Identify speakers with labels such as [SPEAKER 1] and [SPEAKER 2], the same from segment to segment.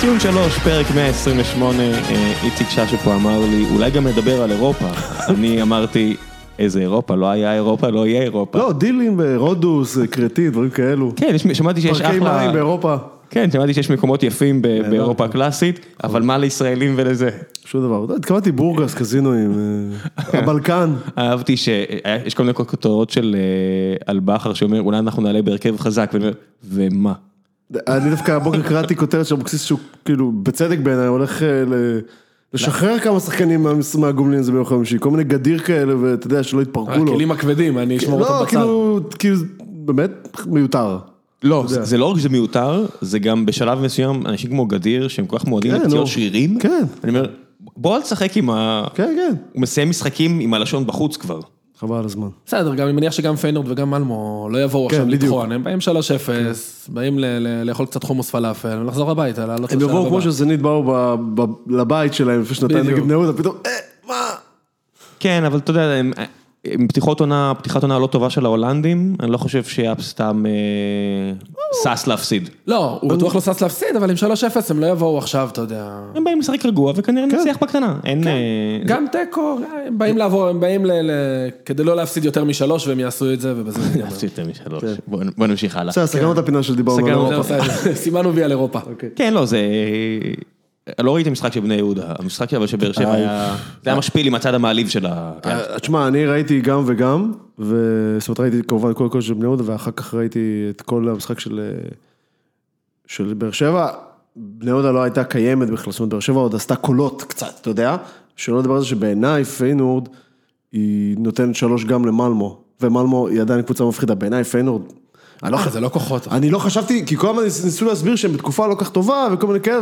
[SPEAKER 1] ציון שלוש, פרק 128, אה, איציק ששו פה אמר לי, אולי גם נדבר על אירופה. אני אמרתי, איזה אירופה? לא היה אירופה, לא יהיה אירופה.
[SPEAKER 2] לא, דילים, אה, רודוס, אה, קרטין, דברים כאלו.
[SPEAKER 1] כן, יש- שמעתי שיש
[SPEAKER 2] פארקי
[SPEAKER 1] אחלה...
[SPEAKER 2] מים באירופה,
[SPEAKER 1] כן, שמעתי שיש מקומות יפים ב- באירופה הקלאסית, אבל מה לישראלים ולזה?
[SPEAKER 2] שום דבר. לא, התכוונתי בורגס, קזינואים, אה, הבלקן.
[SPEAKER 1] אהבתי שיש כל מיני כותרות של אה, על בכר שאומר, אולי אנחנו נעלה בהרכב חזק, ואני אומר, ומה?
[SPEAKER 2] אני דווקא הבוקר קראתי כותרת של אבוקסיס שהוא כאילו, בצדק בעיניי, הולך אה, ל- לשחרר כמה שחקנים מה- מהגומלין הזה ביום חמישי, כל מיני גדיר כאלה, ואתה יודע, שלא יתפרקו לו.
[SPEAKER 3] הכלים הכבדים, אני אשמור
[SPEAKER 2] לא,
[SPEAKER 3] אותם בצד.
[SPEAKER 2] כאילו, כאילו, באמת מיותר.
[SPEAKER 1] לא, זה זה לא רק שזה מיותר, זה גם בשלב מסוים, אנשים כמו גדיר, שהם כל כך מועדים
[SPEAKER 2] כן,
[SPEAKER 1] לפציעות
[SPEAKER 2] נו.
[SPEAKER 1] שרירים,
[SPEAKER 2] כן.
[SPEAKER 1] אני אומר, בוא אל תשחק עם ה...
[SPEAKER 2] כן, כן.
[SPEAKER 1] הוא מסיים משחקים עם הלשון בחוץ כבר.
[SPEAKER 2] חבל על הזמן.
[SPEAKER 3] בסדר, גם אני מניח שגם פיינורד וגם אלמו לא יבואו
[SPEAKER 2] כן,
[SPEAKER 3] עכשיו
[SPEAKER 2] בדיוק. כן.
[SPEAKER 3] לטחון, הם באים 3-0, באים ל- ל- לאכול קצת חומוס פלאפל, ולחזור הביתה, לעלות
[SPEAKER 2] הם
[SPEAKER 3] לשלב
[SPEAKER 2] יבואו כמו
[SPEAKER 3] הבא.
[SPEAKER 2] שזנית באו ב- ב- לבית שלהם לפני שנתיים
[SPEAKER 3] בדיוק.
[SPEAKER 2] נגד בני יהודה, פתאום, אה, מה?
[SPEAKER 1] כן, אבל אתה יודע, הם, הם פתיחות עונה, פתיחת עונה לא טובה של ההולנדים, אני לא חושב שאפ סתם אה, שש להפסיד.
[SPEAKER 3] לא, הוא בטוח לא שש להפסיד, אבל עם 3-0 הם לא יבואו עכשיו, אתה יודע.
[SPEAKER 1] הם באים לשחק רגוע וכנראה
[SPEAKER 2] כן.
[SPEAKER 1] נצליח בקטנה. אין... אה, זה-
[SPEAKER 3] גם תיקו, הם באים לעבור, הם באים ל- ל- כדי לא להפסיד יותר משלוש, והם יעשו את זה, ובזה זה
[SPEAKER 2] אוקיי.
[SPEAKER 1] אפס יותר משלוש. בוא בוא נמשיך הלאה.
[SPEAKER 2] כן. בסדר, סגרנו את הפינה של דיברנו
[SPEAKER 1] סגרנו
[SPEAKER 2] על
[SPEAKER 1] את
[SPEAKER 2] אירופה.
[SPEAKER 3] נגמר. סימנו וי על אירופה.
[SPEAKER 2] אוקיי.
[SPEAKER 1] כן, לא, זה... לא ראיתי משחק של בני יהודה, המשחק אבל של באר שבע היה... זה היה משפיל עם הצד המעליב של ה...
[SPEAKER 2] אה, תשמע, אני ראיתי גם וגם, ו- זאת אומרת, ראיתי כמובן כל קול של בני יהודה, ואחר כך ראיתי את כל המשחק של, אה, של באר שבע. בני יהודה לא הייתה קיימת בכלל, זאת אומרת, באר שבע עוד עשתה קולות קצת, אתה יודע? שלא לדבר על זה שבעיניי פיינורד, היא נותנת שלוש גם למלמו, ומלמו היא עדיין קבוצה מפחידה, בעיניי פיינורד, אני לא,
[SPEAKER 3] אה,
[SPEAKER 2] חושב-
[SPEAKER 3] זה לא כוחות.
[SPEAKER 2] אני לא חשבתי, כי כל הזמן ניס- ניסו להסביר שהם בתקופה לא כך טובה וכל מיני כאלה,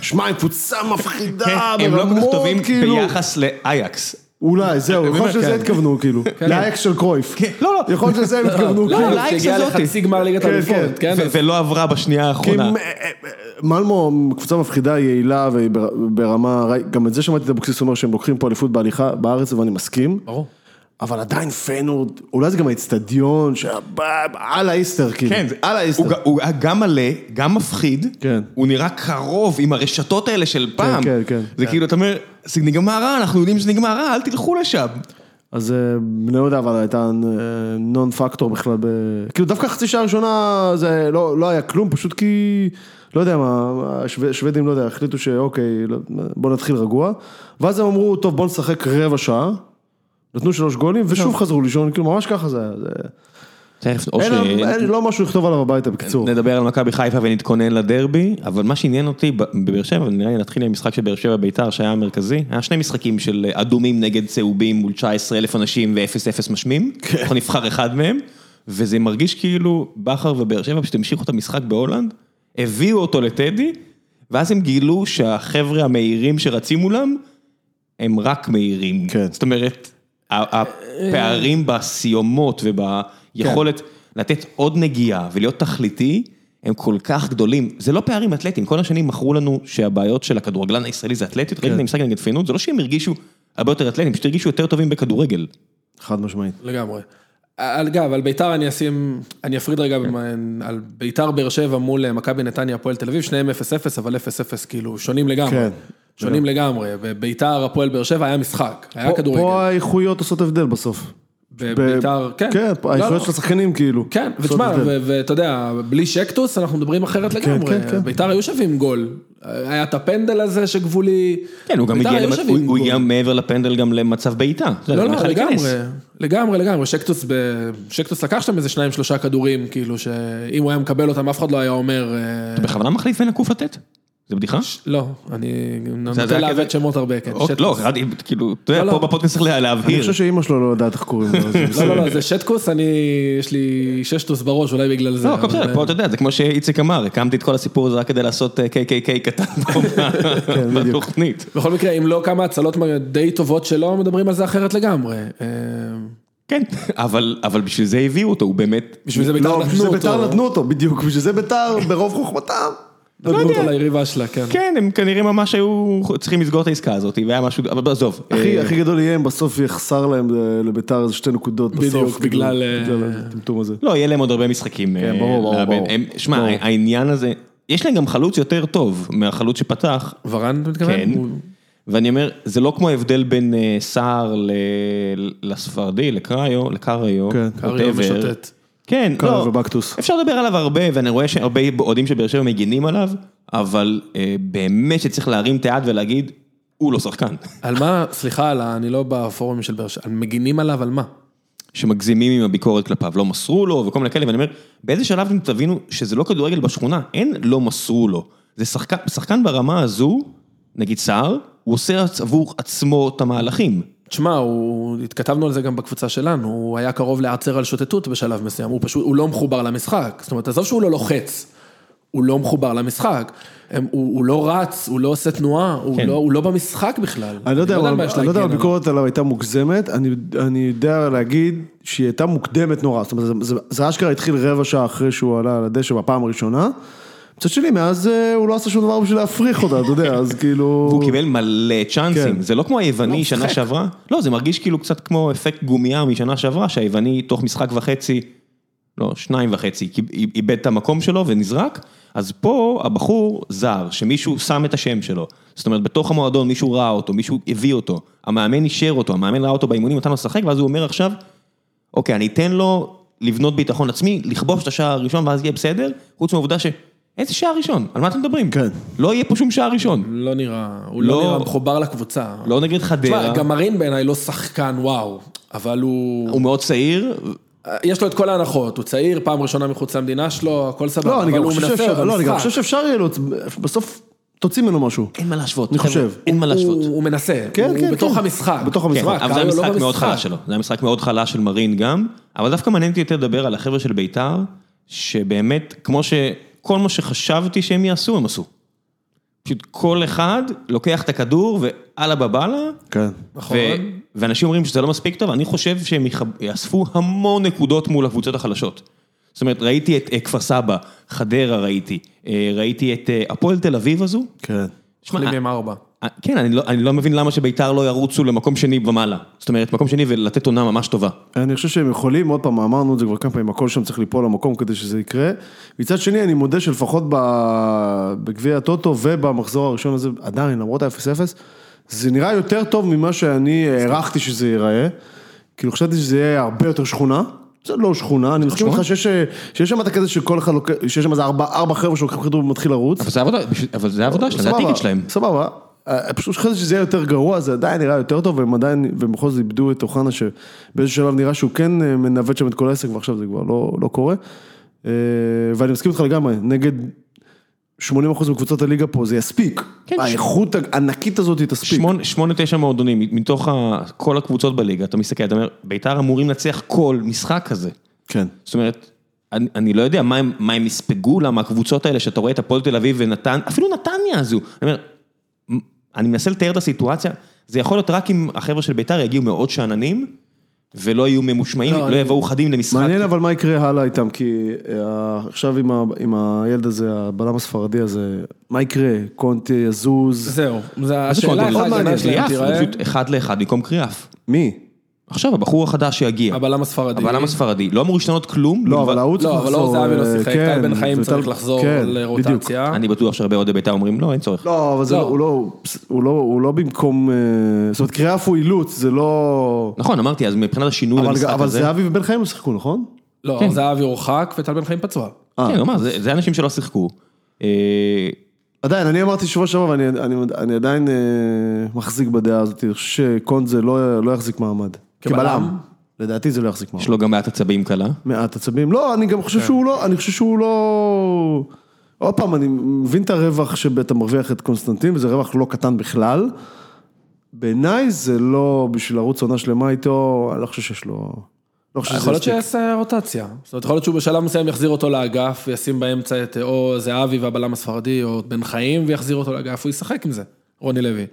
[SPEAKER 2] שמע, הם קבוצה מפחידה,
[SPEAKER 1] הם לא כל כך
[SPEAKER 2] ברמות,
[SPEAKER 1] טובים
[SPEAKER 2] אה, כאילו."
[SPEAKER 1] ביחס לאייקס.
[SPEAKER 2] אולי, זהו, יכול להיות
[SPEAKER 3] כן.
[SPEAKER 2] שלזה התכוונו, כאילו. לאקס של קרויף.
[SPEAKER 1] לא, לא.
[SPEAKER 2] יכול להיות שלזה הם התכוונו,
[SPEAKER 3] לא,
[SPEAKER 2] כאילו.
[SPEAKER 1] לאיקס
[SPEAKER 3] שהגיע
[SPEAKER 1] הזאתי.
[SPEAKER 3] לחצי גמר ליגת
[SPEAKER 2] כן,
[SPEAKER 3] האלופות,
[SPEAKER 2] כן.
[SPEAKER 3] כן?
[SPEAKER 1] ו- ולא עברה בשנייה
[SPEAKER 2] כי
[SPEAKER 1] האחרונה.
[SPEAKER 3] לא.
[SPEAKER 2] מ- אה, אה, אה, מלמו קבוצה מפחידה, יעילה והיא בר- ברמה, ראי- גם את זה שמעתי את אבוקסיס אומר שהם לוקחים פה אליפות בהליכה בארץ ואני מסכים,
[SPEAKER 3] ברור.
[SPEAKER 2] אבל עדיין פיינורד, אולי זה גם האיצטדיון שהיה בא- על האיסטר, כאילו,
[SPEAKER 1] כן, זה-
[SPEAKER 2] על האיסטר.
[SPEAKER 1] הוא ג- הוא היה גם מלא, גם מפחיד,
[SPEAKER 2] כן.
[SPEAKER 1] הוא נראה קרוב עם הרשתות האלה של פעם.
[SPEAKER 2] כן, כן.
[SPEAKER 1] זה כאילו, אתה אומר, זה נגמר רע, אנחנו יודעים שזה נגמר רע, אל תלכו לשם.
[SPEAKER 2] אז אה, בני יהודה אבל הייתה נון פקטור בכלל, ב... כאילו דווקא חצי שעה ראשונה זה לא, לא היה כלום, פשוט כי, לא יודע מה, השו- השוודים, לא יודע, החליטו שאוקיי, לא- בוא נתחיל רגוע, ואז הם אמרו, טוב בוא נשחק רבע שעה, נתנו שלוש גולים ושוב חזרו לישון, כאילו ממש ככה זה היה, זה...
[SPEAKER 1] תכף, או
[SPEAKER 2] אין,
[SPEAKER 1] ש-
[SPEAKER 2] אין, לא משהו לכתוב עליו הביתה בקיצור,
[SPEAKER 1] נדבר על מכבי חיפה ונתכונן לדרבי, אבל מה שעניין אותי ב- בבאר שבע, נראה לי נתחיל עם המשחק של באר שבע ביתר שהיה המרכזי, היה שני משחקים של אה, אדומים נגד צהובים מול 19 אלף אנשים ו-0-0 משמים, אנחנו נבחר אחד מהם, וזה מרגיש כאילו בכר ובאר שבע פשוט המשיכו את המשחק בהולנד, הביאו אותו לטדי, ואז הם גילו שהחבר'ה המהירים שרצים מולם, הם רק מהירים.
[SPEAKER 2] כן.
[SPEAKER 1] זאת אומרת, ה- הפערים בסיומות וביכולת לתת עוד נגיעה ולהיות תכליתי, הם כל כך גדולים. זה לא פערים אתלטיים, כל השנים מכרו לנו שהבעיות של הכדורגלן הישראלי זה אתלטיות, ראיתי את המשחק נגד פינות, זה לא שהם הרגישו הרבה יותר אתלטים, פשוט הרגישו יותר טובים בכדורגל.
[SPEAKER 2] חד משמעית.
[SPEAKER 3] לגמרי. על- אגב, על ביתר אני אשים, אני אפריד רגע
[SPEAKER 2] כן.
[SPEAKER 3] במה- על ביתר באר שבע מול אה, מכבי נתניה, הפועל תל אביב, שניהם 0-0, אבל 0-0 כאילו שונים לגמרי.
[SPEAKER 2] כן.
[SPEAKER 3] שונים לגמרי. בביתר, הפועל באר שבע היה משחק, היה
[SPEAKER 2] פה
[SPEAKER 3] כדורגל.
[SPEAKER 2] האיכויות עושות הבדל בסוף.
[SPEAKER 3] בביתר,
[SPEAKER 2] ב-
[SPEAKER 3] כן.
[SPEAKER 2] כן,
[SPEAKER 3] לא,
[SPEAKER 2] האיכויות
[SPEAKER 3] לא.
[SPEAKER 2] של השחקנים כאילו.
[SPEAKER 3] כן,
[SPEAKER 2] עושות
[SPEAKER 3] ותשמע,
[SPEAKER 2] הבדל.
[SPEAKER 3] ו- ואתה יודע, בלי שקטוס אנחנו מדברים אחרת לגמרי.
[SPEAKER 2] כן, כן.
[SPEAKER 3] ביתר היו שווים גול. היה את הפנדל הזה שגבולי.
[SPEAKER 1] כן, הוא גם
[SPEAKER 3] ביתר
[SPEAKER 1] הגיע,
[SPEAKER 3] היו
[SPEAKER 1] למ-
[SPEAKER 3] שווים
[SPEAKER 1] הוא- הוא
[SPEAKER 3] גול.
[SPEAKER 1] הגיע מעבר לפנדל גם למצב בעיטה. זה
[SPEAKER 3] לא,
[SPEAKER 1] היה
[SPEAKER 3] לא,
[SPEAKER 1] בכלל להיכנס.
[SPEAKER 3] לגמרי, לגמרי, לגמרי, שקטוס, ב... שקטוס לקח שם איזה שניים, שלושה כדורים, כאילו, שאם הוא היה מקבל אותם, אף אחד לא היה אומר... אה,
[SPEAKER 1] אתה בכוונה מחליף בין הקוף לתת? זה בדיחה?
[SPEAKER 3] לא, אני
[SPEAKER 1] זה
[SPEAKER 3] נוטה
[SPEAKER 1] היה
[SPEAKER 3] לעוות
[SPEAKER 1] כזה-
[SPEAKER 3] שמות הרבה, כן.
[SPEAKER 1] אוקיי,
[SPEAKER 3] שטקוס.
[SPEAKER 1] לא, קראתי, כאילו, אתה יודע,
[SPEAKER 3] לא,
[SPEAKER 1] פה
[SPEAKER 3] לא.
[SPEAKER 1] בפודקאסט צריך לה-
[SPEAKER 2] אני
[SPEAKER 1] להבהיר.
[SPEAKER 2] חושב שאימא שלו לא יודעת איך קוראים לו. אז זה
[SPEAKER 3] לא,
[SPEAKER 2] בסדר.
[SPEAKER 3] לא, לא, זה שטקוס, אני, יש לי ששטוס בראש, אולי בגלל זה.
[SPEAKER 1] לא, הכל
[SPEAKER 3] אבל-
[SPEAKER 1] בסדר, פה אתה יודע, זה כמו שאיציק אמר, הקמתי את כל הסיפור הזה רק כדי לעשות אה, KKK קטן פה ב-
[SPEAKER 2] כן, בדיוק.
[SPEAKER 1] בתוכנית.
[SPEAKER 3] בכל מקרה, אם לא כמה הצלות די טובות שלו, מדברים על זה אחרת לגמרי. אה,
[SPEAKER 1] כן, אבל אבל בשביל זה הביאו אותו, הוא באמת...
[SPEAKER 3] בשביל זה ביתר
[SPEAKER 2] לא, בשביל זה
[SPEAKER 3] נתנו
[SPEAKER 2] ביתר
[SPEAKER 3] אותו.
[SPEAKER 2] נתנו אותו, בדיוק, בשביל זה ביתר ברוב חוכמתם.
[SPEAKER 3] נתנו אותו ליריבה שלה, כן.
[SPEAKER 1] לא כן, הם כנראה ממש היו צריכים לסגור את העסקה הזאת, והיה משהו, אבל עזוב.
[SPEAKER 2] הכי
[SPEAKER 1] אה,
[SPEAKER 2] הכי גדול יהיה אם בסוף יחסר להם אה, לביתר איזה שתי נקודות בסוף.
[SPEAKER 3] בדיוק,
[SPEAKER 2] כאילו,
[SPEAKER 3] בגלל, אה,
[SPEAKER 2] בגלל הטמטום הזה.
[SPEAKER 1] לא, יהיה להם עוד הרבה משחקים.
[SPEAKER 2] כן,
[SPEAKER 1] אה,
[SPEAKER 2] ברור, ברור,
[SPEAKER 1] לאבד.
[SPEAKER 2] ברור.
[SPEAKER 1] הם- שמע,
[SPEAKER 2] ברור.
[SPEAKER 1] העניין הזה, יש להם גם חלוץ יותר טוב מהחלוץ שפתח,
[SPEAKER 3] ורן, אתה מתכוון?
[SPEAKER 1] כן.
[SPEAKER 3] הוא-
[SPEAKER 1] ואני אומר, זה לא כמו ההבדל בין אה, סער ל- לספרדי, לקראיו, לקראיו,
[SPEAKER 2] כן.
[SPEAKER 3] קריו
[SPEAKER 1] whatever.
[SPEAKER 3] משוטט.
[SPEAKER 1] כן,
[SPEAKER 2] קראיו
[SPEAKER 1] לא,
[SPEAKER 2] ובקטוס.
[SPEAKER 1] אפשר לדבר עליו הרבה, ואני רואה שהרבה אוהדים של באר שבע מגינים עליו, אבל אה, באמת שצריך להרים את היד ולהגיד, הוא לא שחקן.
[SPEAKER 3] על מה, סליחה, על ה- אני לא בפורום של באר שבע, על- מגינים עליו על מה?
[SPEAKER 1] שמגזימים עם הביקורת כלפיו, לא מסרו לו וכל מיני כאלה, ואני אומר, באיזה שלב אתם תבינו שזה לא כדורגל בשכונה, אין לא מסרו לו. זה שחקן, שחקן ברמה הזו, נגיד סער, הוא עושה עצ- עבור עצמו את המהלכים.
[SPEAKER 3] תשמע, הוא, התכתבנו על זה גם בקבוצה שלנו, הוא היה קרוב להיעצר על שוטטות בשלב מסוים, הוא פשוט, הוא לא מחובר למשחק. זאת אומרת, עזוב שהוא לא לוחץ, הוא לא מחובר למשחק. הם, הוא, הוא לא רץ, הוא לא עושה תנועה, הוא,
[SPEAKER 1] כן.
[SPEAKER 3] לא, הוא לא במשחק בכלל.
[SPEAKER 2] אני לא יודע,
[SPEAKER 3] על
[SPEAKER 2] אבל-
[SPEAKER 3] מה יש
[SPEAKER 2] אני לא יודע אם
[SPEAKER 3] להגן עליו.
[SPEAKER 2] הביקורת עליו הייתה מוגזמת, אני- אני יודע להגיד שהיא הייתה מוקדמת נורא, זאת אומרת, זה- זה- זה אשכרה התחיל רבע שעה אחרי שהוא עלה על הדשא בפעם הראשונה. מצד שני, מאז אה, הוא לא עשה שום דבר בשביל להפריך אותה, אתה יודע, אז כאילו...
[SPEAKER 1] הוא קיבל מלא צ'אנסים,
[SPEAKER 2] כן.
[SPEAKER 1] זה לא כמו היווני
[SPEAKER 3] לא,
[SPEAKER 1] שנה
[SPEAKER 3] משחק.
[SPEAKER 1] שעברה, לא, זה מרגיש כאילו קצת כמו אפקט גומייה משנה שעברה, שהיווני תוך משחק וחצי, לא, שניים וחצי, כי- איבד את המקום שלו ונזרק, אז פה הבחור זר, שמישהו שם את השם שלו, זאת אומרת בתוך המועדון מישהו ראה אותו, מישהו הביא אותו, המאמן אישר אותו, המאמן ראה אותו באימונים, נתן לו לשחק, ואז הוא אומר עכשיו, אוקיי, אני אתן לו לבנות ביטחון עצמי, לכבוש את השער הראשון ואז יהיה בסדר, חוץ מהעובדה ש... איזה שער ראשון? על מה אתם מדברים?
[SPEAKER 2] כן.
[SPEAKER 1] לא יהיה פה שום שער ראשון.
[SPEAKER 3] לא נראה, הוא לא,
[SPEAKER 1] לא-
[SPEAKER 3] נראה מחובר לקבוצה.
[SPEAKER 1] לא נגד חדרה,
[SPEAKER 3] תשמע, גם מרין בעיניי לא שחקן וואו, אבל הוא...
[SPEAKER 1] הוא מאוד צעיר,
[SPEAKER 3] יש לו את כל ההנחות, הוא צעיר, פעם ראשונה מחוץ למדינה שלו, הכל סבבה,
[SPEAKER 2] לא, אני
[SPEAKER 3] אבל
[SPEAKER 2] גם
[SPEAKER 3] הוא
[SPEAKER 2] חושב
[SPEAKER 3] מנסה
[SPEAKER 2] שאפשר- לא, אני גם
[SPEAKER 3] במשחק.
[SPEAKER 2] חושב שאפשר יהיה לו, בסוף תוציא ממנו משהו.
[SPEAKER 1] אין מה להשוות.
[SPEAKER 2] אני חושב.
[SPEAKER 1] חבר'ה, אין מה להשוות.
[SPEAKER 3] הוא, הוא מנסה,
[SPEAKER 2] כן,
[SPEAKER 3] הוא
[SPEAKER 2] כן,
[SPEAKER 3] בתוך
[SPEAKER 2] כן.
[SPEAKER 3] המשחק.
[SPEAKER 2] בתוך
[SPEAKER 1] כן,
[SPEAKER 2] המשחק,
[SPEAKER 1] אבל זה
[SPEAKER 3] קאיו לא
[SPEAKER 1] המשחק מאוד
[SPEAKER 3] במשחק.
[SPEAKER 1] חלש שלו, זה המשחק מאוד חלש של מרין גם, אבל דווקא מעניין אותי יותר לדבר על החבר'ה של בית"ר, שבאמת, כמו שכל מה שחשבתי שהם יעשו, הם עשו. פשוט כל אחד לוקח את הכדור ואללה בבאללה,
[SPEAKER 2] כן.
[SPEAKER 3] נכון.
[SPEAKER 1] ו- ואנשים אומרים שזה לא מספיק טוב, אני חושב שהם יחב- יאספו המון נקודות מול הקבוצות החלשות. זאת אומרת, ראיתי את אה, כפר סבא, חדרה ראיתי, אה, ראיתי את אה, הפועל תל אביב הזו.
[SPEAKER 2] כן.
[SPEAKER 1] שמע,
[SPEAKER 3] אוכלים עם ארבע.
[SPEAKER 1] אה, כן, אני לא, אני לא מבין למה שביתר לא ירוצו למקום שני ומעלה. זאת אומרת, מקום שני ולתת עונה ממש טובה.
[SPEAKER 2] אני חושב שהם יכולים, עוד פעם, אמרנו את זה כבר כמה פעמים, הכל שם צריך ליפול למקום כדי שזה יקרה. מצד שני, אני מודה שלפחות ב- בגביע הטוטו ובמחזור הראשון הזה, עדיין, למרות ה-0-0, זה נראה יותר טוב ממה שאני הערכתי שזה ייראה. כאילו, חשבתי שזה יהיה הרבה יותר שכונה. זה לא שכונה, אני מסכים איתך שיש שיש שם את הקטע שכל אחד לוקח, שיש שם איזה ארבע ארבע חבר'ה שלוקחים כדור ומתחיל לרוץ.
[SPEAKER 1] אבל זה העבודה, אבל זה העבודה שלהם, זה
[SPEAKER 2] סבבה,
[SPEAKER 1] הטיקט שלהם.
[SPEAKER 2] סבבה. אה, פשוט חשבתי שזה יהיה יותר גרוע, זה עדיין נראה יותר טוב, והם עדיין, והם בכל זאת איבדו את אוחנה, שבאיזשהו שלב נראה שהוא כן אה, מנווט שם את כל העסק, ועכשיו זה כבר לא, לא קורה. אה, ואני מסכים איתך לגמרי, נגד 80% מקבוצות הליגה פה זה יספיק.
[SPEAKER 1] כן,
[SPEAKER 2] האיכות הענקית הזאת היא תספיק.
[SPEAKER 1] שמונה, שמונה, תשע מועדונים, מתוך ה, כל הקבוצות בליגה, אתה מסתכל, אתה אומר, ביתר אמורים לנצח כל משחק כזה.
[SPEAKER 2] כן.
[SPEAKER 1] זאת אומרת, אני, אני לא יודע מה הם, מה הם יספגו, למה הקבוצות האלה, שאתה רואה את הפועל תל אביב ונתן, אפילו נתניה הזו. אני אומר, מ- אני מנסה לתאר את הסיטואציה, זה יכול להיות רק אם החבר'ה של ביתר יגיעו מאוד שאננים, ולא יהיו ממושמעים,
[SPEAKER 3] לא,
[SPEAKER 1] לא,
[SPEAKER 3] אני-
[SPEAKER 1] יבואו חדים למשחק.
[SPEAKER 2] מעניין אבל מה יקרה הלאה איתם, כי אה, עכשיו עם ה- עם הילד הזה, הבלם הספרדי הזה, מה יקרה? קונטה יזוז?
[SPEAKER 3] זהו, זה
[SPEAKER 1] מה זה
[SPEAKER 3] השאלה
[SPEAKER 1] קונטה?
[SPEAKER 3] איך
[SPEAKER 1] מאוד
[SPEAKER 3] ההגנה
[SPEAKER 1] מעניין,
[SPEAKER 3] שלהם
[SPEAKER 1] קריאף,
[SPEAKER 3] תיראה,
[SPEAKER 1] זה פשוט אחד לאחד במקום קריאף.
[SPEAKER 2] מי?
[SPEAKER 1] עכשיו, הבחור החדש שיגיע,
[SPEAKER 3] הבלם הספרדי.
[SPEAKER 1] הבלם הספרדי, לא אמור להשתנות כלום.
[SPEAKER 2] לא,
[SPEAKER 1] מלבד-
[SPEAKER 2] אבל ההוא צריך
[SPEAKER 3] לא, אבל
[SPEAKER 2] לחזור.
[SPEAKER 3] לא זהבי לא
[SPEAKER 2] אה,
[SPEAKER 3] שיחק,
[SPEAKER 2] כן,
[SPEAKER 3] טל בן חיים
[SPEAKER 2] וטל-
[SPEAKER 3] צריך לחזור
[SPEAKER 2] כן, בדיוק.
[SPEAKER 3] לרוטציה.
[SPEAKER 1] אני בטוח שהרבה אוהדי בית"ר אומרים, לא, אין צורך.
[SPEAKER 2] לא, אבל זה
[SPEAKER 3] לא.
[SPEAKER 2] לא, הוא לא, הוא לא, הוא לא במקום, אה, זאת אומרת קריאף הוא אילוץ, זה לא,
[SPEAKER 1] נכון, אמרתי, אז מבחינת השינוי
[SPEAKER 2] אבל,
[SPEAKER 1] למשחק
[SPEAKER 2] אבל
[SPEAKER 1] הזה,
[SPEAKER 2] זהבי ובן חיים לא שיחקו, נכון?
[SPEAKER 3] לא,
[SPEAKER 1] כן.
[SPEAKER 3] זהבי הורחק וטל בן חיים פצוע.
[SPEAKER 2] אה.
[SPEAKER 1] כן, כלומר, זה זה אנשים שלא שיחקו. אה,
[SPEAKER 2] עדיין, אני אמרתי שבוע שעבר ואני אני, אני עדיין אה, מחזיק בדעה הזאת, אני חושב שקונזה לא, לא יחזיק מעמד.
[SPEAKER 3] כבלם?
[SPEAKER 2] לדעתי זה לא יחזיק מעמד.
[SPEAKER 1] יש לו גם מעט עצבים קלה.
[SPEAKER 2] מעט עצבים. לא, אני גם חושב
[SPEAKER 3] כן.
[SPEAKER 2] שהוא לא, אני חושב שהוא לא... עוד פעם, אני מבין את הרווח שאתה מרוויח את קונסטנטין, וזה רווח לא קטן בכלל. בעיניי זה לא בשביל לרוץ עונה שלמה איתו, אני לא חושב שיש לו... לא חושב שזה
[SPEAKER 3] יכול להיות
[SPEAKER 2] יספיק.
[SPEAKER 3] שיעשה רוטציה. זאת אומרת, יכול להיות שהוא בשלב מסוים יחזיר אותו לאגף, וישים באמצע את אה, או זהבי והבלם הספרדי, או את בן חיים, ויחזיר אותו לאגף, הוא ישחק עם זה, רוני לוי.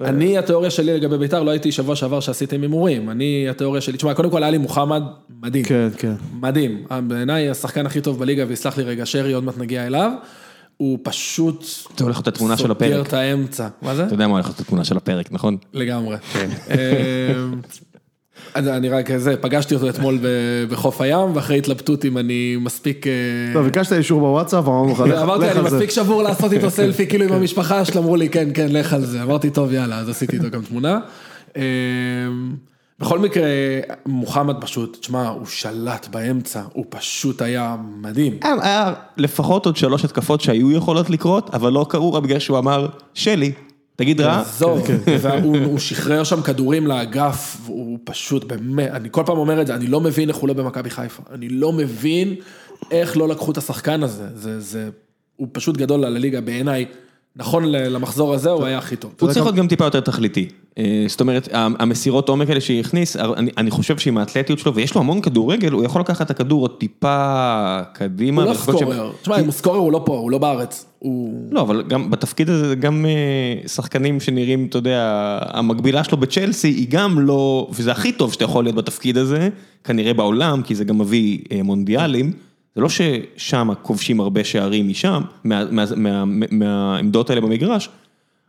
[SPEAKER 3] אני, התיאוריה שלי לגבי בית"ר, לא הייתי שבוע שעבר שעשיתם הימורים. אני, התיאוריה שלי, תשמע, קודם כל, עלי מוחמד, מדהים.
[SPEAKER 2] כן, כן.
[SPEAKER 3] מדהים, בעיניי השחקן הכי טוב בליגה, ויסלח לי רגע שרי, עוד מעט נגיע אליו, הוא פשוט...
[SPEAKER 1] אתה הולך לעשות את התמונה של
[SPEAKER 3] סוגר
[SPEAKER 1] הפרק.
[SPEAKER 3] את האמצע. מה זה?
[SPEAKER 2] כן.
[SPEAKER 1] אתה יודע מה הולך לעשות את התמונה של הפרק, נכון?
[SPEAKER 3] לגמרי. אמ, אז אני רק זה, פגשתי אותו אתמול ב- בחוף הים, ואחרי התלבטות אם אני מספיק... אה,
[SPEAKER 2] לא, ביקשת אישור בוואטסאפ, אמרנו לך, לך
[SPEAKER 3] אמרתי,
[SPEAKER 2] לך
[SPEAKER 3] אני
[SPEAKER 2] על זה.
[SPEAKER 3] מספיק שבור לעשות איתו סלפי, כאילו עם המשפחה שלו, אמרו לי, כן, כן, לך על זה. אמרתי, טוב, יאללה, אז עשיתי איתו גם תמונה. אה, בכל מקרה, מוחמד פשוט, תשמע, הוא שלט באמצע, הוא פשוט היה מדהים.
[SPEAKER 1] היה- היה אה, לפחות עוד שלוש התקפות שהיו יכולות לקרות, אבל לא קרו רק בגלל שהוא אמר, שלי, תגיד רע,
[SPEAKER 3] עזוב,
[SPEAKER 2] כן,
[SPEAKER 3] והוא- הוא שחרר שם כדורים לאגף, הוא פשוט באמת, אני כל פעם אומר את זה, אני לא מבין איך הוא לא במכבי חיפה, אני לא מבין איך לא לקחו את השחקן הזה, זה, זה, הוא פשוט גדול על הליגה בעיניי, נכון ל- למחזור הזה הוא היה הכי טוב.
[SPEAKER 1] הוא צריך להיות גם טיפה יותר תכליתי. אה, זאת אומרת, ה- המסירות עומק האלה שהיא הכניס, הר- אני, אני חושב שעם האתלטיות שלו, ויש לו המון כדורגל, הוא יכול לקחת את הכדור עוד טיפה קדימה.
[SPEAKER 3] הוא לא
[SPEAKER 1] ולחכות ש-
[SPEAKER 3] סקורר, תשמע, אם הוא סקורר הוא לא פה, הוא לא בארץ, הוא...
[SPEAKER 1] לא, אבל גם בתפקיד הזה, זה גם אה, שחקנים שנראים, אתה יודע, המקבילה שלו בצ'לסי היא גם לא, וזה הכי טוב שאתה יכול להיות בתפקיד הזה, כנראה בעולם, כי זה גם מביא אה, מונדיאלים. זה לא ששם כובשים הרבה שערים משם, מה, מה, מה, מה, מהעמדות האלה במגרש,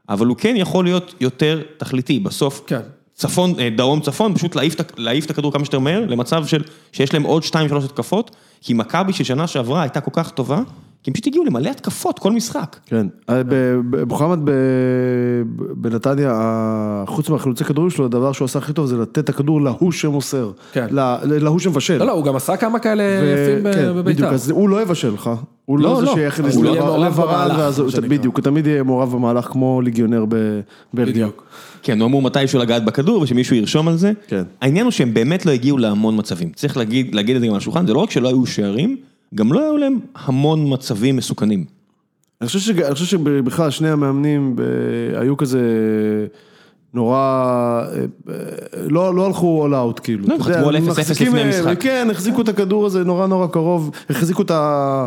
[SPEAKER 1] אבל הוא כן יכול להיות יותר תכליתי. בסוף,
[SPEAKER 3] כן.
[SPEAKER 1] צפון, אה, דרום צפון, פשוט להעיף, את ה- להעיף את הכדור כמה שיותר מהר, למצב של, שיש להם עוד 2-3 התקפות, כי מכבי של שנה שעברה הייתה כל כך טובה, כי הם פשוט הגיעו למלא התקפות כל משחק.
[SPEAKER 2] כן, אה, ב- ב- מוחמד ב- ב- בנתניה, ה- חוץ מהחילוצי כדורים שלו, הדבר שהוא עשה הכי טוב זה לתת את הכדור להוא שמוסר,
[SPEAKER 3] כן.
[SPEAKER 2] ל- ל- להוא שמבשל.
[SPEAKER 3] לא, לא, הוא גם עשה כמה כאלה
[SPEAKER 2] ו-
[SPEAKER 3] יפים ב-
[SPEAKER 2] כן,
[SPEAKER 3] בביתר.
[SPEAKER 2] בדיוק, אז הוא לא יבשל לך, הוא
[SPEAKER 1] לא,
[SPEAKER 2] לא זה
[SPEAKER 1] לא.
[SPEAKER 2] שיכניס
[SPEAKER 1] אז הוא
[SPEAKER 3] יהיה מעורב במהלך,
[SPEAKER 2] ואז
[SPEAKER 3] מה
[SPEAKER 2] הוא-
[SPEAKER 3] שנקרא.
[SPEAKER 2] בדיוק, הוא תמיד יהיה מעורב במהלך כמו ליגיונר בבלגיה.
[SPEAKER 3] בדיוק.
[SPEAKER 1] כן, הוא אמור מתישהו לגעת בכדור ושמישהו ירשום על זה.
[SPEAKER 2] כן.
[SPEAKER 1] העניין הוא שהם באמת לא הגיעו להמון מצבים. צריך להגיד, להגיד את זה גם על השולחן, זה לא רק שלא היו שערים, גם לא היו להם המון מצבים מסוכנים.
[SPEAKER 2] אני חושב, שג- אני חושב שבכלל שני המאמנים ב- היו כזה נורא, אה, אה, לא, לא הלכו all out כאילו.
[SPEAKER 1] לא,
[SPEAKER 2] אתה
[SPEAKER 1] הם
[SPEAKER 2] יודע,
[SPEAKER 1] חתמו על 0-0
[SPEAKER 2] מחזיקים,
[SPEAKER 1] לפני
[SPEAKER 2] אה,
[SPEAKER 1] המשחק.
[SPEAKER 2] כן, החזיקו את הכדור הזה נורא נורא קרוב, החזיקו את, ה,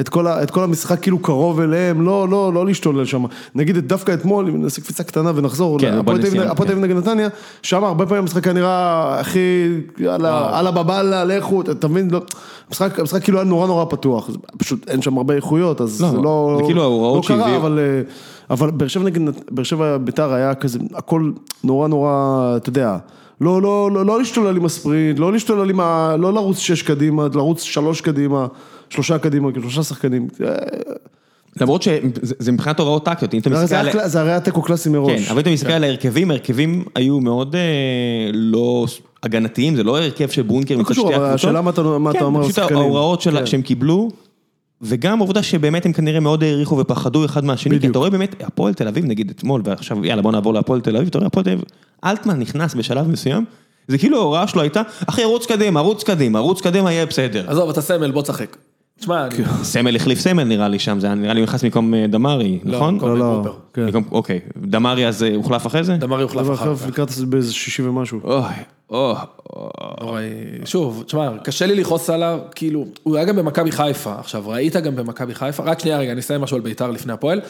[SPEAKER 2] את, כל, ה, את כל המשחק כאילו קרוב אליהם, לא, לא, לא להשתולל שם. נגיד את- דווקא אתמול, אם נעשה קפיצה קטנה ונחזור,
[SPEAKER 1] כן,
[SPEAKER 2] להפועל
[SPEAKER 1] הפועל
[SPEAKER 2] תל אביב-
[SPEAKER 1] ניסיון,
[SPEAKER 2] הפועל תל אביב נגד נתניה, שם הרבה פעמים המשחק היה נראה הכי, יאללה, אללה בבאללה, לכו, אתה אתה מבין? לא, המשחק, המשחק כאילו היה נורא נורא פתוח, זה פשוט אין שם הרבה איכויות, אז
[SPEAKER 1] לא,
[SPEAKER 2] זה לא...
[SPEAKER 1] זה כאילו ההוראות
[SPEAKER 2] לא קרה,
[SPEAKER 1] שהביאו.
[SPEAKER 2] אבל, אה, אבל באר שבע נגד... נת- באר שבע ביתר היה כזה, הכל נורא נורא, אתה יודע, לא, לא, לא, לא להשתולל עם הספרינט, לא להשתולל עם ה... לא לרוץ שש קדימה, לרוץ שלוש קדימה, שלושה קדימה, כאילו, שלושה שחקנים. אה,
[SPEAKER 1] למרות שזה זה מבחינת הוראות טקטיות, אם אתה מסתכל
[SPEAKER 2] לא, זה,
[SPEAKER 1] על...
[SPEAKER 2] היה, קל- זה הרי היה תיקו קלאסי
[SPEAKER 1] כן,
[SPEAKER 2] מראש.
[SPEAKER 1] אבל אם אתה מסתכל על ההרכבים, ההרכבים היו מאוד אה, לא הגנתיים, זה לא הרכב של בונקר מצד
[SPEAKER 2] קשור,
[SPEAKER 1] שתי
[SPEAKER 2] אבל השאלה מה אתה- מה
[SPEAKER 1] כן,
[SPEAKER 2] אתה אומר על
[SPEAKER 1] פשוט
[SPEAKER 2] השחקנים.
[SPEAKER 1] ההוראות שלה-
[SPEAKER 2] כן.
[SPEAKER 1] שהם קיבלו, וגם העובדה שבאמת הם כנראה מאוד העריכו ופחדו אחד מהשני, כי
[SPEAKER 2] בדיוק.
[SPEAKER 1] אתה רואה באמת, הפועל תל אביב נגיד אתמול, ועכשיו יאללה בוא נעבור להפועל תל אביב, אתה רואה הפועל תל אביב, אלטמן נכנס בשלב מסוים, זה כאילו ההוראה שלו הייתה, אחי רוץ קדימה, רוץ קדימה, רוץ קדימה יהיה בסדר.
[SPEAKER 3] עזוב, אתה סמל, בוא תשחק. תשמע,
[SPEAKER 2] כן.
[SPEAKER 3] אני-
[SPEAKER 1] סמל החליף סמל נראה לי שם, זה היה נראה לי הוא נכנס במקום אה, דמארי,
[SPEAKER 3] לא,
[SPEAKER 1] נכון?
[SPEAKER 3] במקום
[SPEAKER 2] לא,
[SPEAKER 3] גרובר.
[SPEAKER 2] כן.
[SPEAKER 1] במקום- אוקיי, דמארי אז אה, הוחלף אחרי זה?
[SPEAKER 3] דמרי הוחלף
[SPEAKER 2] אבל
[SPEAKER 3] אחר
[SPEAKER 2] אחר
[SPEAKER 3] כך.
[SPEAKER 2] לקראת זה באיזה שישי ומשהו.
[SPEAKER 1] אוי, אוי, אוי.
[SPEAKER 3] אוי, שוב, תשמע, קשה לי לכעוס עליו, כאילו, הוא היה גם במכבי חיפה, עכשיו, ראית גם במכבי חיפה, רק שנייה רגע, אני אסיים משהו על ביתר לפני הפועל.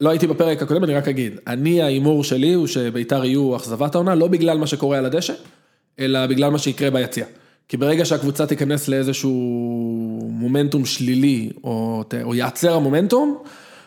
[SPEAKER 3] לא הייתי בפרק הקודם, אני רק אגיד, אני ההימור שלי הוא שביתר יהיו אכזבת העונה, לא בגלל מה שקורה על הדשא, אלא בגלל מה שיקרה ביציע. כי ברגע שהקבוצה תיכנס לאיזשהו מומנטום שלילי, או, ת- או ייעצר המומנטום,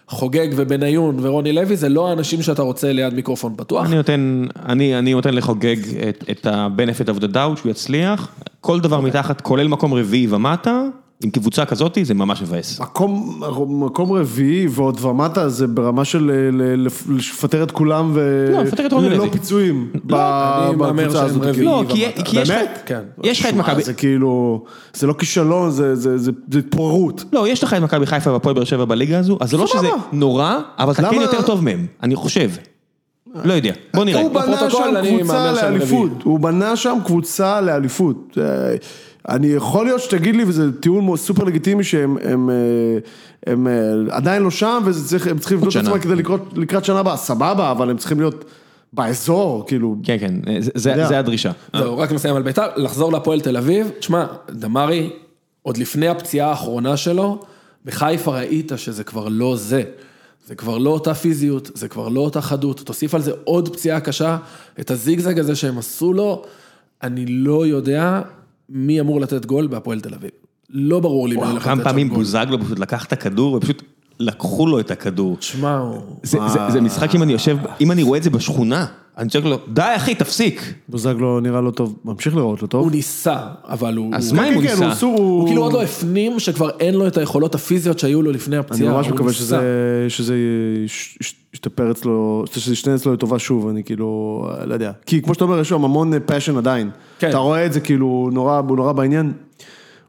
[SPEAKER 3] חוגג ובניון ורוני לוי, זה לא האנשים שאתה רוצה ליד מיקרופון פתוח.
[SPEAKER 1] אני נותן, אני, אני נותן לחוגג את, את ה-benefit of the doubt, שהוא יצליח. כל דבר מתחת, כולל מקום רביעי ומטה, עם קבוצה כזאת, זה ממש מבאס.
[SPEAKER 2] מקום, מקום רביעי ועוד ומטה זה ברמה של אה, ל- לפ- לפטר את כולם ו...
[SPEAKER 1] לא, לפטר את רוני
[SPEAKER 2] ללא
[SPEAKER 1] לוי.
[SPEAKER 2] פיצויים ב-
[SPEAKER 3] לא, אני מהמר
[SPEAKER 2] בקבוצה
[SPEAKER 3] שהם
[SPEAKER 2] הזאת.
[SPEAKER 3] רביעי.
[SPEAKER 2] כאילו.
[SPEAKER 1] לא, כי,
[SPEAKER 3] ומטה.
[SPEAKER 1] כי יש לך,
[SPEAKER 2] באמת?
[SPEAKER 3] כן.
[SPEAKER 1] יש לך את
[SPEAKER 2] שמע,
[SPEAKER 1] מכבי,
[SPEAKER 2] זה כאילו, זה לא כישלון, זה- זה זה- זה התפוררות.
[SPEAKER 1] לא, יש לך את מכבי חיפה והפועל באר שבע בליגה הזו, אז זה לא
[SPEAKER 2] סבבה.
[SPEAKER 1] שזה נורא, אבל אתה כן
[SPEAKER 2] למה-
[SPEAKER 1] יותר טוב מהם, אני חושב. לא יודע, בוא נראה.
[SPEAKER 2] הוא בנה
[SPEAKER 3] בפרוטוקול
[SPEAKER 2] שם
[SPEAKER 3] אני
[SPEAKER 2] קבוצה
[SPEAKER 3] מהמר שהם
[SPEAKER 2] לאליפות.
[SPEAKER 3] רביעי.
[SPEAKER 2] הוא בנה שם קבוצה לאליפות. אה, אני יכול להיות שתגיד לי, וזה טיעון מאוד סופר לגיטימי, שהם הם, אה, הם, אה, עדיין לא שם, והם צריכים לבנות את
[SPEAKER 1] שנה.
[SPEAKER 2] עצמם כדי לקרות- לקראת שנה הבאה, סבבה, אבל הם צריכים להיות באזור, כאילו,
[SPEAKER 1] כן, כן, זה- זה
[SPEAKER 2] יודע.
[SPEAKER 1] זה הדרישה.
[SPEAKER 3] זהו, רק נסיים על ביתר, לחזור להפועל תל אביב, תשמע, דמרי, עוד לפני הפציעה האחרונה שלו, בחיפה ראית שזה כבר לא זה. זה כבר לא אותה פיזיות, זה כבר לא אותה חדות, תוסיף על זה עוד פציעה קשה, את הזיגזג הזה שהם עשו לו, אני לא יודע מי אמור לתת גול בהפועל תל אביב. לא ברור לי מי הולך לתת
[SPEAKER 1] כמה
[SPEAKER 3] שם
[SPEAKER 1] פעמים
[SPEAKER 3] גול.
[SPEAKER 1] בוזגלו פשוט לקח את הכדור ופשוט לקחו לו את הכדור.
[SPEAKER 3] שמע, הוא...
[SPEAKER 1] זה, זה,
[SPEAKER 3] אה.
[SPEAKER 1] זה משחק אם אני יושב, אם אני רואה את זה בשכונה, אני צועק לו, די אחי, תפסיק.
[SPEAKER 2] בוזגלו נראה לא טוב, ממשיך לראות לא
[SPEAKER 3] הוא
[SPEAKER 2] טוב.
[SPEAKER 3] ניסה, אבל הוא...
[SPEAKER 1] אז
[SPEAKER 3] הוא-
[SPEAKER 1] מה אם הוא
[SPEAKER 2] כן, כן,
[SPEAKER 1] ניסה?
[SPEAKER 2] הוא אסור,
[SPEAKER 3] הוא כאילו עוד לא הפנים שכבר אין לו את היכולות הפיזיות שהיו לו לפני
[SPEAKER 2] אני
[SPEAKER 3] הפציעה.
[SPEAKER 2] ממש
[SPEAKER 3] הוא
[SPEAKER 2] מקווה
[SPEAKER 3] ניסה.
[SPEAKER 2] שזה שזה יש- יש- ישתפר אצלו, שזה ישתנה אצלו לטובה שוב, אני כאילו, אה, לא יודע. כי כמו שאתה אומר, יש לו המון פאשן עדיין.
[SPEAKER 3] כן.
[SPEAKER 2] אתה רואה את זה כאילו, הוא נורא, הוא נורא בעניין.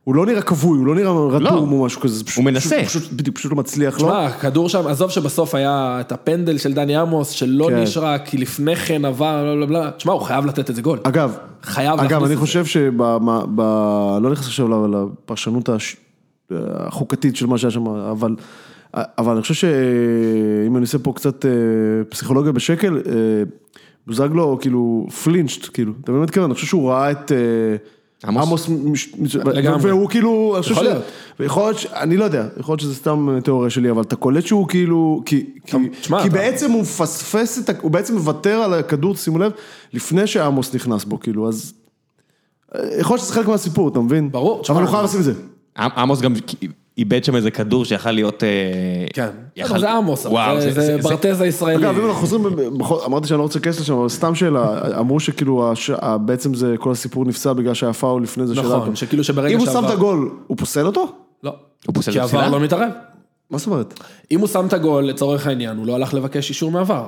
[SPEAKER 2] הוא לא נראה כבוי, הוא לא נראה רדום או משהו כזה. זה פשוט-
[SPEAKER 1] הוא מנסה.
[SPEAKER 2] פשוט- פשוט- בדיוק, פשוט לא מצליח לו.
[SPEAKER 3] שמע, הכדור שם, עזוב שבסוף היה את הפנדל של דני עמוס, שלא
[SPEAKER 2] כן.
[SPEAKER 3] נשרק, כי לפני כן עבר, לא, לא, לא, לא. תשמע, הוא חייב לתת איזה גול.
[SPEAKER 2] אגב,
[SPEAKER 3] חייב
[SPEAKER 2] אגב,
[SPEAKER 3] להכניס
[SPEAKER 2] אני
[SPEAKER 3] את זה.
[SPEAKER 2] חושב שב... מה- ב, לא נכנס עכשיו ל- לפרשנות הש, החוקתית של מה שהיה שם, אבל, אבל אני חושב שאם אני עושה פה קצת אה, פסיכולוגיה בשקל, אה, בוזגלו כאילו פלינצ'ט, כאילו, אתה באמת מתכוון, אני חושב שהוא ראה את... אה,
[SPEAKER 1] עמוס?
[SPEAKER 2] עמוס מש- מש-
[SPEAKER 3] לגמרי.
[SPEAKER 2] והוא כאילו, אני חושב
[SPEAKER 3] יכול
[SPEAKER 2] ש-
[SPEAKER 3] להיות.
[SPEAKER 2] ויכול להיות, ש- אני לא יודע, יכול להיות שזה סתם תיאוריה שלי, אבל אתה קולט שהוא כאילו, כי, כי,
[SPEAKER 3] תשמע,
[SPEAKER 2] כי
[SPEAKER 3] אתה-
[SPEAKER 2] בעצם הוא מפספס את, ה- הוא בעצם מוותר על הכדור, שימו לב, לפני שעמוס נכנס בו, כאילו, אז... אה, יכול להיות שזה חלק מהסיפור, אתה מבין?
[SPEAKER 3] ברור,
[SPEAKER 2] אבל
[SPEAKER 3] תשמע,
[SPEAKER 2] הוא חייב
[SPEAKER 3] אני-
[SPEAKER 2] לשים את זה.
[SPEAKER 1] עמוס גם איבד שם איזה כדור שיכל להיות... אה,
[SPEAKER 3] כן.
[SPEAKER 1] יכל-
[SPEAKER 3] אבל זה עמוס, אבל
[SPEAKER 1] וואו,
[SPEAKER 3] זה, זה, ברטז הישראלי.
[SPEAKER 2] אגב, אם אנחנו חוזרים,
[SPEAKER 3] אה,
[SPEAKER 2] ב- בכל- אמרתי שאני לא רוצה להיכנס לשם, אבל סתם שאלה, אמרו שכאילו, הש- ה- בעצם זה, כל הסיפור נפסע בגלל שהיה פאול לפני זה.
[SPEAKER 3] נכון,
[SPEAKER 2] שאלה פה.
[SPEAKER 3] שכאילו שברגע
[SPEAKER 2] אם הוא שם
[SPEAKER 3] שעבר-
[SPEAKER 2] את הגול, הוא פוסל אותו?
[SPEAKER 3] לא.
[SPEAKER 1] הוא פוסל את
[SPEAKER 3] כי
[SPEAKER 1] הפסילה?
[SPEAKER 3] עבר לא מתערב.
[SPEAKER 2] מה זאת אומרת?
[SPEAKER 3] אם הוא שם את הגול, לצורך העניין, הוא לא הלך לבקש אישור מעבר.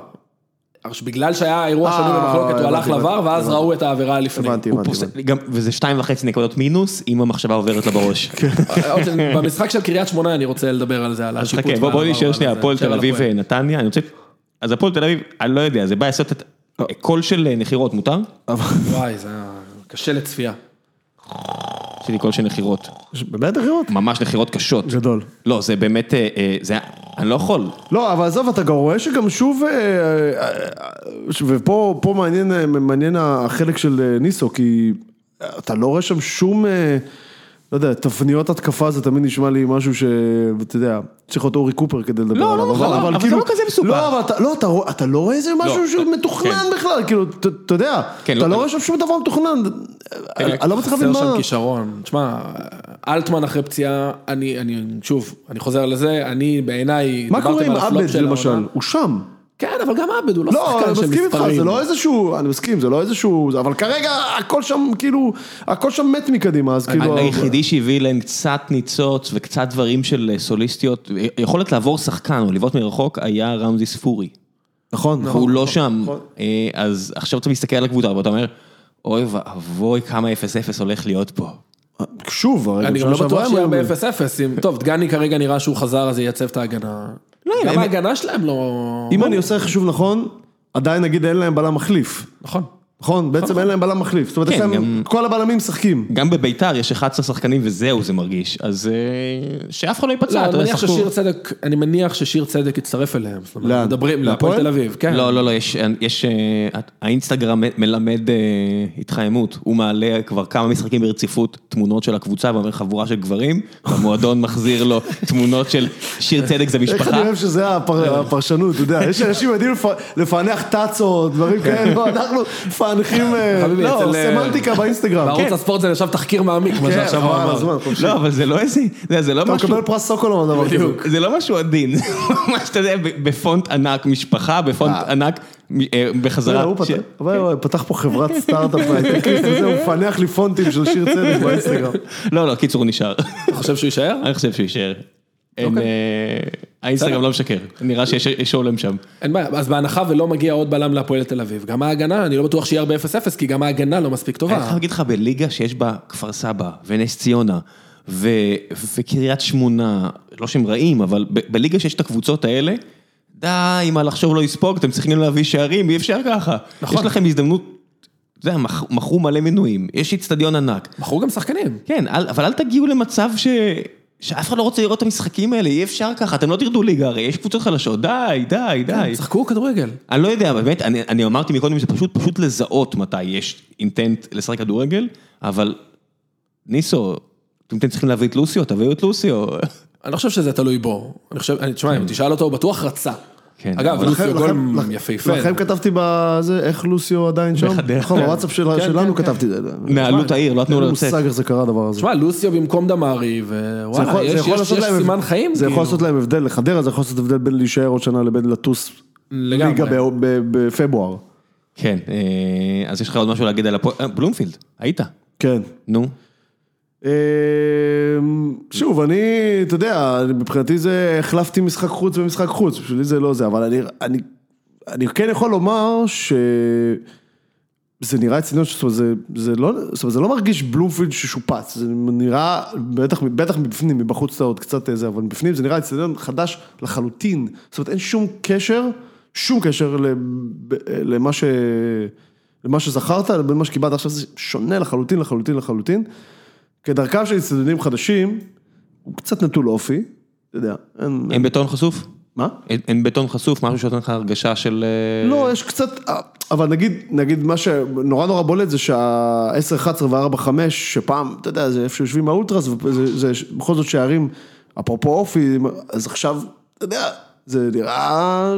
[SPEAKER 3] אך בגלל שהיה אירוע שנוי
[SPEAKER 2] אה,
[SPEAKER 3] במחלוקת, הוא
[SPEAKER 2] הבנתי,
[SPEAKER 3] הלך
[SPEAKER 2] הבנתי,
[SPEAKER 3] לעבר, ואז
[SPEAKER 2] הבנתי.
[SPEAKER 3] ראו את העבירה לפני.
[SPEAKER 2] הבנתי,
[SPEAKER 1] הוא
[SPEAKER 2] הבנתי.
[SPEAKER 1] פוסל-
[SPEAKER 2] הבנתי.
[SPEAKER 1] גם- וזה שתיים וחצי נקודות מינוס, אם המחשבה עוברת לה בראש.
[SPEAKER 3] כן, עוד ש- במשחק של קריית שמונה אני רוצה לדבר על זה, על
[SPEAKER 1] אז
[SPEAKER 3] השיפוט.
[SPEAKER 1] חכה, בוא- בוא
[SPEAKER 3] והעבר
[SPEAKER 1] נשאר
[SPEAKER 3] ועל
[SPEAKER 1] שנייה,
[SPEAKER 3] זה.
[SPEAKER 1] הפועל
[SPEAKER 3] נשאר
[SPEAKER 1] תל
[SPEAKER 3] על
[SPEAKER 1] אביב אה,
[SPEAKER 3] הפועל.
[SPEAKER 1] נתניה, אני רוצה... אז הפועל תל אביב, אני לא יודע, זה בא לעשות את...
[SPEAKER 3] לא.
[SPEAKER 1] קול של אה, נחירות, מותר?
[SPEAKER 3] וואי, זה היה קשה לצפייה.
[SPEAKER 1] עשיתי קול של נחירות.
[SPEAKER 2] יש- באמת אחרות?
[SPEAKER 1] ממש נחירות קשות.
[SPEAKER 2] גדול.
[SPEAKER 1] לא, זה באמת, אה, אה, זה, אני לא יכול.
[SPEAKER 2] לא, אבל עזוב, אתה גם רואה שגם שוב, אה, אה, אה, ופה פה מעניין, אה, מעניין החלק של אה, ניסו, כי אתה לא רואה שם שום, אה, לא יודע, תבניות התקפה זה תמיד נשמע לי משהו ש... אתה יודע, צריך להיות אורי קופר כדי לדבר
[SPEAKER 1] לא,
[SPEAKER 2] עליו.
[SPEAKER 1] לא נכון, אבל זה לא כזה מסובך.
[SPEAKER 2] לא, אבל אתה, לא, אתה, רוא- אתה לא רואה איזה משהו שמתוכנן
[SPEAKER 3] כן.
[SPEAKER 2] בכלל, כאילו, ת- אתה יודע,
[SPEAKER 1] כן,
[SPEAKER 2] אתה
[SPEAKER 1] לא-
[SPEAKER 2] לא רואה שם שום דבר מתוכנן, אני אני לא מצליח להבין
[SPEAKER 3] חסר
[SPEAKER 2] מה...
[SPEAKER 3] שם כישרון. תשמע, אלטמן אחרי פציעה, אני, אני, שוב, אני חוזר לזה, אני בעיניי,
[SPEAKER 2] מה
[SPEAKER 3] דיברתם
[SPEAKER 2] קורה
[SPEAKER 3] על
[SPEAKER 2] עם
[SPEAKER 3] הפלופ
[SPEAKER 2] עבד
[SPEAKER 3] של העונה.
[SPEAKER 2] למשל? הוא שם.
[SPEAKER 3] כן, אבל גם עבד הוא לא
[SPEAKER 2] לא,
[SPEAKER 3] שחקן
[SPEAKER 2] אני
[SPEAKER 3] של מספרים.
[SPEAKER 2] מסכים איתך, זה לא איזשהו, אני מסכים, זה לא איזשהו, זה- אבל כרגע הכל שם כאילו, הכל שם מת מקדימה, אז כאילו...
[SPEAKER 1] היחידי שהביא להם קצת ניצוץ וקצת דברים של אה, סוליסטיות, אה, יכולת לעבור שחקן או לבעוט מרחוק, היה רמזי ספורי.
[SPEAKER 2] נכון,
[SPEAKER 1] הוא
[SPEAKER 2] נכון.
[SPEAKER 1] לא שם, אה, אז עכשיו אתה מסתכל על הקבוצה ואתה אומר, אוי ואבוי כמה 0-0 הולך להיות פה.
[SPEAKER 2] שוב, הרגע
[SPEAKER 3] אני גם לא
[SPEAKER 2] בשנה
[SPEAKER 3] בטוח
[SPEAKER 2] שעברה
[SPEAKER 3] שיהיה
[SPEAKER 2] הם היו-
[SPEAKER 3] ב-0-0. אם- טוב, דגני כרגע נראה שהוא חזר, אז ייצב את ההגנה. גם
[SPEAKER 1] הם-
[SPEAKER 3] ההגנה שלהם לא...
[SPEAKER 2] אם אני עושה חישוב נכון, עדיין נגיד אין להם בלם מחליף.
[SPEAKER 3] נכון.
[SPEAKER 2] נכון? בעצם אין להם בלם מחליף. זאת אומרת, יש
[SPEAKER 1] כן,
[SPEAKER 2] להם, כל הבלמים משחקים.
[SPEAKER 1] גם בביתר יש 11 שחקנים וזהו זה מרגיש, אז אה, שאף אחד לא
[SPEAKER 3] לא,
[SPEAKER 1] ייפצע,
[SPEAKER 3] אני
[SPEAKER 1] אתה יודע,
[SPEAKER 3] מניח
[SPEAKER 1] שחקו.
[SPEAKER 3] ששיר צדק, אני מניח ששיר צדק יצטרף אליהם. זאת אומרת,
[SPEAKER 2] לאן?
[SPEAKER 3] מדברים, להפועל
[SPEAKER 2] להפועל?
[SPEAKER 3] תל אביב, כן.
[SPEAKER 1] לא, לא, לא, יש, יש, אה, האינסטגרם מלמד אה, התחממות, הוא מעלה כבר כמה משחקים ברציפות תמונות של הקבוצה ואומר חבורה של גברים, והמועדון מחזיר לו תמונות של שיר צדק זה
[SPEAKER 2] איך
[SPEAKER 1] משפחה.
[SPEAKER 2] אני אוהב שזה
[SPEAKER 3] אה.
[SPEAKER 2] הפר- הפרשנות, אתה יודע, יש אנשים יודעים לפ- לפענח טאצות, דברים כאלו, אנחנו מפענחים, אה,
[SPEAKER 3] כן. חביבי,
[SPEAKER 2] לא,
[SPEAKER 3] אצל, אה,
[SPEAKER 2] סמנטיקה באינסטגרם.
[SPEAKER 3] בערוץ
[SPEAKER 2] כן.
[SPEAKER 3] הספורט זה נחשב תחקיר מעמיק, מה
[SPEAKER 2] כן,
[SPEAKER 3] שעכשיו הוא
[SPEAKER 2] חבל על
[SPEAKER 3] אמר.
[SPEAKER 2] הזמן, חופשי.
[SPEAKER 1] לא, אבל זה לא איזה, זה, זה לא
[SPEAKER 2] אתה
[SPEAKER 1] משהו,
[SPEAKER 2] מקבל פרס סוקולום על דבר כזה.
[SPEAKER 3] בדיוק.
[SPEAKER 1] זה לא משהו עדין, זה ממש, אתה יודע, ב- בפונט ענק משפחה, בפונט ענק מ- אה,
[SPEAKER 2] לא,
[SPEAKER 1] בחזרה.
[SPEAKER 2] הוא פתח-
[SPEAKER 3] כן.
[SPEAKER 1] ש-
[SPEAKER 2] אבל הוא פתח פה חברת סטארט-אפ, הייטקיסט וזה, הוא מפענח לי פונטים של שיר צדק באינסטגרם.
[SPEAKER 1] לא, לא, קיצור הוא נשאר,
[SPEAKER 3] אתה חושב שהוא יישאר?
[SPEAKER 1] אני חושב שהוא יישאר. אין,
[SPEAKER 2] אוקיי.
[SPEAKER 1] אה, האינסטגרם לא משקר, נראה שיש יש הולם שם.
[SPEAKER 3] אין בעיה, אז בהנחה ולא מגיע עוד בלם להפועל תל אביב. גם ההגנה, אני לא בטוח שיהיה הרבה 0-0, כי גם ההגנה לא מספיק
[SPEAKER 1] אני
[SPEAKER 3] טובה.
[SPEAKER 1] חייב להגיד לך, בליגה שיש בה כפר סבא ונס ציונה ו- וקריית שמונה, לא שהם רעים, אבל ב- בליגה שיש את הקבוצות האלה, די, מה לחשוב לא יספוג, אתם צריכים להביא שערים, אי אפשר ככה.
[SPEAKER 3] נכון.
[SPEAKER 1] יש לכם הזדמנות, אתה יודע, מכ- מכרו מלא מנויים, יש אצטדיון ענק.
[SPEAKER 3] מכרו גם שחקנים.
[SPEAKER 1] כן, אל, אבל אל תגיעו למצב ש... שאף אחד לא רוצה לראות את המשחקים האלה, אי אפשר ככה, אתם לא תרדו ליגה, הרי יש קבוצות חלשות, די, די, די.
[SPEAKER 3] כן, שחקו כדורגל.
[SPEAKER 1] אני לא יודע, באמת, אני, אני אמרתי מקודם, זה פשוט, פשוט לזהות מתי יש אינטנט לשחק כדורגל, אבל ניסו, אם אתם צריכים להביא את לוסיו, תביאו את לוסיו.
[SPEAKER 2] כן.
[SPEAKER 3] אני לא חושב שזה תלוי בו. אני חושב, אני, תשמע, אם תשאל אותו, הוא בטוח רצה.
[SPEAKER 1] כן.
[SPEAKER 3] אגב,
[SPEAKER 1] אבל-
[SPEAKER 3] לוסיו
[SPEAKER 2] לכם-
[SPEAKER 3] גול
[SPEAKER 2] לכם-
[SPEAKER 3] יפהפה.
[SPEAKER 2] לכם כתבתי בזה, איך לוסיו עדיין שם?
[SPEAKER 1] בחדרה.
[SPEAKER 2] נכון, בוואטסאפ שלה-
[SPEAKER 3] כן,
[SPEAKER 2] שלנו
[SPEAKER 3] כן,
[SPEAKER 2] כתבתי את זה.
[SPEAKER 1] נעלו את העיר, לא נתנו לו
[SPEAKER 2] אין לי
[SPEAKER 1] לצאת.
[SPEAKER 2] מושג איך זה קרה הדבר הזה.
[SPEAKER 3] תשמע, לוסיו במקום דמרי,
[SPEAKER 2] זה
[SPEAKER 3] ווואלה,
[SPEAKER 2] יכול- זה
[SPEAKER 3] יש
[SPEAKER 2] יכול
[SPEAKER 3] יש-
[SPEAKER 2] לעשות
[SPEAKER 3] יש
[SPEAKER 2] להם-
[SPEAKER 3] סימן חיים.
[SPEAKER 2] זה יכול
[SPEAKER 3] כאילו.
[SPEAKER 2] לעשות להם הבדל, לחדרה זה יכול לעשות הבדל בין להישאר עוד שנה לבין לטוס
[SPEAKER 3] לגמרי. כן,
[SPEAKER 2] ליגה ב- ב- בפברואר.
[SPEAKER 1] כן, אה, אז יש לך עוד משהו להגיד על הפועל, אה, בלומפילד, היית,
[SPEAKER 2] כן.
[SPEAKER 1] נו.
[SPEAKER 2] אה, אמ, שוב, אני, אתה יודע, אני- מבחינתי זה החלפתי משחק חוץ במשחק חוץ, בשבילי זה לא זה, אבל אני, אני, אני כן יכול לומר ש... זה נראה אצלנו, זאת אומרת, זה, זה, לא, זאת אומרת, זה לא מרגיש בלומפילד ששופץ, זה נראה, בטח, בטח מבפנים, מבחוץ אתה עוד קצת זה, אבל מבפנים זה נראה אצטדיון חדש לחלוטין, זאת אומרת אין שום קשר, שום קשר לב- למה, ש, למה שזכרת, לבין מה שקיבלת עכשיו, זה שונה לחלוטין, לחלוטין, לחלוטין. כדרכם של אצטדיונים חדשים, הוא קצת נטול אופי, אתה יודע, אין,
[SPEAKER 1] אין בטון חשוף?
[SPEAKER 2] מה?
[SPEAKER 1] אין- אין בטון חשוף, משהו שנותן לך הרגשה של... אה,
[SPEAKER 2] לא, יש קצת, אה, אבל נגיד, נגיד מה שנורא נורא בולט זה שה-10, 11 ו-4, 5, שפעם, אתה יודע, זה איפה שיושבים האולטרס, וזה זה ש- בכל זאת שערים, אפרופו אופי, אז עכשיו, אתה יודע, זה נראה...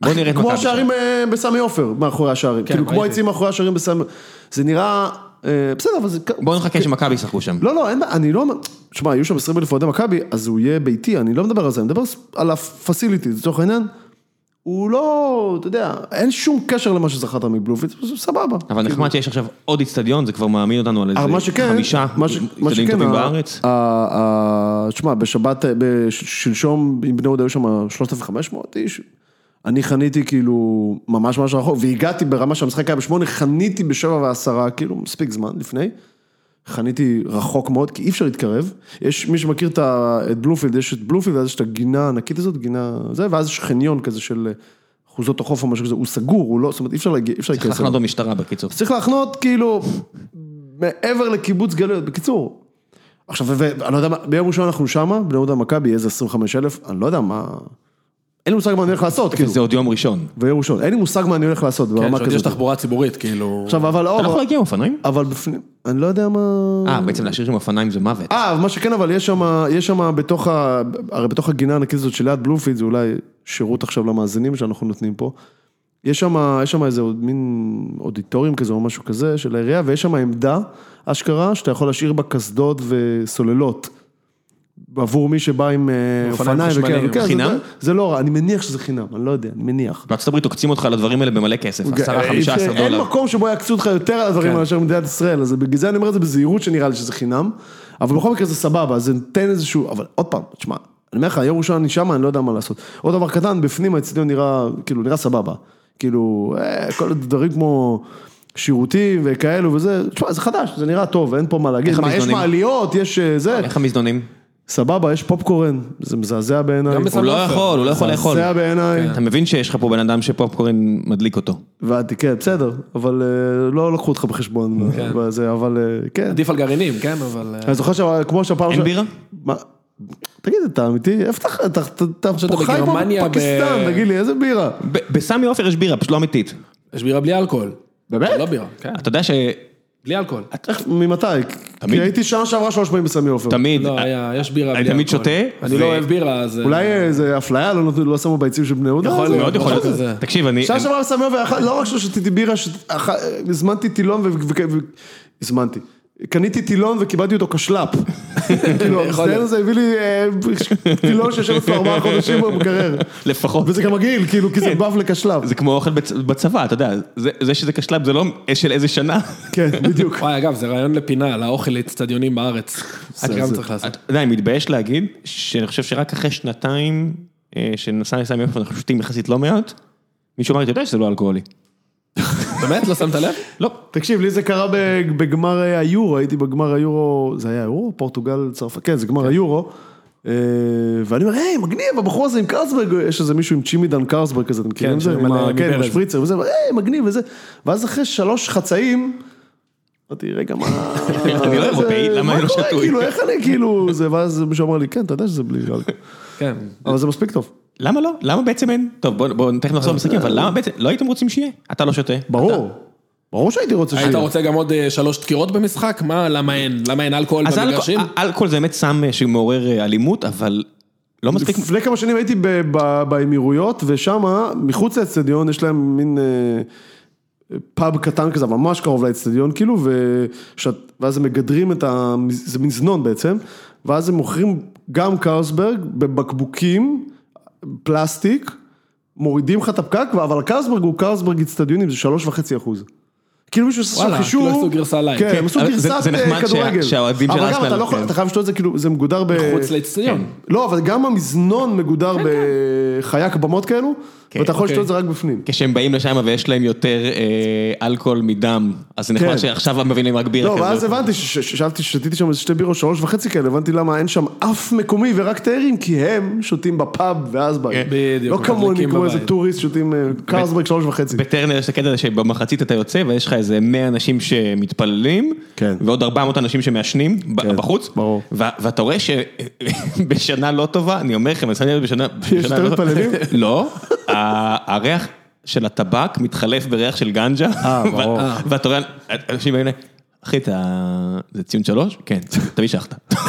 [SPEAKER 1] בוא נראה את
[SPEAKER 2] כמו
[SPEAKER 1] מכבי כן,
[SPEAKER 2] השערים אה, בסמי עופר, מאחורי השערים, כאילו כמו
[SPEAKER 3] ראיתי.
[SPEAKER 2] היציעים מאחורי השערים בסמי, זה נראה, אה, בסדר, אבל זה...
[SPEAKER 1] שם. בוא נחכה שמכבי ישחקו שם.
[SPEAKER 2] לא, לא, אין, בעיה, אני לא אומר, שמע, היו שם 20 אלף אוהדי מכבי, אז הוא יהיה ביתי, אני לא מדבר על זה, אני מדבר על הפסיליטי, לצורך העניין. הוא לא, אתה יודע, אין שום קשר למה שזכרת מבלופיט, זה סבבה.
[SPEAKER 1] אבל נחמד שיש עכשיו עוד איצטדיון, זה כבר מעמיד אותנו על
[SPEAKER 2] אבל כאילו- אה, מה
[SPEAKER 1] איזה
[SPEAKER 2] שכן,
[SPEAKER 1] חמישה
[SPEAKER 2] מה ש- מה
[SPEAKER 1] איצטדיונים
[SPEAKER 2] שכן,
[SPEAKER 1] טובים
[SPEAKER 2] ה-
[SPEAKER 1] בארץ.
[SPEAKER 2] ה- ה- תשמע, בשבת, בש- שלשום, עם בני יהודה היו שם 3,500 איש. אני חניתי כאילו ממש ממש רחוק, והגעתי ברמה שהמשחק היה בשמונה, חניתי בשבע ועשרה, כאילו מספיק זמן לפני. חניתי רחוק מאוד, כי אי אפשר להתקרב. יש, מי שמכיר את, ה- את בלומפילד, יש את בלומפילד, ואז יש את הגינה הענקית הזאת, גינה זה, ואז יש חניון כזה של אחוזות החוף או משהו כזה, הוא סגור, הוא לא, זאת אומרת, אי אפשר להגיע, אי אפשר
[SPEAKER 1] צריך
[SPEAKER 2] להיכנס.
[SPEAKER 1] לחנות במשטרה בקיצור.
[SPEAKER 2] אז צריך להחנות כאילו מעבר לקיבוץ גלויות, בקיצור. עכשיו, ואני לא יודע מה, ביום ראשון אנחנו שמה, בני יהודה מכבי, איזה 25 אלף, אני לא יודע מה, אין לי מושג מה אני הולך לעשות, כאילו,
[SPEAKER 1] זה עוד יום ראשון.
[SPEAKER 2] ביום ראשון, אין לי מושג מה אני הולך לעשות
[SPEAKER 3] כן,
[SPEAKER 2] ברמה
[SPEAKER 3] שעוד יש
[SPEAKER 2] כזאת.
[SPEAKER 3] תחבורה ציבורית, כאילו.
[SPEAKER 2] עכשיו, אבל,
[SPEAKER 1] אתה לא יכול
[SPEAKER 2] אבל-
[SPEAKER 1] להגיע עם אופניים?
[SPEAKER 2] אבל בפנים, אני לא יודע מה...
[SPEAKER 1] אה, בעצם להשאיר עם אופניים זה מוות.
[SPEAKER 2] אה, מה שכן, אבל יש שם, יש שם בתוך ה... הרי בתוך הגינה הענקית הזאת שליד בלומפילד, זה אולי שירות עכשיו למאזינים שאנחנו נותנים פה. יש שם, יש שם איזה עוד מין אודיטוריום כזה או משהו כזה של העירייה, ויש שם עמדה, אשכרה, שאתה יכול להשאיר בה קסדות וסוללות. עבור מי שבא עם אה,
[SPEAKER 3] אופניים
[SPEAKER 2] אופניים
[SPEAKER 3] חשמליים.
[SPEAKER 2] וכאלה.
[SPEAKER 1] חינם?
[SPEAKER 2] זה לא רע, אני מניח שזה חינם, אני לא יודע, אני מניח.
[SPEAKER 1] בארצות הברית עוקצים אותך על הדברים האלה במלא כסף,
[SPEAKER 3] אוקיי, אה,
[SPEAKER 1] 10, 15
[SPEAKER 2] אה, אין
[SPEAKER 1] דולר. כן.
[SPEAKER 2] מקום שבו יעקצו אותך יותר על הדברים מאשר מדינת ישראל, אז בגלל זה אני אומר את זה בזהירות שנראה לי שזה חינם, אבל בכל מקרה זה סבבה, אז זה נותן איזשהו, אבל עוד פעם, תשמע, אני אומר לך, יום ראשון אני שם, אני לא יודע מה לעשות. עוד דבר קטן, בפנים האצטדיון נראה, כאילו, נראה סבבה. כאילו, אה, כל הדברים כמו שירותים וכאלו וזה, תשמע, זה חדש, זה נראה טוב, אין פה מה להגיד.
[SPEAKER 1] איך אוקיי.
[SPEAKER 2] מה, יש
[SPEAKER 1] המזנונים?
[SPEAKER 2] מעליות, יש אה, זה,
[SPEAKER 1] איך המזנונים?
[SPEAKER 2] סבבה, יש פופקורן, זה מזעזע בעיניי.
[SPEAKER 3] גם בסמי
[SPEAKER 1] הוא לא
[SPEAKER 3] עופר.
[SPEAKER 1] יכול, הוא לא יכול לאכול. כן.
[SPEAKER 2] מזעזע בעיניי.
[SPEAKER 1] אתה מבין שיש לך פה בן אדם שפופקורן מדליק אותו.
[SPEAKER 2] הבנתי, כן, בסדר, אבל אה, לא לקחו אותך בחשבון, בזה, אבל אה, כן.
[SPEAKER 3] עדיף על גרעינים, כן, אבל... אה,
[SPEAKER 2] אני זוכר שכמו שהפעם...
[SPEAKER 1] אין
[SPEAKER 2] ש-
[SPEAKER 1] בירה?
[SPEAKER 2] מה? תגיד, אתה אמיתי? איפה אתה- אתה אתה- אתה
[SPEAKER 3] שאתה
[SPEAKER 2] חי פה
[SPEAKER 3] בגרמניה ב-
[SPEAKER 2] בפקיסטן, תגיד לי, איזה בירה?
[SPEAKER 1] ב- בסמי עופר יש בירה, פשוט לא אמיתית.
[SPEAKER 3] אה, יש בירה בלי אלכוהול.
[SPEAKER 2] באמת?
[SPEAKER 3] לא בירה, כן.
[SPEAKER 1] אתה יודע ש...
[SPEAKER 3] בלי אלכוהול.
[SPEAKER 2] איך- ממתי?
[SPEAKER 1] תמיד.
[SPEAKER 2] כי הייתי שנה שעברה שלוש פעמים בסמי עופר.
[SPEAKER 1] תמיד,
[SPEAKER 3] לא, היה, יש בירה בלי
[SPEAKER 1] אני
[SPEAKER 3] אלכוהול.
[SPEAKER 1] תמיד שותה,
[SPEAKER 3] אני
[SPEAKER 1] ו-
[SPEAKER 3] לא אוהב בירה, אז... אה,
[SPEAKER 2] אולי אה, זה אפליה, לא נתנו- לא שמו ביצים של בני יהודה?
[SPEAKER 3] יכול
[SPEAKER 2] זה-
[SPEAKER 3] להיות.
[SPEAKER 1] אה, מאוד יכול להיות.
[SPEAKER 3] לא, זה זה.
[SPEAKER 1] תקשיב, אני...
[SPEAKER 2] שנה שעברה בסמי עופר, אכל- לא רק שלא שתיתי בירה, שת- אכל- הזמנתי טילון ו... ו- ו- הזמנתי. קניתי טילון וקיבלתי אותו כשלאפ. כאילו, המסתיים הזה הביא לי אה, טילון שיושב אצלו ארבעה חודשים במקרר.
[SPEAKER 1] לפחות.
[SPEAKER 2] וזה גם מגעיל, כאילו, כי זה בב לכשלאפ.
[SPEAKER 1] כן. זה כמו אוכל בצ- בצבא, אתה יודע, זה זה שזה כשלב זה לא של איזה שנה.
[SPEAKER 2] כן, בדיוק.
[SPEAKER 3] וואי, אגב, זה רעיון לפינה, לאוכל לאצטדיונים בארץ. זה גם
[SPEAKER 2] זה-
[SPEAKER 3] צריך לעשות.
[SPEAKER 1] אתה יודע, אני מתבייש להגיד שאני חושב שרק אחרי שנתיים אה, שנסע לסמי עופר אנחנו שותים יחסית לא מעט, מישהו אמר לי, אתה יודע שזה לא אלכוהולי.
[SPEAKER 2] אה,
[SPEAKER 3] באמת? לא שמת לב?
[SPEAKER 1] לא.
[SPEAKER 2] תקשיב, לי זה קרה ב- בגמר אה, היורו, הייתי בגמר היורו, זה היה יורו? פורטוגל, צרפת, כן, זה גמר היורו. אה, ואני אומר, היי, מגניב, הבחור הזה עם קרסברג, יש איזה מישהו עם צ'ימידן קרסברג כזה, אתם מכירים את זה? עם
[SPEAKER 3] שממלא
[SPEAKER 2] ה- כן, עם
[SPEAKER 3] מברז.
[SPEAKER 2] השפריצר וזה, אבל, היי, מגניב וזה. ואז אחרי שלוש חצאים, אמרתי, רגע, מה...
[SPEAKER 1] אני לא
[SPEAKER 2] זה-
[SPEAKER 1] אירופאי, למה אני לא
[SPEAKER 2] מה קורה,
[SPEAKER 1] שתוי?
[SPEAKER 2] כאילו, איך אני, כאילו, זה, ואז מישהו אמר לי, כן, אתה יודע שזה בלי אלכוהול.
[SPEAKER 3] כן.
[SPEAKER 2] אבל זה מספיק טוב.
[SPEAKER 1] למה לא? למה בעצם אין? טוב, בואו בוא, תכף
[SPEAKER 2] אה,
[SPEAKER 1] נחזור למשחקים, אבל למה בעצם, לא הייתם רוצים שיהיה? אתה לא שותה.
[SPEAKER 2] ברור. ברור שהייתי רוצה
[SPEAKER 3] היית
[SPEAKER 2] שיהיה.
[SPEAKER 3] רוצה גם עוד אה, שלוש דקירות במשחק? מה, למה אין? למה אין אלכוהול
[SPEAKER 1] אז אלכוה-
[SPEAKER 3] במגרשים?
[SPEAKER 1] אלכוהול זה באמת סם אה, שמעורר אה, אלימות, אבל לא מספיק,
[SPEAKER 2] לפני כמה שנים הייתי ב- ב- באמירויות, ושם, מחוץ לאצטדיון, יש להם מין אה, פאב קטן כזה, אבל ממש קרוב לאצטדיון, כאילו, ושאת, ואז הם מגדרים את ה... זה מין זנון בעצם, ואז הם מוכרים גם קרסברג בבקבוקים, פלסטיק, מורידים לך את הפקק, אבל הקרסברג הוא קרסברג אצטדיונים, זה שלוש וחצי אחוז. כאילו מישהו עשה שם
[SPEAKER 3] וואלה,
[SPEAKER 2] חישוב,
[SPEAKER 3] כאילו עשו גרסה לייב.
[SPEAKER 2] כן,
[SPEAKER 3] כן,
[SPEAKER 2] הם עשו
[SPEAKER 1] אבל זה-
[SPEAKER 2] גרסת
[SPEAKER 1] זה
[SPEAKER 2] אה,
[SPEAKER 1] נחמד שה-
[SPEAKER 2] כדורגל,
[SPEAKER 1] שהאוהדים של
[SPEAKER 2] אבל גם
[SPEAKER 1] ארסנל-
[SPEAKER 2] אתה לא יכול-
[SPEAKER 1] כן.
[SPEAKER 2] אתה חייב לשתות את זה, כאילו, זה מגודר ב...
[SPEAKER 3] חוץ לאצטדיון.
[SPEAKER 2] לא, אבל גם המזנון מגודר בחייק במות כאלו,
[SPEAKER 1] כן,
[SPEAKER 2] ואתה יכול
[SPEAKER 3] אוקיי.
[SPEAKER 2] לשתות את זה רק בפנים.
[SPEAKER 1] כשהם באים לשם ויש להם יותר אה, אלכוהול מדם, אז זה נחמד
[SPEAKER 2] כן.
[SPEAKER 1] שעכשיו הם מבינים רק בירה
[SPEAKER 2] לא,
[SPEAKER 1] כזאת.
[SPEAKER 2] ואז הבנתי, ש- ש- שאלתי, שתיתי שם איזה שתי בירות, שלוש וחצי כאלה, הבנתי למה אין שם אף מקומי ורק תיירים, כי הם שותים בפאב ואז באים.
[SPEAKER 3] בדיוק,
[SPEAKER 2] לא כמוני,
[SPEAKER 3] מדליקים
[SPEAKER 2] כמו
[SPEAKER 3] בבית.
[SPEAKER 2] איזה טוריסט שותים אה, קרסברג שלוש וחצי.
[SPEAKER 1] בטרנר יש את הקטע הזה שבמחצית אתה יוצא ויש לך איזה 100 אנשים שמתפללים,
[SPEAKER 2] כן.
[SPEAKER 1] ועוד 400 אנשים שמעשנים ב-
[SPEAKER 2] כן,
[SPEAKER 1] בחוץ,
[SPEAKER 2] ברור.
[SPEAKER 1] ו- ואתה רואה שבשנה לא טובה, אני אומר לכם, יצא לי להיות בשנה...
[SPEAKER 2] יש
[SPEAKER 1] בשנה
[SPEAKER 2] יותר
[SPEAKER 1] לא-
[SPEAKER 2] מתפללים?
[SPEAKER 1] לא, ה- הריח של הטבק מתחלף בריח של גנג'ה, ו-
[SPEAKER 2] אה,
[SPEAKER 1] אה.
[SPEAKER 2] ברור.
[SPEAKER 1] ואתה רואה, אנשים באים ל... אחי, אתה... זה ציון שלוש? כן, תביא שחטה.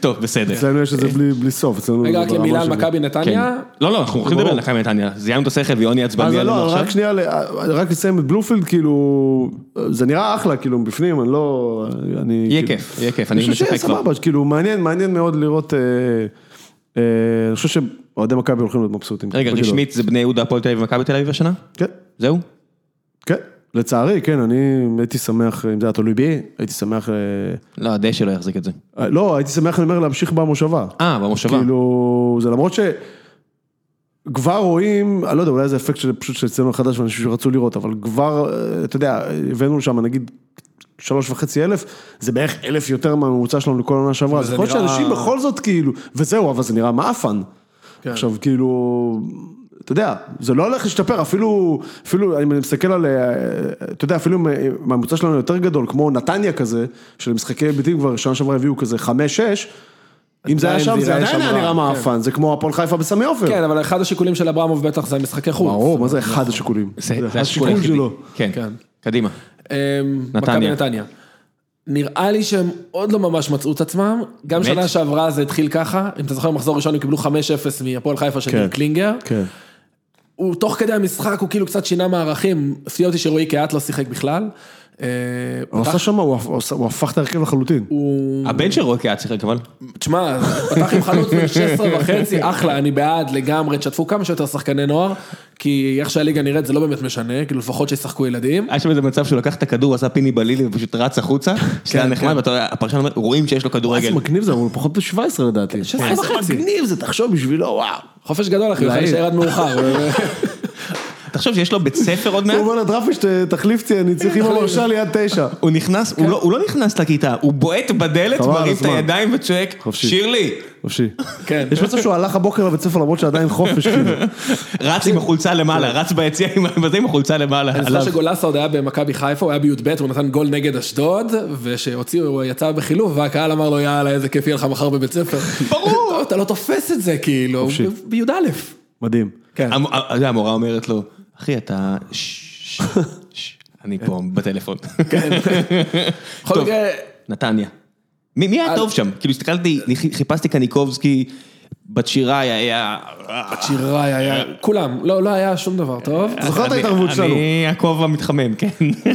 [SPEAKER 1] טוב, בסדר.
[SPEAKER 2] אצלנו יש את זה בלי- בלי סוף, אצלנו...
[SPEAKER 3] רגע,
[SPEAKER 2] זה
[SPEAKER 3] רק
[SPEAKER 2] ברמה
[SPEAKER 3] למילה על
[SPEAKER 2] של-
[SPEAKER 3] מכבי
[SPEAKER 1] כן.
[SPEAKER 3] נתניה.
[SPEAKER 1] לא, לא, אנחנו הולכים לדבר
[SPEAKER 2] ברור.
[SPEAKER 1] על מכבי נתניה, זיינו את השכל ויוני
[SPEAKER 2] אז
[SPEAKER 1] עצבני עלינו
[SPEAKER 2] לא,
[SPEAKER 1] עכשיו.
[SPEAKER 2] רק שנייה, ל- רק לסיים את בלומפילד, כאילו, זה נראה אחלה, כאילו, מבפנים, אני לא... אני...
[SPEAKER 1] יהיה
[SPEAKER 2] כאילו-
[SPEAKER 1] כיף, יהיה כיף, אני
[SPEAKER 2] אני חושב
[SPEAKER 1] מצפה
[SPEAKER 2] שיהיה
[SPEAKER 1] כבר.
[SPEAKER 2] סבבה, כאילו מעניין, מעניין מאוד לראות, אה, אה, אני חושב שאוהדי מכבי הולכים להיות מבסוטים.
[SPEAKER 1] רגע,
[SPEAKER 2] בגדול.
[SPEAKER 1] רשמית זה בני יהודה, הפועל תל אביב ומכבי תל אביב השנה?
[SPEAKER 2] כן,
[SPEAKER 1] זהו?
[SPEAKER 2] כן, לצערי, כן, אני הייתי שמח, אם זה היה תלוי בי, הייתי שמח, אה,
[SPEAKER 1] לא, הדשא לא יחזיק את זה.
[SPEAKER 2] אה, לא, הייתי שמח, אני אומר, להמשיך במושבה.
[SPEAKER 1] אה, במושבה.
[SPEAKER 2] כאילו, זה למרות ש... כבר רואים, אני לא יודע, אולי זה אפקט של פשוט שאצלנו חדש ואנשים שרצו לראות, אבל כבר, אה, אתה יודע, הבאנו שם נגיד שלוש וחצי אלף, זה בערך אלף יותר מהממוצע שלנו לכל עונה שעברה, אז
[SPEAKER 3] וזה
[SPEAKER 2] יכול להיות
[SPEAKER 3] נראה-
[SPEAKER 2] שאנשים בכל זאת כאילו, וזהו, אבל זה נראה מאפן.
[SPEAKER 3] כן.
[SPEAKER 2] עכשיו כאילו, אתה יודע, זה לא הולך להשתפר, אפילו, אפילו, אם אני מסתכל על, אה, אתה יודע, אפילו אם אם הממוצע שלנו יותר גדול, כמו נתניה כזה, שלמשחקי ביתים כבר שנה שעברה הביאו כזה חמש-שש, אם זה היה
[SPEAKER 3] עדיין
[SPEAKER 2] שם,
[SPEAKER 3] זה
[SPEAKER 2] זה
[SPEAKER 3] ייראה
[SPEAKER 2] עדיין היה
[SPEAKER 3] שם רע,
[SPEAKER 2] נראה
[SPEAKER 3] כן.
[SPEAKER 2] מאפן, זה כמו הפועל חיפה בסמי עופר.
[SPEAKER 3] כן, אבל אחד השיקולים של אברמוב בטח זה המשחקי חוץ.
[SPEAKER 2] ברור, מה זה אחד השיקולים?
[SPEAKER 1] זה השיקול
[SPEAKER 2] השיקול
[SPEAKER 1] היחידי.
[SPEAKER 2] שלו.
[SPEAKER 1] כן,
[SPEAKER 3] כן.
[SPEAKER 1] קדימה.
[SPEAKER 3] אמ,
[SPEAKER 1] נתניה.
[SPEAKER 3] מכבי נתניה. נראה לי שהם עוד לא ממש מצאו את עצמם, גם
[SPEAKER 1] באמת?
[SPEAKER 3] שנה שעברה זה התחיל ככה, אם אתה זוכר במחזור ראשון הם קיבלו 5-0 מהפועל חיפה של ניר קלינגר,
[SPEAKER 2] כן.
[SPEAKER 3] הוא תוך כדי המשחק הוא כאילו קצת שינה מערכים, הפתיע אותי שרועי קהת לא שיחק בכלל. אה,
[SPEAKER 2] הוא
[SPEAKER 3] פתח-
[SPEAKER 2] עשה שם, הוא עשה- הוא הפך את ההרכב לחלוטין.
[SPEAKER 3] הוא...
[SPEAKER 1] הבן של רוקי היה צריך לקבל.
[SPEAKER 3] תשמע, פתח עם חלוץ בן 16 וחצי, אחלה, אני בעד לגמרי, תשתפו כמה שיותר שחקני נוער, כי איך שהליגה נראית זה לא באמת משנה, כאילו לפחות שישחקו ילדים.
[SPEAKER 1] היה שם איזה מצב שהוא לקח את הכדור, הוא עשה פיני בלילי ופשוט רץ החוצה, שזה היה נחמד, ואתה יודע, הפרשן אומר, רואים שיש לו
[SPEAKER 2] איזה
[SPEAKER 1] כדורגל.
[SPEAKER 2] מגניב זה, אבל הוא פחות ב-17 לדעתי.
[SPEAKER 3] שש עשרה וחצי.
[SPEAKER 2] מגניב זה, תחשוב בשבילו, וואו.
[SPEAKER 3] חופש גדול אחי, הוא יכול
[SPEAKER 2] להעיד.
[SPEAKER 3] להישאר עד מאוחר.
[SPEAKER 1] תחשוב שיש לו בית ספר עוד
[SPEAKER 2] הוא
[SPEAKER 1] מעט,
[SPEAKER 2] אומר לדרפיש, תחליף אותי, אני צריך עם המרשה ליד תשע.
[SPEAKER 1] הוא נכנס, הוא לא- הוא לא נכנס לכיתה, הוא בועט בדלת,
[SPEAKER 2] חבל על
[SPEAKER 1] מרים את
[SPEAKER 2] הזמן.
[SPEAKER 1] הידיים וצועק,
[SPEAKER 2] חופשי.
[SPEAKER 1] שירלי,
[SPEAKER 2] חופשי.
[SPEAKER 3] כן.
[SPEAKER 2] יש מצב שהוא הלך הבוקר לבית ספר למרות שעדיין חופש, כאילו.
[SPEAKER 1] רץ עם החולצה למעלה,
[SPEAKER 2] כן.
[SPEAKER 1] רץ ביציע עם הזה עם החולצה למעלה,
[SPEAKER 3] אני
[SPEAKER 1] עליו.
[SPEAKER 3] זוכר שגולסה עוד היה במכבי חיפה, הוא היה בי"ב, הוא נתן גול נגד אשדוד, וכשהוציאו, הוא יצא בחילוף, והקהל אמר לו, יאללה, איזה כיף יהיה לך מחר בבית ספר.
[SPEAKER 1] ברור.
[SPEAKER 3] אתה לא תופס את זה, כאילו,
[SPEAKER 2] חופשי.
[SPEAKER 3] בי"א.
[SPEAKER 2] מדהים.
[SPEAKER 3] כן.
[SPEAKER 1] המ- ה- זה, המורה אומרת לו, אחי אתה, "ש- ש- ש- אני פה בטלפון.
[SPEAKER 3] כן. בכל
[SPEAKER 1] טוב.
[SPEAKER 3] מקרה,
[SPEAKER 1] נתניה. מי מי היה
[SPEAKER 3] אז-
[SPEAKER 1] טוב שם? כאילו הסתכלתי, חיפ- חיפשתי קניקובסקי, בת שיראי היה...
[SPEAKER 3] שיראי היה, כולם, לא לא היה שום דבר טוב.
[SPEAKER 2] אתה זוכר את
[SPEAKER 1] אני-
[SPEAKER 2] ההתערבות שלנו?
[SPEAKER 1] אני הכובע המתחמם, כן.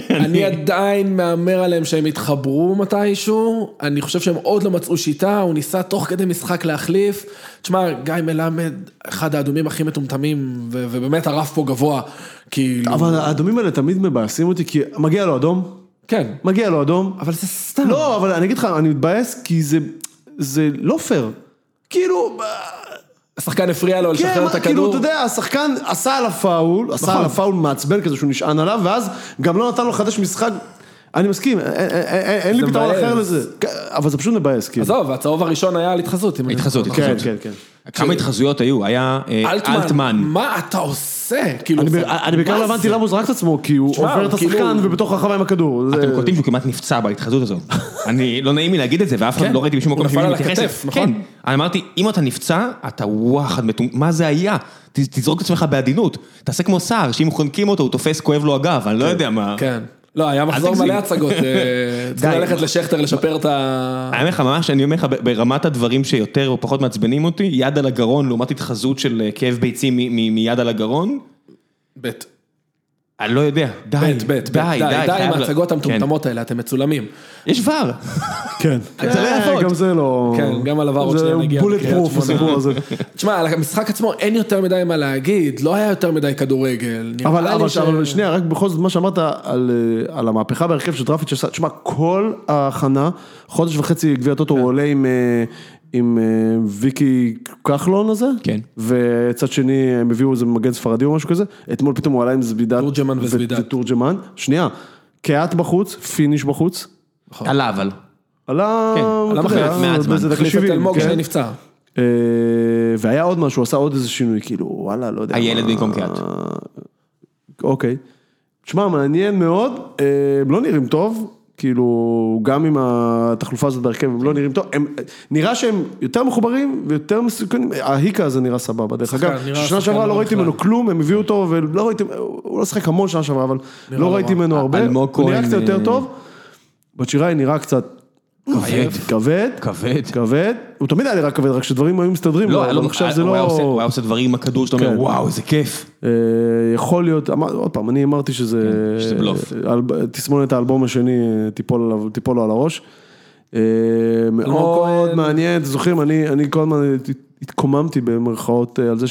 [SPEAKER 3] אני עדיין מהמר עליהם שהם יתחברו מתישהו, אני חושב שהם עוד לא מצאו שיטה, הוא ניסה תוך כדי משחק להחליף. תשמע, גיא מלמד, אחד האדומים הכי מטומטמים, ו- ובאמת הרף פה גבוה, כאילו...
[SPEAKER 2] אבל האדומים האלה תמיד מבאסים אותי, כי מגיע לו אדום,
[SPEAKER 3] כן.
[SPEAKER 2] מגיע לו אדום.
[SPEAKER 3] אבל זה סתם.
[SPEAKER 2] לא, אבל אני אגיד לך, אני מתבאס כי זה, זה לא פייר. כאילו,
[SPEAKER 3] השחקן הפריע לו
[SPEAKER 2] כן,
[SPEAKER 3] לשחרר את
[SPEAKER 2] מה, כאילו,
[SPEAKER 3] הכדור. נכון.
[SPEAKER 2] אתה יודע, השחקן עשה עליו פאול, עשה עליו פאול מעצבן כזה שהוא נשען עליו, ואז גם לא נתן לו לחדש משחק. אני מסכים, א- א- א- א- אין לי
[SPEAKER 3] זה
[SPEAKER 2] פתרון
[SPEAKER 3] מבאס.
[SPEAKER 2] אחר לזה. כן, אבל זה פשוט מבאס, כאילו.
[SPEAKER 3] עזוב, הצהוב הראשון היה על התחזות. אם אני
[SPEAKER 1] התחזות,
[SPEAKER 3] זוכר.
[SPEAKER 2] כן,
[SPEAKER 1] עזוב.
[SPEAKER 2] כן, כן.
[SPEAKER 1] כמה התחזויות היו? היה אה, אלטמן.
[SPEAKER 3] מה אתה עושה? כאילו,
[SPEAKER 2] אני ב-
[SPEAKER 3] זה-
[SPEAKER 2] אני בעיקר
[SPEAKER 3] מה
[SPEAKER 2] לא
[SPEAKER 3] זה?
[SPEAKER 2] הבנתי למה הוא זרק את עצמו, כי הוא
[SPEAKER 3] תשמע,
[SPEAKER 2] עובר את
[SPEAKER 3] הוא כאילו-
[SPEAKER 2] השחקן ובתוך הרחבה עם הכדור. זה-
[SPEAKER 1] אתם קולטים שהוא כמעט נפצע בהתחזות הזו. אני, לא נעים לי להגיד את זה, ואף אחד
[SPEAKER 3] כן.
[SPEAKER 1] לא ראיתי בשום
[SPEAKER 3] הוא
[SPEAKER 1] מקום
[SPEAKER 3] נפל על
[SPEAKER 1] מתייחס
[SPEAKER 3] הכתף,
[SPEAKER 1] לזה.
[SPEAKER 3] נכון?
[SPEAKER 1] כן. אמרתי, אם אתה נפצע, אתה וואחד מטומ... מה זה היה? ת- תזרוק את עצמך בעדינות. תעשה כמו סער, שאם חונקים אותו, הוא תופס, כואב לו הגב, אני לא יודע מה.
[SPEAKER 3] כן. לא, היה מחזור
[SPEAKER 1] תגזים.
[SPEAKER 3] מלא הצגות. אה, צריכים
[SPEAKER 1] די.
[SPEAKER 3] ללכת לשכטר לשפר את ה...
[SPEAKER 1] אני אומר לך ממש, אני אומר לך ב- ברמת הדברים שיותר או פחות מעצבנים אותי, יד על הגרון לעומת התחזות של אה, כאב ביצים מ- מ- מיד על הגרון,
[SPEAKER 3] בית.
[SPEAKER 1] אני לא יודע, די,
[SPEAKER 3] בית, בית,
[SPEAKER 1] די, די,
[SPEAKER 3] די
[SPEAKER 1] חייב
[SPEAKER 3] עם
[SPEAKER 1] ל-
[SPEAKER 3] ההצגות
[SPEAKER 1] כן.
[SPEAKER 3] המטומטמות האלה, אתם מצולמים.
[SPEAKER 1] יש ור,
[SPEAKER 2] כן.
[SPEAKER 1] זה לא
[SPEAKER 2] אה,
[SPEAKER 1] יעבוד.
[SPEAKER 2] גם זה לא...
[SPEAKER 3] כן, גם על עבר עוד שנייה נגיע
[SPEAKER 2] זה בולט
[SPEAKER 3] לקריית
[SPEAKER 2] פרוף
[SPEAKER 3] שמונה.
[SPEAKER 2] הסיפור הזה.
[SPEAKER 3] תשמע, על המשחק עצמו אין יותר מדי מה להגיד, לא היה יותר מדי כדורגל. נראה
[SPEAKER 2] אבל,
[SPEAKER 3] לי
[SPEAKER 2] אבל,
[SPEAKER 3] ש-
[SPEAKER 2] אבל שנייה, רק בכל זאת, מה שאמרת על, אה, על המהפכה בהרכב של דרפיץ' עשה, תשמע, כל ההכנה, חודש וחצי גביע טוטו
[SPEAKER 3] כן.
[SPEAKER 2] הוא עולה עם, אה, עם אה, ויקי כחלון הזה,
[SPEAKER 1] כן.
[SPEAKER 2] וצד שני הם הביאו איזה מגן ספרדי או משהו כזה, אתמול פתאום הוא עלה עם זבידת,
[SPEAKER 3] תורג'מן
[SPEAKER 2] ו-
[SPEAKER 3] וזבידת.
[SPEAKER 2] ותורג'מן, שנייה, קהת בחוץ, פיניש בחוץ,
[SPEAKER 1] עלה אבל,
[SPEAKER 2] עלה,
[SPEAKER 1] כן,
[SPEAKER 3] עלה
[SPEAKER 2] אתה יודע, אה,
[SPEAKER 1] בחלק, מעט זמן.
[SPEAKER 2] באיזה דקה
[SPEAKER 3] החליף את
[SPEAKER 2] 70,
[SPEAKER 3] אלמוג
[SPEAKER 2] כן.
[SPEAKER 3] שנפצע.
[SPEAKER 2] אה, והיה עוד משהו, עשה עוד איזה שינוי, כאילו, וואלה, לא יודע.
[SPEAKER 1] הילד
[SPEAKER 2] מה-
[SPEAKER 1] במקום קהת.
[SPEAKER 2] אוקיי. תשמע, מעניין מאוד, אה, הם לא נראים טוב, כאילו, גם עם התחלופה הזאת בהרכב, הם לא נראים טוב, הם, נראה שהם יותר מחוברים ויותר מסוכנים, ההיקה הזה נראה סבבה, דרך
[SPEAKER 3] שחקן,
[SPEAKER 2] אגב,
[SPEAKER 3] נראה
[SPEAKER 2] שנה
[SPEAKER 3] שחקן
[SPEAKER 2] שעברה
[SPEAKER 3] לא
[SPEAKER 2] לא ראיתי
[SPEAKER 3] בכלל.
[SPEAKER 2] ממנו כלום, הם הביאו אותו, ולא ראיתי, הוא לא שיחק המון שנה שעברה, אבל
[SPEAKER 3] לא
[SPEAKER 2] לא ראיתי
[SPEAKER 3] רע.
[SPEAKER 2] ממנו הרבה,
[SPEAKER 1] אלמוג
[SPEAKER 2] הוא נראה
[SPEAKER 1] כהן,
[SPEAKER 2] קצת יותר
[SPEAKER 1] אה,
[SPEAKER 2] טוב, בת שיראי נראה קצת
[SPEAKER 1] כבד.
[SPEAKER 2] כבד,
[SPEAKER 1] כבד.
[SPEAKER 2] כבד, הוא תמיד היה נראה כבד, רק שדברים היו מסתדרים, לו,
[SPEAKER 1] לא, היה לו-
[SPEAKER 2] אבל עכשיו זה
[SPEAKER 1] הוא היה עושה- הוא
[SPEAKER 2] לא...
[SPEAKER 1] היה עושה דברים עם הכדור שאתה אומר,
[SPEAKER 2] כן.
[SPEAKER 1] וואו, איזה כיף.
[SPEAKER 2] אה, יכול להיות, אמר- עוד פעם, אני אמרתי שזה...
[SPEAKER 1] כן, שזה בלוף.
[SPEAKER 2] אל- תסמונת האלבום השני, אה, תיפול עליו- תיפול לו על הראש. אה, מאוד
[SPEAKER 3] כהן.
[SPEAKER 2] מעניין, אתם זוכרים, אני אני כל הזמן התקוממתי במרכאות אה, על זה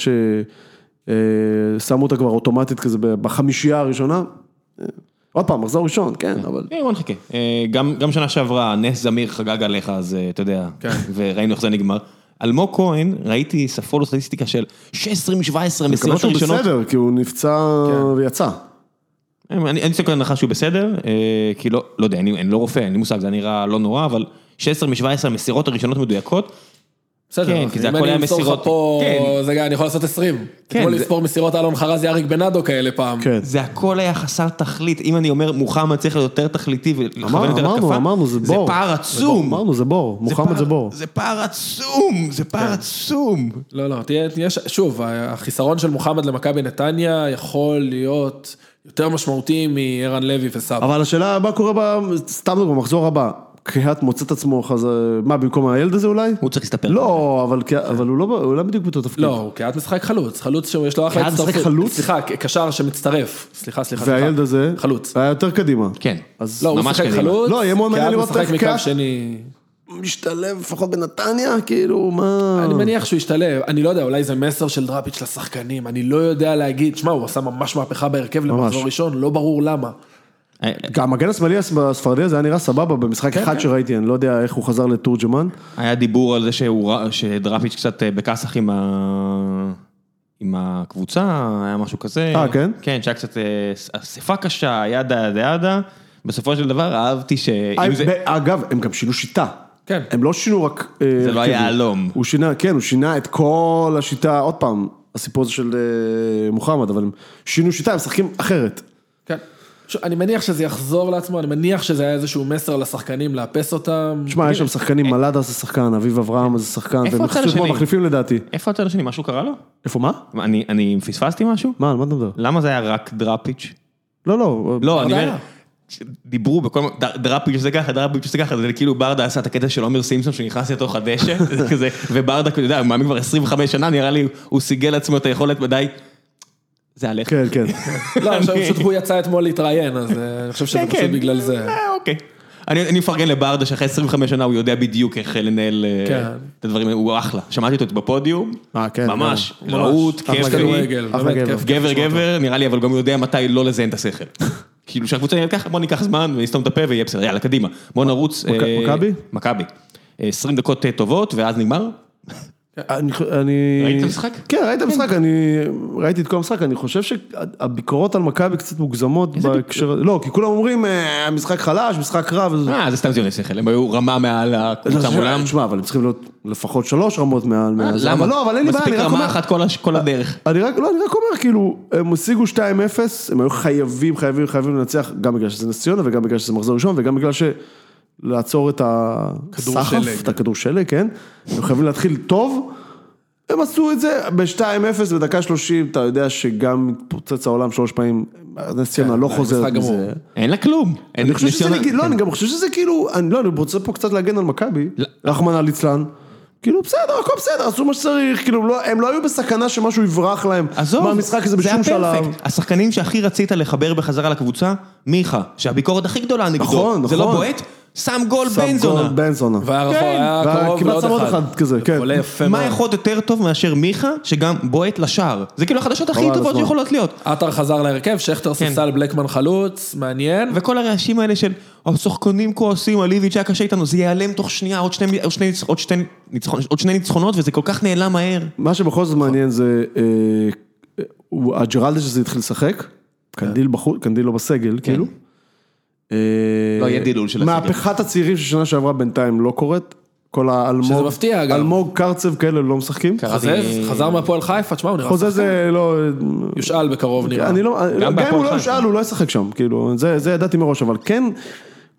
[SPEAKER 2] ששמו אותה כבר אוטומטית כזה ב- בחמישייה הראשונה. אה, עוד פעם, מחזור ראשון, כן, אבל...
[SPEAKER 1] אה, בוא נחכה. אה, גם גם שנה שעברה, נס זמיר חגג עליך, אז אה, אתה יודע,
[SPEAKER 2] כן.
[SPEAKER 1] וראינו איך זה נגמר. אלמוג כהן, ראיתי ספולו סטטיסטיקה של 16 מ-17
[SPEAKER 2] לא, גם
[SPEAKER 1] מסירות
[SPEAKER 2] אותו
[SPEAKER 1] ראשונות.
[SPEAKER 2] בסדר, כי הוא נפצע
[SPEAKER 3] כן.
[SPEAKER 2] ויצא.
[SPEAKER 1] אה, אני אני יוצא מנקודת הנחה שהוא בסדר, אה, כי לא, לא יודע, אני, אני לא רופא, אין לי מושג, זה נראה לא נורא, אבל 16 מ-17 מסירות הראשונות מדויקות,
[SPEAKER 3] בסדר,
[SPEAKER 1] כן,
[SPEAKER 3] אחי,
[SPEAKER 1] כי זה
[SPEAKER 3] אם
[SPEAKER 1] הכל
[SPEAKER 3] אני
[SPEAKER 1] היה
[SPEAKER 3] אמסור לך
[SPEAKER 1] מסירות.
[SPEAKER 3] פה,
[SPEAKER 1] כן.
[SPEAKER 3] זה גם, אני יכול לעשות 20.
[SPEAKER 1] כן,
[SPEAKER 3] כמו
[SPEAKER 1] זה-
[SPEAKER 3] לספור מסירות אלון חרז, אריק בנאדו כאלה פעם.
[SPEAKER 2] כן.
[SPEAKER 1] זה הכל היה חסר תכלית. אם אני אומר מוחמד צריך להיות יותר תכליתי ולכוון יותר
[SPEAKER 2] אמרנו,
[SPEAKER 1] התקפה,
[SPEAKER 2] אמרנו, זה בור.
[SPEAKER 1] זה פער עצום.
[SPEAKER 2] אמרנו, זה בור, מוחמד כן.
[SPEAKER 1] פער-
[SPEAKER 2] זה בור.
[SPEAKER 1] זה פער עצום, זה פער עצום.
[SPEAKER 3] לא, לא, תהיה, תהיה, ש- שוב, החיסרון של מוחמד למכבי נתניה יכול להיות יותר משמעותי מערן לוי וסבא.
[SPEAKER 2] אבל השאלה, מה קורה ב... סתם דוגמא, במחזור הבא. קהת מוצא את עצמו, אז אה, מה, במקום הילד הזה אולי?
[SPEAKER 1] הוא צריך להסתפר.
[SPEAKER 2] לא, אבל קהת- אבל הוא לא- הוא לא בדיוק באותו תפקיד.
[SPEAKER 3] לא, הוא קהת משחק חלוץ, חלוץ שיש לו אחלה
[SPEAKER 2] קהת משחק חלוץ?
[SPEAKER 3] סליחה, ק- קשר שמצטרף. סליחה, סליחה, סליחה.
[SPEAKER 2] והילד הזה,
[SPEAKER 3] חלוץ.
[SPEAKER 2] היה יותר קדימה.
[SPEAKER 1] כן.
[SPEAKER 2] אז
[SPEAKER 3] לא, הוא
[SPEAKER 1] ממש
[SPEAKER 3] משחק
[SPEAKER 1] קדימה.
[SPEAKER 3] חלוץ,
[SPEAKER 2] לא, יהיה מאוד מעניין לראות
[SPEAKER 3] קהת משחק
[SPEAKER 2] את
[SPEAKER 3] מקו
[SPEAKER 2] הקהת.
[SPEAKER 3] שני.
[SPEAKER 2] משתלב לפחות בנתניה, כאילו, מה...
[SPEAKER 3] אני מניח שהוא ישתלב, אני לא יודע, אולי זה מסר של דראפיץ' לשחקנים, אני לא יודע להגיד, שמע, הוא עשה ממש מהפכה בהרכב למחזור ראשון, לא ברור למה.
[SPEAKER 2] גם המגן השמאלי הס- הספרדי הזה היה נראה סבבה
[SPEAKER 1] כן,
[SPEAKER 2] במשחק אחד שראיתי, אני לא יודע איך הוא חזר לתורג'מן.
[SPEAKER 1] היה דיבור על זה שהוא ר- שדראפיץ' קצת אה, בכסח עם ה... עם הקבוצה, היה משהו כזה.
[SPEAKER 2] אה, כן?
[SPEAKER 1] כן, שהיה קצת אה, ס- אספה קשה, ידה ידה ידה. בסופו של דבר אהבתי שאם זה...
[SPEAKER 2] אה, ב- אגב, הם גם שינו שיטה.
[SPEAKER 3] כן.
[SPEAKER 2] הם לא שינו רק... אה,
[SPEAKER 1] זה לא
[SPEAKER 2] הרכב.
[SPEAKER 1] היהלום.
[SPEAKER 2] הוא שינה, כן, הוא שינה את כל השיטה, עוד פעם, הסיפור הזה של אה, מוחמד, אבל הם שינו שיטה, הם משחקים אחרת.
[SPEAKER 3] כן. ש- אני מניח שזה יחזור לעצמו, אני מניח שזה היה איזשהו מסר לשחקנים לאפס אותם.
[SPEAKER 2] תשמע, יש שם שחקנים, מלאדה זה שחקן, אביב אברהם זה שחקן,
[SPEAKER 1] אה, איפה
[SPEAKER 2] והם
[SPEAKER 1] הצד
[SPEAKER 2] נכנסו אתמול
[SPEAKER 1] השני?
[SPEAKER 2] מחליפים לדעתי.
[SPEAKER 1] איפה הצד השני? משהו קרה לו?
[SPEAKER 2] איפה, מה?
[SPEAKER 1] מה, אני, אני פספסתי משהו?
[SPEAKER 2] מה, על מה אתה מדבר?
[SPEAKER 1] למה זה היה רק דראפיץ'?
[SPEAKER 2] לא, לא.
[SPEAKER 1] לא, אני
[SPEAKER 3] היה.
[SPEAKER 1] אומר, דיברו בכל מיני, ד- דראפיץ' זה ככה, דראפיץ' זה ככה, זה כאילו ברדה עשה את הקטע של עומר סימפסון שנכנס לתוך הדשא, זה כזה, וברדה, אתה יודע, הוא מאמין כבר 25 שנה, נראה לי, הוא סיגל לעצמו את היכולת מדי, זה עליך.
[SPEAKER 2] כן, כן.
[SPEAKER 3] לא, אני חושב
[SPEAKER 1] אני-
[SPEAKER 3] פשוט הוא יצא אתמול להתראיין, אז אה, אני חושב שזה
[SPEAKER 1] כן,
[SPEAKER 3] פשוט
[SPEAKER 1] כן.
[SPEAKER 3] בגלל זה.
[SPEAKER 1] אה, אוקיי. אני אני מפרגן לברדה שאחרי 25 שנה הוא יודע בדיוק איך לנהל אה,
[SPEAKER 3] כן.
[SPEAKER 1] את הדברים, האלה, הוא אחלה. שמעתי אותו בפודיום,
[SPEAKER 2] אה, כן,
[SPEAKER 1] ממש,
[SPEAKER 2] ממש. לא
[SPEAKER 1] רהוט,
[SPEAKER 2] אחלה
[SPEAKER 1] כיפי,
[SPEAKER 3] כדורגל,
[SPEAKER 2] אחלה
[SPEAKER 3] באמת,
[SPEAKER 2] גבר.
[SPEAKER 3] כיף.
[SPEAKER 1] גבר גבר, נראה לי, אבל גם יודע מתי לא לזיין את השכל. כאילו שהקבוצה נראית ככה, בוא ניקח זמן ונסתום את הפה ויהיה בסדר, יאללה, קדימה. בוא נרוץ.
[SPEAKER 2] מכ-
[SPEAKER 1] אה,
[SPEAKER 2] מכבי?
[SPEAKER 1] מכבי. אה, 20 דקות אה, טובות, ואז נגמר.
[SPEAKER 2] אני... אני-
[SPEAKER 1] ראית את המשחק?
[SPEAKER 2] כן, ראיתי את המשחק, אני ראיתי את כל המשחק, אני חושב שהביקורות על מכבי קצת מוגזמות בהקשר... לא, כי כולם אומרים, "אה, המשחק חלש, משחק רע, וזה...
[SPEAKER 1] אה, זה סתם זיוני שכל, הם היו רמה מעל
[SPEAKER 2] לא,
[SPEAKER 1] הקבוצה מולם.
[SPEAKER 2] תשמע, אבל הם צריכים להיות לפחות שלוש רמות מעל...
[SPEAKER 1] אה,
[SPEAKER 2] מעל זה.
[SPEAKER 1] למה?
[SPEAKER 2] אבל לא, אבל אין לי בעיה, אני
[SPEAKER 1] מספיק
[SPEAKER 2] רק
[SPEAKER 1] רמה
[SPEAKER 2] אומר...
[SPEAKER 1] אחת כל הש- כל הדרך.
[SPEAKER 2] אני רק, לא, אני רק אומר, כאילו, הם השיגו 2-0, הם היו חייבים, חייבים, חייבים לנצח, גם בגלל שזה נס ציונה, וגם בגלל שזה מחזור ראשון, וגם בגלל ש... לעצור את
[SPEAKER 3] כדור שלג.
[SPEAKER 2] הסחף, את הכדור שלג, כן? הם חייבים להתחיל טוב, הם עשו את זה ב-2-0 בדקה 30, אתה יודע שגם פוצץ העולם שלוש פעמים, נס
[SPEAKER 1] כן,
[SPEAKER 2] ציונה לא
[SPEAKER 3] זה
[SPEAKER 2] חוזרת
[SPEAKER 3] משחק גמור.
[SPEAKER 2] מזה.
[SPEAKER 1] אין לה כלום. אין-
[SPEAKER 2] אני חושב שזה,
[SPEAKER 1] ניסיון- כן.
[SPEAKER 2] נגיד- לא, אני גם חושב שזה כאילו, אני לא, אני רוצה פה קצת להגן על מכבי,
[SPEAKER 1] לא.
[SPEAKER 2] רחמנא ליצלן. כאילו בסדר, הכל בסדר, עשו מה שצריך, כאילו לא- הם לא היו בסכנה שמשהו יברח להם
[SPEAKER 1] עזוב,
[SPEAKER 2] מהמשחק הזה בשום
[SPEAKER 1] זה היה
[SPEAKER 2] שלב.
[SPEAKER 1] פרפקט. השחקנים שהכי רצית לחבר בחזרה לקבוצה, מיכה, שהביקורת הכי גדולה נגדו,
[SPEAKER 2] נכון,
[SPEAKER 1] זה לא
[SPEAKER 2] נכון.
[SPEAKER 1] בועט, שם גול
[SPEAKER 2] שם
[SPEAKER 1] בן
[SPEAKER 2] גול,
[SPEAKER 1] זונה.
[SPEAKER 2] בן זונה.
[SPEAKER 3] והיה
[SPEAKER 1] כן.
[SPEAKER 3] היה
[SPEAKER 2] והיה
[SPEAKER 3] קרוב
[SPEAKER 2] כמעט
[SPEAKER 3] לעוד
[SPEAKER 2] שם עוד
[SPEAKER 3] אחד.
[SPEAKER 2] אחד כזה, כן.
[SPEAKER 3] עולה יפה
[SPEAKER 1] מה
[SPEAKER 3] מאוד.
[SPEAKER 1] יכול להיות יותר טוב מאשר מיכה, שגם בועט לשער? זה כאילו החדשות הכי
[SPEAKER 2] חבל על
[SPEAKER 1] טובות
[SPEAKER 2] הזמן.
[SPEAKER 1] שיכולות להיות.
[SPEAKER 3] עטר חזר להרכב, שכטר ספסל, בלקמן חלוץ, מעניין.
[SPEAKER 1] וכל הרעשים האלה של השחקנים כועסים על איביץ' היה קשה איתנו, זה ייעלם תוך שנייה, עוד שני- עוד שני- עוד שתי ניצחונות- עוד שני ניצחונות, וזה כל כך נעלם מהר.
[SPEAKER 2] מה שבכל זאת מעניין זה, אה, אה, הוא- הג'רלדה שזה התחיל לשחק, קנדיל בחוץ, קנדיל לא בסגל, כאילו. אה,
[SPEAKER 1] כן. לא, יהיה דילול של הסגל.
[SPEAKER 2] מהפכת הצעירים של שנה שעברה בינתיים לא קורית, כל האלמוג,
[SPEAKER 3] שזה מפתיע, אגב.
[SPEAKER 2] אלמוג קרצב כאלה לא משחקים.
[SPEAKER 3] חוזז, חזר מהפועל חיפה, תשמע, הוא נראה...
[SPEAKER 2] חוזה זה לא,
[SPEAKER 3] יושאל בקרוב נראה.
[SPEAKER 2] אני לא,
[SPEAKER 1] גם
[SPEAKER 2] גם אם
[SPEAKER 1] בהפועל
[SPEAKER 2] הוא לא
[SPEAKER 1] חיפה.
[SPEAKER 2] ישאל, הוא לא ישחק שם, כאילו, זה זה ידעתי מראש, אבל כן,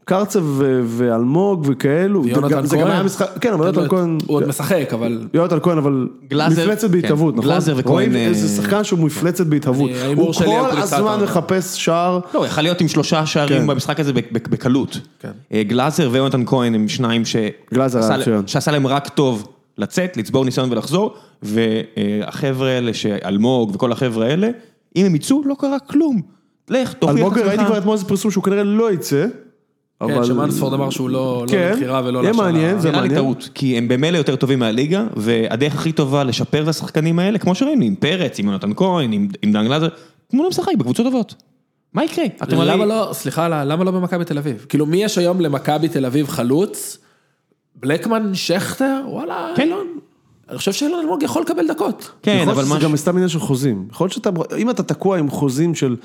[SPEAKER 2] קרצב ו- ואלמוג וכאלו,
[SPEAKER 3] יונתן
[SPEAKER 2] וגם- זה גם
[SPEAKER 3] כהן.
[SPEAKER 2] היה משחק, כן, אבל יונתן כהן,
[SPEAKER 3] הוא עוד משחק, אבל...
[SPEAKER 2] יונתן כהן, אבל
[SPEAKER 1] גלאזר-
[SPEAKER 2] מפלצת
[SPEAKER 1] כן,
[SPEAKER 2] בהתהוות, נכון?
[SPEAKER 1] גלאזר וכהן,
[SPEAKER 2] רואים
[SPEAKER 1] אה,
[SPEAKER 2] איזה שחקן שהוא מפלצת בהתהוות.
[SPEAKER 3] אני- ההימור
[SPEAKER 2] הוא
[SPEAKER 3] שלי על
[SPEAKER 2] כל
[SPEAKER 3] פריצת
[SPEAKER 2] הזמן
[SPEAKER 3] העונה.
[SPEAKER 2] מחפש שער.
[SPEAKER 1] לא, הוא יכל להיות עם שלושה שערים
[SPEAKER 2] כן.
[SPEAKER 1] במשחק הזה בק- בק- בקלות.
[SPEAKER 3] כן.
[SPEAKER 1] אה, גלאזר ויונתן כהן הם שניים ש...
[SPEAKER 2] גלאזר היה
[SPEAKER 1] עשה-
[SPEAKER 2] מצוין.
[SPEAKER 1] שעשה להם רק טוב לצאת, לצבור ניסיון ולחזור, והחבר'ה האלה, שאלמוג וכל החבר'ה האלה, אם הם יצאו, לא קרה כלום. לך, תוכיח את
[SPEAKER 2] אלמוג, ראיתי כבר
[SPEAKER 1] עצמך.
[SPEAKER 2] אתמול איזה פרסום שהוא כנראה לא יצא.
[SPEAKER 3] כן,
[SPEAKER 2] אבל-
[SPEAKER 3] שמאנספורד אמר שהוא לא לא
[SPEAKER 2] כן,
[SPEAKER 3] למכירה ולא
[SPEAKER 2] יהיה מעניין, זה
[SPEAKER 1] נראה לי
[SPEAKER 2] מעניין.
[SPEAKER 1] טעות, כי הם במילא יותר טובים מהליגה, והדרך הכי טובה לשפר את השחקנים האלה, כמו שראינו, עם פרץ, עם יונתן כהן, עם עם דן גלאזר, תנו להם לשחק בקבוצות טובות. מה יקרה? אתם הרי-
[SPEAKER 3] למה לא, סליחה, למה לא במכבי תל אביב? כאילו, מי יש היום למכבי תל אביב חלוץ? בלקמן, שכטר? וואלה,
[SPEAKER 1] כן.
[SPEAKER 3] אילון. אני חושב שאילון אלמוג יכול לקבל דקות.
[SPEAKER 1] כן,
[SPEAKER 2] יכול להיות
[SPEAKER 1] אבל
[SPEAKER 2] שזה
[SPEAKER 1] מה...
[SPEAKER 2] נכון, גם סתם עניין של חוזים. יכול להיות שאתה, אם אתה תקוע עם חוזים של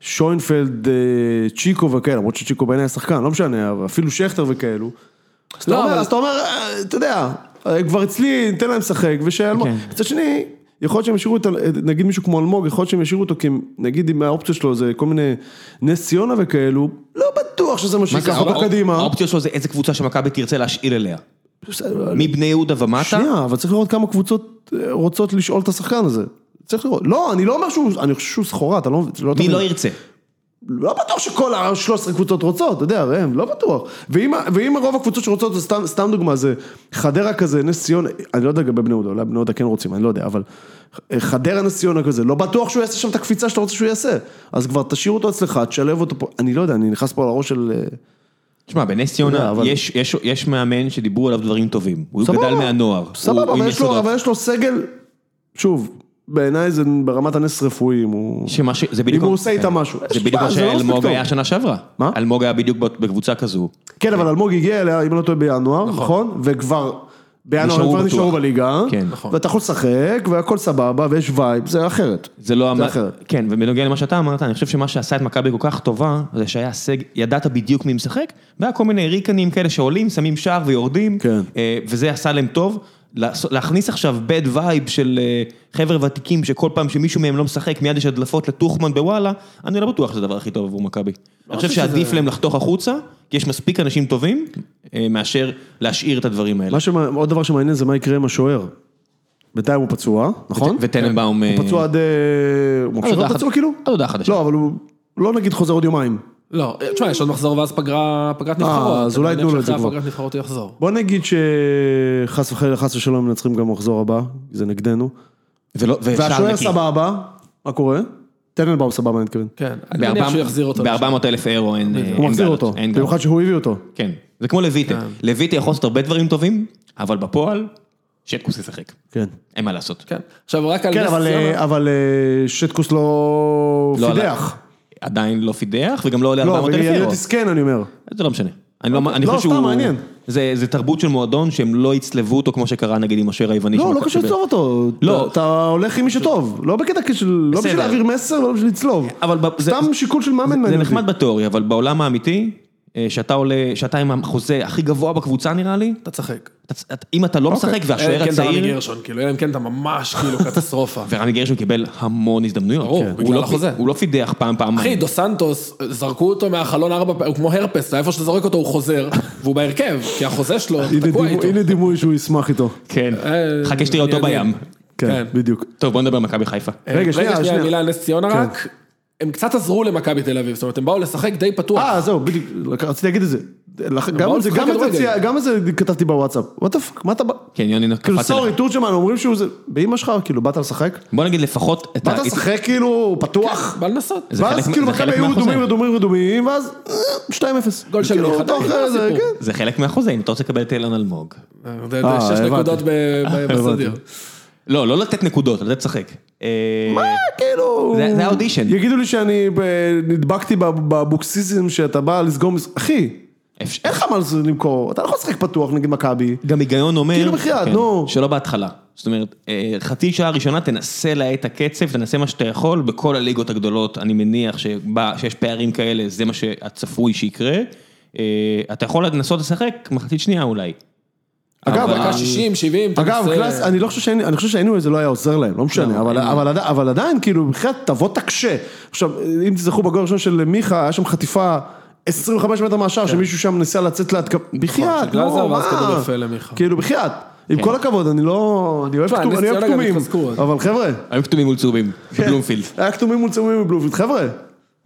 [SPEAKER 2] שוינפלד, אה, צ'יקו וכאלה, למרות שצ'יקו בעיניי השחקן, לא משנה, אבל אפילו שכטר וכאלו. אז אתה
[SPEAKER 3] לא,
[SPEAKER 2] אומר-
[SPEAKER 3] אבל-
[SPEAKER 2] אז אתה אומר, "אה, אתה יודע, אה, כבר אצלי, ניתן להם לשחק, ושאלמוג.
[SPEAKER 1] כן.
[SPEAKER 2] מצד שני, יכול להיות שהם ישאירו את, ה- אה, נגיד מישהו כמו אלמוג, יכול להיות שהם ישאירו אותו, כי הם- נגיד אם האופציה שלו זה כל מיני נס ציונה וכאלו, לא בטוח שזה מה
[SPEAKER 1] מה זה,
[SPEAKER 2] שיקח אותו
[SPEAKER 1] האופ-
[SPEAKER 2] קדימה.
[SPEAKER 1] האופציה שלו זה איזה קבוצה שמכבי תרצה להשאיל אליה.
[SPEAKER 2] בסדר,
[SPEAKER 1] מבני יהודה ומטה,
[SPEAKER 2] שנייה, אבל צריך לראות כמה קבוצות אה, רוצות לשאול את השחקן הזה. צריך לראות. לא, אני לא אומר שהוא, אני חושב שהוא סחורה, אתה לא... לא
[SPEAKER 1] מי
[SPEAKER 2] תמיד-
[SPEAKER 1] לא ירצה?
[SPEAKER 2] לא בטוח שכל ה-13 קבוצות רוצות, אתה יודע, ראם, לא בטוח. ואם, ה- ואם רוב הקבוצות שרוצות, זה סתם, סתם דוגמה, זה חדרה כזה, נס ציונה, אני לא יודע לגבי בני יהודה, אולי בני יהודה כן רוצים, אני לא יודע, אבל אה, חדרה נס ציונה כזה, לא בטוח שהוא יעשה שם את הקפיצה שאתה רוצה שהוא יעשה. אז כבר תשאיר אותו אצלך, תשלב אותו פה, אני לא יודע, אני נכנס פה לראש של... אה,
[SPEAKER 1] תשמע, בנס
[SPEAKER 2] לא,
[SPEAKER 1] ציונה
[SPEAKER 2] אבל-
[SPEAKER 1] יש- יש- יש מאמן שדיברו עליו דברים טובים. הוא
[SPEAKER 2] סבבה.
[SPEAKER 1] גדל מהנוער. הוא-
[SPEAKER 2] סבבה,
[SPEAKER 1] הוא עם
[SPEAKER 2] אבל יש, לו,
[SPEAKER 1] יסודות.
[SPEAKER 2] אבל יש לו סגל, שוב, בעיניי זה ברמת הנס רפואי, אם הוא...
[SPEAKER 1] שמה ש- זה בדיוק...
[SPEAKER 2] אם הוא עושה איתה
[SPEAKER 1] כן.
[SPEAKER 2] משהו.
[SPEAKER 1] זה
[SPEAKER 2] יש-
[SPEAKER 1] בדיוק
[SPEAKER 2] מה,
[SPEAKER 1] מה
[SPEAKER 2] זה לא מספיק
[SPEAKER 1] שאלמוג
[SPEAKER 2] טוב.
[SPEAKER 1] היה שנה שעברה.
[SPEAKER 2] מה?
[SPEAKER 1] אלמוג היה בדיוק בקבוצה כזו.
[SPEAKER 2] כן, אבל אלמוג הגיע אליה, אם אני לא טועה, בינואר, נכון? וכבר... בינואר הם
[SPEAKER 1] נשארו
[SPEAKER 2] כבר
[SPEAKER 1] בטוח.
[SPEAKER 2] נשארו בליגה,
[SPEAKER 1] כן. נכון.
[SPEAKER 2] ואתה יכול לשחק, והכל סבבה, ויש וייב, זה אחרת.
[SPEAKER 1] זה לא... המ-
[SPEAKER 2] אחרת.
[SPEAKER 1] כן, ובנוגע למה שאתה אמרת, אני חושב שמה שעשה את מכבי כל כך טובה, זה שהיה הישג, ידעת בדיוק מי משחק, והיה כל מיני ריקנים כאלה שעולים, שמים שער ויורדים,
[SPEAKER 2] כן.
[SPEAKER 1] אה, וזה עשה להם טוב. לעש- להכניס עכשיו bad vibe של אה, חבר'ה ותיקים, שכל פעם שמישהו מהם לא משחק, מיד יש הדלפות לטוחמן בוואלה, אני לא בטוח שזה הדבר הכי טוב עבור
[SPEAKER 2] לא
[SPEAKER 1] מכבי. אני חושב
[SPEAKER 3] חושב שזה-
[SPEAKER 1] שעדיף להם לחתוך החוצה, כי יש מספיק אנשים טובים, אה, מאשר להשאיר את הדברים האלה.
[SPEAKER 2] מה שמע- עוד דבר שמעניין זה מה יקרה עם השוער. בינתיים הוא פצוע, נכון?
[SPEAKER 1] וטננבאום... אה,
[SPEAKER 2] הוא פצוע עד... אה, הוא ממשיך
[SPEAKER 1] הודעה
[SPEAKER 2] להיות פצוע
[SPEAKER 1] חד-
[SPEAKER 2] כאילו?
[SPEAKER 1] עד הודעה חדשה.
[SPEAKER 2] לא, אבל הוא לא נגיד חוזר עוד יומיים.
[SPEAKER 3] לא, תשמע, יש עוד מחזור ואז פגרה- פגרת נבחרות.
[SPEAKER 2] אה, אז
[SPEAKER 3] אני
[SPEAKER 2] אולי
[SPEAKER 3] מניח
[SPEAKER 2] תנו לו את זה
[SPEAKER 3] שאחרי
[SPEAKER 2] כבר.
[SPEAKER 3] הפגרת נבחרות הוא יחזור.
[SPEAKER 2] בוא נגיד שחס וחלילה, חס ושלום, מנצחים גם במחזור הבא, זה נגדנו.
[SPEAKER 1] ולא- ושער
[SPEAKER 2] והשוער
[SPEAKER 1] לא- נקי.
[SPEAKER 2] סבבה, מה קורה? טננבאום סבבה, אני מתכוון.
[SPEAKER 3] כן, אני מניח שהוא יחזיר אותו. לשם.
[SPEAKER 1] ב-400 אלף אירו אין אין
[SPEAKER 2] הוא מחזיר
[SPEAKER 1] בעלות,
[SPEAKER 2] אותו,
[SPEAKER 1] אין בעלות.
[SPEAKER 2] במיוחד שהוא הביא אותו.
[SPEAKER 1] כן, זה כמו לויטה. לויטה יכול לעשות הרבה דברים טובים, אבל בפועל, שטקוס ישחק.
[SPEAKER 2] כן.
[SPEAKER 1] אין מה לעשות.
[SPEAKER 3] כן. עכשיו רק על
[SPEAKER 2] כן,
[SPEAKER 3] נס
[SPEAKER 2] אבל,
[SPEAKER 3] ציונה.
[SPEAKER 2] אה, אבל אה, שטקוס לא
[SPEAKER 1] לא
[SPEAKER 2] פידח.
[SPEAKER 1] עלה- עדיין לא פידח, וגם לא עולה
[SPEAKER 2] לא,
[SPEAKER 1] 400
[SPEAKER 2] אבל
[SPEAKER 1] אלף
[SPEAKER 2] יהיה
[SPEAKER 1] אירו.
[SPEAKER 2] תסכן, אני אומר.
[SPEAKER 1] זה לא משנה. אני לא- אני
[SPEAKER 2] לא,
[SPEAKER 1] חושב
[SPEAKER 2] סתם,
[SPEAKER 1] שהוא...
[SPEAKER 2] מעניין.
[SPEAKER 1] זה זה תרבות של מועדון שהם לא יצלבו אותו כמו שקרה נגיד עם אשר היווני.
[SPEAKER 2] לא,
[SPEAKER 1] שמכ-
[SPEAKER 2] לא קשור
[SPEAKER 1] שב-
[SPEAKER 2] לצלוב אותו.
[SPEAKER 1] לא.
[SPEAKER 2] אתה- אתה הולך עם מי שטוב. לא בקטע כשל... לא
[SPEAKER 1] בסדר.
[SPEAKER 2] בשביל להעביר מסר, לא בשביל לצלוב.
[SPEAKER 1] אבל ב- זה-
[SPEAKER 2] סתם שיקול של מאמן
[SPEAKER 1] זה
[SPEAKER 2] מעניין אותי.
[SPEAKER 1] נחמד בתיאוריה, אבל בעולם האמיתי, אה, שאתה עולה, שאתה עם החוזה הכי גבוה בקבוצה נראה לי,
[SPEAKER 3] אתה צחק.
[SPEAKER 1] אתה- אתה- אם אתה לא
[SPEAKER 2] אוקיי.
[SPEAKER 1] משחק והשוער
[SPEAKER 3] אלא אם כן אתה רמי
[SPEAKER 1] הצעיר...
[SPEAKER 3] גרשון, כאילו, אלא אם כן אתה ממש כאילו קטסטרופה.
[SPEAKER 1] ורמי גרשון קיבל המון הזדמנויות.
[SPEAKER 3] ברור,
[SPEAKER 1] כן.
[SPEAKER 3] בגלל
[SPEAKER 1] הוא לא-
[SPEAKER 3] החוזה.
[SPEAKER 1] הוא לא פידח פעם,
[SPEAKER 3] אחי,
[SPEAKER 1] פעמיים.
[SPEAKER 3] דו סנטוס, זרקו אותו מהחלון ארבע פעמים, הוא כמו הרפס, איפה שאתה זורק אותו הוא חוזר, והוא בהרכב, כי החוזה שלו
[SPEAKER 2] הנה
[SPEAKER 3] תקוע
[SPEAKER 2] דימו-
[SPEAKER 3] איתו.
[SPEAKER 2] הנה דימוי שהוא ישמח איתו.
[SPEAKER 1] כן.
[SPEAKER 3] אה,
[SPEAKER 1] חכה שתראה אותו
[SPEAKER 3] אני-
[SPEAKER 1] בים.
[SPEAKER 2] כן,
[SPEAKER 3] כן.
[SPEAKER 2] בדיוק.
[SPEAKER 1] טוב, בוא נדבר על מכבי חיפה.
[SPEAKER 2] רגע, שנייה,
[SPEAKER 3] רגע, שנייה,
[SPEAKER 2] שנייה.
[SPEAKER 3] מילה על נס ציונה
[SPEAKER 2] כן.
[SPEAKER 3] רק. הם קצת עזרו למכבי תל אביב, זאת אומרת, הם באו לשחק די פתוח.
[SPEAKER 2] אה, זהו, בדיוק, לק- רציתי להגיד את זה. לח- גם
[SPEAKER 3] באו
[SPEAKER 2] את זה,
[SPEAKER 3] לשחק
[SPEAKER 2] גם את זה,
[SPEAKER 3] כדורגל.
[SPEAKER 2] צי- גם את זה כתבתי בוואטסאפ. וואט דה פאק, מה אתה בא?
[SPEAKER 1] כן, יוני,
[SPEAKER 2] כאילו,
[SPEAKER 1] קפצתי
[SPEAKER 2] סורי,
[SPEAKER 1] לך.
[SPEAKER 2] תורג'מן, אומרים שהוא זה... באמא שלך, כאילו, באת לשחק?
[SPEAKER 1] בוא נגיד לפחות את
[SPEAKER 2] באת
[SPEAKER 1] ה-
[SPEAKER 2] לשחק כאילו פתוח?
[SPEAKER 3] בא לנסות.
[SPEAKER 1] זה
[SPEAKER 2] ואז
[SPEAKER 1] חלק-
[SPEAKER 2] כאילו
[SPEAKER 1] זה
[SPEAKER 2] מכבי
[SPEAKER 1] חלק
[SPEAKER 2] היו
[SPEAKER 1] מהחוזה.
[SPEAKER 2] אדומים אדומים אדומים, ואז אה, 2-0.
[SPEAKER 3] גול של
[SPEAKER 2] כאילו,
[SPEAKER 3] מיכה,
[SPEAKER 2] אותו
[SPEAKER 3] די,
[SPEAKER 2] אחרי זה,
[SPEAKER 3] הסיפור.
[SPEAKER 2] כן.
[SPEAKER 1] זה חלק מהחוזה, אם אתה רוצה לקבל את אילן אלמוג.
[SPEAKER 3] זה- זה
[SPEAKER 2] אה,
[SPEAKER 3] שש
[SPEAKER 2] הבנתי.
[SPEAKER 3] נקודות ב- ב- בסדיר.
[SPEAKER 1] לא, לא לתת נקודות, לתת לשחק. אה,
[SPEAKER 2] מה, כאילו...
[SPEAKER 1] זה- זה האודישן.
[SPEAKER 2] יגידו לי שאני ב- נדבקתי בב- באבוקסיזם שאתה בא לסגור... מס- אחי,
[SPEAKER 1] אפשר-
[SPEAKER 2] אין לך מה לס- למכור, אתה לא יכול לשחק פתוח נגד מכבי.
[SPEAKER 1] גם היגיון אומר,
[SPEAKER 2] כאילו בחייאת,
[SPEAKER 1] כן,
[SPEAKER 2] נו.
[SPEAKER 1] שלא בהתחלה. זאת אומרת, אה, חצי שעה ראשונה תנסה להאט את הקצב, תנסה מה שאתה יכול, בכל הליגות הגדולות, אני מניח שבה, שיש פערים כאלה, זה מה שהצפוי שיקרה. אה, אתה יכול לנסות לשחק מחצית שנייה אולי.
[SPEAKER 2] אגב,
[SPEAKER 1] אבל-
[SPEAKER 3] דקה 60, 70, אתה
[SPEAKER 2] אגב,
[SPEAKER 3] מנסה-
[SPEAKER 2] קלאס, אני לא חושב שהיינו, אני חושב שהיינו איזה לא היה עוזר להם, לא משנה, אבל- אבל עדי- אבל עדיין, כאילו, מבחינת תבוא תקשה. עכשיו, אם תזכרו בגול הראשון של מיכה, היה שם חטיפה 25 מטר מהשער, שמישהו שם ניסה לצאת להתקפה, בחייאת,
[SPEAKER 3] של גלאזר,
[SPEAKER 2] לא,
[SPEAKER 3] כן. נכון, ואז כדור
[SPEAKER 2] מה?
[SPEAKER 3] יפה למיכה.
[SPEAKER 2] כאילו, בחייאת.
[SPEAKER 1] כן.
[SPEAKER 2] עם כל הכבוד, אני לא, אני אוהב
[SPEAKER 3] תשמע,
[SPEAKER 2] כתום-
[SPEAKER 3] נס
[SPEAKER 2] אני אוהב
[SPEAKER 3] ציונה גם
[SPEAKER 2] כתומים,
[SPEAKER 3] התחזקו, אז.
[SPEAKER 2] אבל חבר'ה,
[SPEAKER 1] היו כתומים מול צהובים, בבלומפילד.
[SPEAKER 2] היה כתומים מול צהובים מבלומפילד, חבר'ה,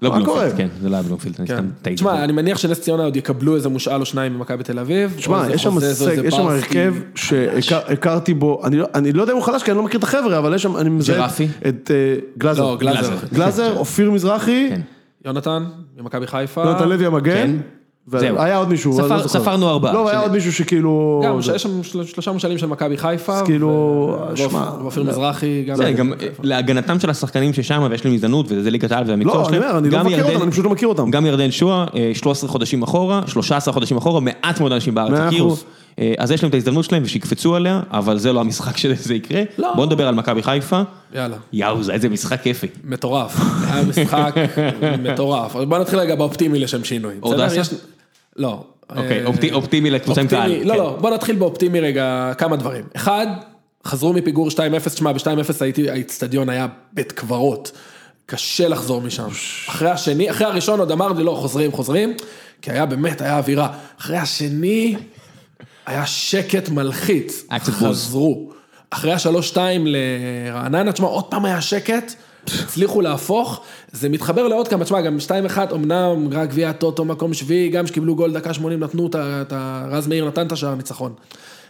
[SPEAKER 1] לא
[SPEAKER 2] מה קורה?
[SPEAKER 1] בלומפילד, כן, זה לא היה בלומפילד, אני סתם טעיתי.
[SPEAKER 3] תשמע, אני מניח שנס ציונה עוד יקבלו איזה מושאל או שניים ממכבי תל אביב. או
[SPEAKER 2] תשמע,
[SPEAKER 3] איזה
[SPEAKER 2] יש שם
[SPEAKER 3] חוזה, או
[SPEAKER 2] סג,
[SPEAKER 3] איזה
[SPEAKER 2] יש שם
[SPEAKER 3] ברסקי.
[SPEAKER 2] הרכב שהכרתי בו, אני לא- אני לא יודע אם הוא חלש, כי אני לא מכיר את החבר'ה, אבל יש שם, אני מזהה
[SPEAKER 1] ג'רפי?
[SPEAKER 2] את אה, גלאזר.
[SPEAKER 3] לא, גלאזר.
[SPEAKER 2] גלאזר, אופיר מזרחי,
[SPEAKER 1] כן.
[SPEAKER 3] יונתן, ממכבי חיפה.
[SPEAKER 2] נתן לוי המגן,
[SPEAKER 1] כן. זהו.
[SPEAKER 2] והיה עוד מישהו,
[SPEAKER 1] ספר-
[SPEAKER 2] אבל לא זוכר.
[SPEAKER 1] ספרנו ארבעה.
[SPEAKER 2] לא, היה
[SPEAKER 1] שזה-
[SPEAKER 2] עוד מישהו שכאילו...
[SPEAKER 3] גם,
[SPEAKER 2] זה-
[SPEAKER 3] יש שם של- שלושה מושאלים של מכבי חיפה.
[SPEAKER 2] אז כאילו,
[SPEAKER 3] ו-
[SPEAKER 2] שמע,
[SPEAKER 3] ואופיר מזרחי גם.
[SPEAKER 1] זה
[SPEAKER 2] לא
[SPEAKER 1] גם אה, להגנתם של השחקנים ששם, ויש להם הזדמנות, וזה ליגת העל וזה המקצוע
[SPEAKER 2] לא, אני
[SPEAKER 1] שלהם.
[SPEAKER 2] אומר, אני לא
[SPEAKER 1] גם
[SPEAKER 2] מבקר
[SPEAKER 1] ירדן-
[SPEAKER 2] אותם, אני פשוט לא מכיר אותם.
[SPEAKER 1] גם ירדן שואה, אה, 13 חודשים אחורה, 13 חודשים אחורה, מעט מאוד אנשים בארץ
[SPEAKER 2] מאה
[SPEAKER 1] הכירו.
[SPEAKER 2] אחוז.
[SPEAKER 1] אה, אז יש להם את ההזדמנות שלהם ושיקפצו עליה, אבל זה לא המשחק שזה יקרה.
[SPEAKER 3] לא.
[SPEAKER 1] בואו נדבר על מכבי חיפה.
[SPEAKER 3] יאללה.
[SPEAKER 1] יאוזה, איזה משחק כיפי.
[SPEAKER 3] אה, מטורף, היה משחק מטורף. אבל בוא נתחיל רגע באופטימי לשם שינוי.
[SPEAKER 1] עוד
[SPEAKER 3] בסדר?
[SPEAKER 1] אסיה?
[SPEAKER 3] יש- לא.
[SPEAKER 1] אוקיי,
[SPEAKER 3] אה,
[SPEAKER 1] אופטי- אופטימי לקבוצה עם קהל.
[SPEAKER 3] אופטימי, לא,
[SPEAKER 1] כן.
[SPEAKER 3] לא, בוא נתחיל באופטימי רגע כמה דברים. אחד, חזרו מפיגור 2-0, תשמע, ב-2-0 הייתי, האיצטדיון היה בית קברות. קשה לחזור משם. אחרי השני, אחרי הראשון עוד אמרתי, לא, חוזרים, חוזרים, כי היה באמת, היה אווירה. אחרי השני, היה שקט מלחיץ.
[SPEAKER 1] היה קצת בוז.
[SPEAKER 3] חזרו. אחרי השלוש-שתיים לרעננה, תשמע, עוד פעם היה שקט, הצליחו להפוך, זה מתחבר לעוד כמה, תשמע, גם 2-1, אמנם רק גביע הטוטו מקום שביעי, גם שקיבלו גול דקה 80 נתנו את ה... את ה- רז מאיר נתן את השער ניצחון.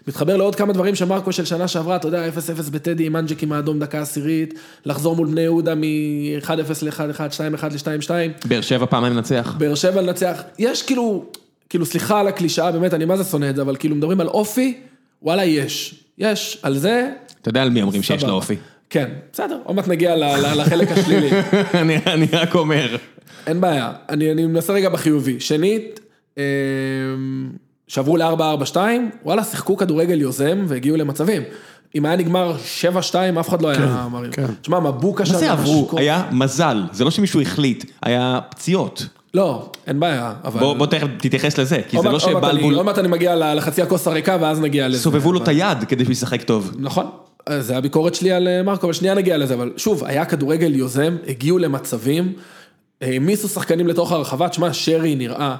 [SPEAKER 3] מתחבר לעוד כמה דברים שמרקו של שנה שעברה, אתה יודע, 0-0 בטדי עם מנג'ק עם האדום דקה עשירית, לחזור מול בני יהודה מ-1-0 ל-1-1, 2-1 ל-2-2.
[SPEAKER 1] באר שבע פעמיים לנצח.
[SPEAKER 3] באר שבע לנצח, יש כאילו, כאילו סליחה על הקלישאה, באמת, אני מה זה שונא את זה, אבל כאילו מדברים על אופי, וואלה יש, יש, על זה,
[SPEAKER 1] אתה יודע על מי אומרים שיש
[SPEAKER 3] סבבה.
[SPEAKER 1] לו אופי.
[SPEAKER 3] כן, בסדר, עוד מעט נגיע ל- ל- לחלק השלילי,
[SPEAKER 1] אני אני רק אומר.
[SPEAKER 3] אין בעיה, אני, אני מנסה רגע בחיובי. שנית, אמ, שעברו ל-4-4-2, וואלה, שיחקו כדורגל יוזם והגיעו למצבים. אם היה נגמר 7-2, אף אחד לא היה מרים.
[SPEAKER 2] כן.
[SPEAKER 3] תשמע, מבוקה שם...
[SPEAKER 1] מה זה
[SPEAKER 3] היה
[SPEAKER 1] עברו?
[SPEAKER 3] שיכור.
[SPEAKER 1] היה מזל, זה לא שמישהו החליט, היה פציעות.
[SPEAKER 3] לא, אין בעיה, אבל...
[SPEAKER 1] בוא בוא תכף תתייחס לזה, כי
[SPEAKER 3] עוד
[SPEAKER 1] זה
[SPEAKER 3] מעט-
[SPEAKER 1] לא
[SPEAKER 3] עוד מעט אני-
[SPEAKER 1] שבלבול
[SPEAKER 3] עוד מעט אני מגיע ל- לחצי הכוס הריקה, ואז נגיע לזה.
[SPEAKER 1] סובבו לו
[SPEAKER 3] אבל-
[SPEAKER 1] את היד כדי שהוא ישחק טוב.
[SPEAKER 3] נכון, אז זה הביקורת שלי על אה, מרקו, אבל שנייה נגיע לזה, אבל שוב, היה כדורגל יוזם, הגיעו למצבים, העמיסו שחקנים לתוך הרחבה, תשמע, שרי נראה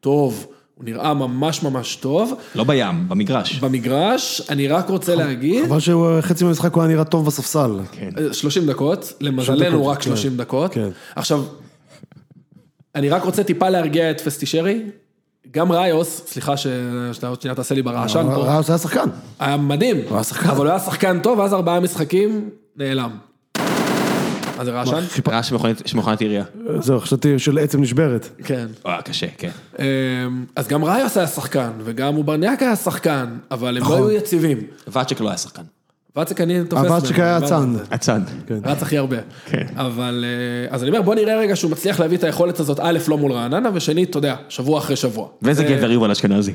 [SPEAKER 3] טוב, הוא נראה ממש ממש טוב.
[SPEAKER 1] לא בים, במגרש.
[SPEAKER 3] במגרש, אני רק רוצה
[SPEAKER 2] נכון,
[SPEAKER 3] להגיד,
[SPEAKER 2] חבל שחצי מהמשחק הוא היה נראה טוב בספסל.
[SPEAKER 3] אה, 30 דקות, למזלנו
[SPEAKER 2] דקות,
[SPEAKER 3] רק
[SPEAKER 2] כן.
[SPEAKER 3] 30 דקות.
[SPEAKER 2] כן.
[SPEAKER 3] עכשיו, אני רק רוצה טיפה להרגיע את פסטישרי, גם ראיוס, סליחה ש- שאתה עוד שנייה תעשה לי ברעשן פה.
[SPEAKER 2] ראוס היה שחקן.
[SPEAKER 3] היה מדהים. הוא
[SPEAKER 2] היה שחקן.
[SPEAKER 3] אבל הוא היה שחקן טוב, ואז ארבעה משחקים, נעלם. מה זה רעשן?
[SPEAKER 1] רעש שמכונת- שמכונת עירייה.
[SPEAKER 2] זהו, חשבתי של עצם נשברת.
[SPEAKER 3] כן.
[SPEAKER 1] אה, קשה, כן.
[SPEAKER 3] אמ, אז גם ראיוס היה שחקן, וגם אוברניאק היה שחקן, אבל הם לא היו יציבים.
[SPEAKER 1] ואצ'ק לא היה שחקן.
[SPEAKER 3] ואצק אני תופס...
[SPEAKER 2] אבל שקרה
[SPEAKER 3] ממנו,
[SPEAKER 2] הצאן.
[SPEAKER 1] הצד.
[SPEAKER 3] רץ הכי הרבה. כן. אבל, אה, אז אני אומר, בוא נראה רגע שהוא מצליח להביא את היכולת הזאת, א', לא מול רעננה, ושנית, אתה יודע, שבוע אחרי שבוע.
[SPEAKER 1] ואיזה גבר יובל אשכנזי.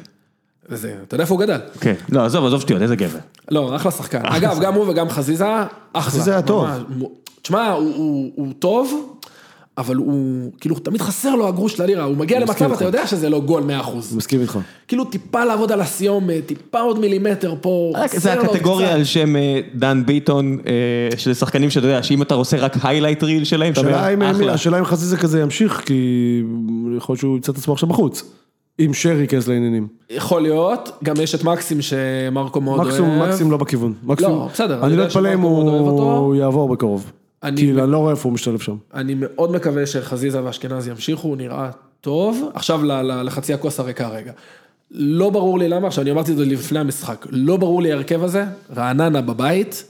[SPEAKER 3] וזה, אתה יודע איפה הוא גדל.
[SPEAKER 1] כן. לא, עזוב, עזוב שטויות, איזה גבר.
[SPEAKER 3] לא, אחלה שחקן. אגב, גם הוא וגם חזיזה, אחלה.
[SPEAKER 2] חזיזה היה טוב.
[SPEAKER 3] ממש. מו- תשמע, הוא- הוא הוא טוב, אבל הוא, כאילו, תמיד חסר לו הגרוש ללירה. הוא מגיע למצב, אתה יודע שזה לא גול 100%.
[SPEAKER 2] מסכים איתך.
[SPEAKER 3] כאילו, טיפה לעבוד על הסיומת, טיפה עוד מילימטר פה,
[SPEAKER 1] זה
[SPEAKER 3] חסר לו עוד
[SPEAKER 1] הקטגוריה
[SPEAKER 3] קצת.
[SPEAKER 1] על שם אה, דן ביטון, אה, של שחקנים שאתה יודע, שאם אתה עושה רק היילייט ריל שלהם, אתה אומר,
[SPEAKER 2] השאלה אם-
[SPEAKER 1] אחלה.
[SPEAKER 2] השאלה אם חזיזה כזה ימשיך, כי יכול להיות שהוא ימצא את עצמו עכשיו בחוץ. אם שרי ייכנס לעניינים.
[SPEAKER 3] יכול להיות, גם יש את מקסים שמרקו מאוד אוהב.
[SPEAKER 2] מקסימום, מקסימום לא בכיוון. מקסימום,
[SPEAKER 3] בסדר, אני
[SPEAKER 2] אני לא
[SPEAKER 3] יודע
[SPEAKER 2] אתפלא אם
[SPEAKER 3] שמרקו מאוד אוהב
[SPEAKER 2] הוא
[SPEAKER 3] אותו.
[SPEAKER 2] הוא יעבור בקרוב.
[SPEAKER 3] אני-
[SPEAKER 2] כאילו, אני לא רואה איפה הוא משתלב שם.
[SPEAKER 3] אני מאוד מקווה שחזיזה ואשכנזי ימשיכו, הוא נראה טוב. עכשיו ל- ל- לחצי הכוס הריקה רגע. לא ברור לי למה, עכשיו אני אמרתי את זה לפני המשחק, לא ברור לי ההרכב הזה, רעננה בבית,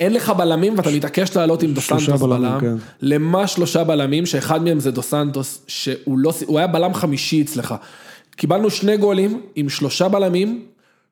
[SPEAKER 3] אין לך בלמים ואתה מתעקש לעלות עם דו
[SPEAKER 2] שלושה
[SPEAKER 3] סנטוס
[SPEAKER 2] בלמים,
[SPEAKER 3] בלם.
[SPEAKER 2] כן.
[SPEAKER 3] למה שלושה בלמים, שאחד מהם זה דו סנטוס, שהוא לא, הוא היה בלם חמישי אצלך. קיבלנו שני גולים עם שלושה בלמים,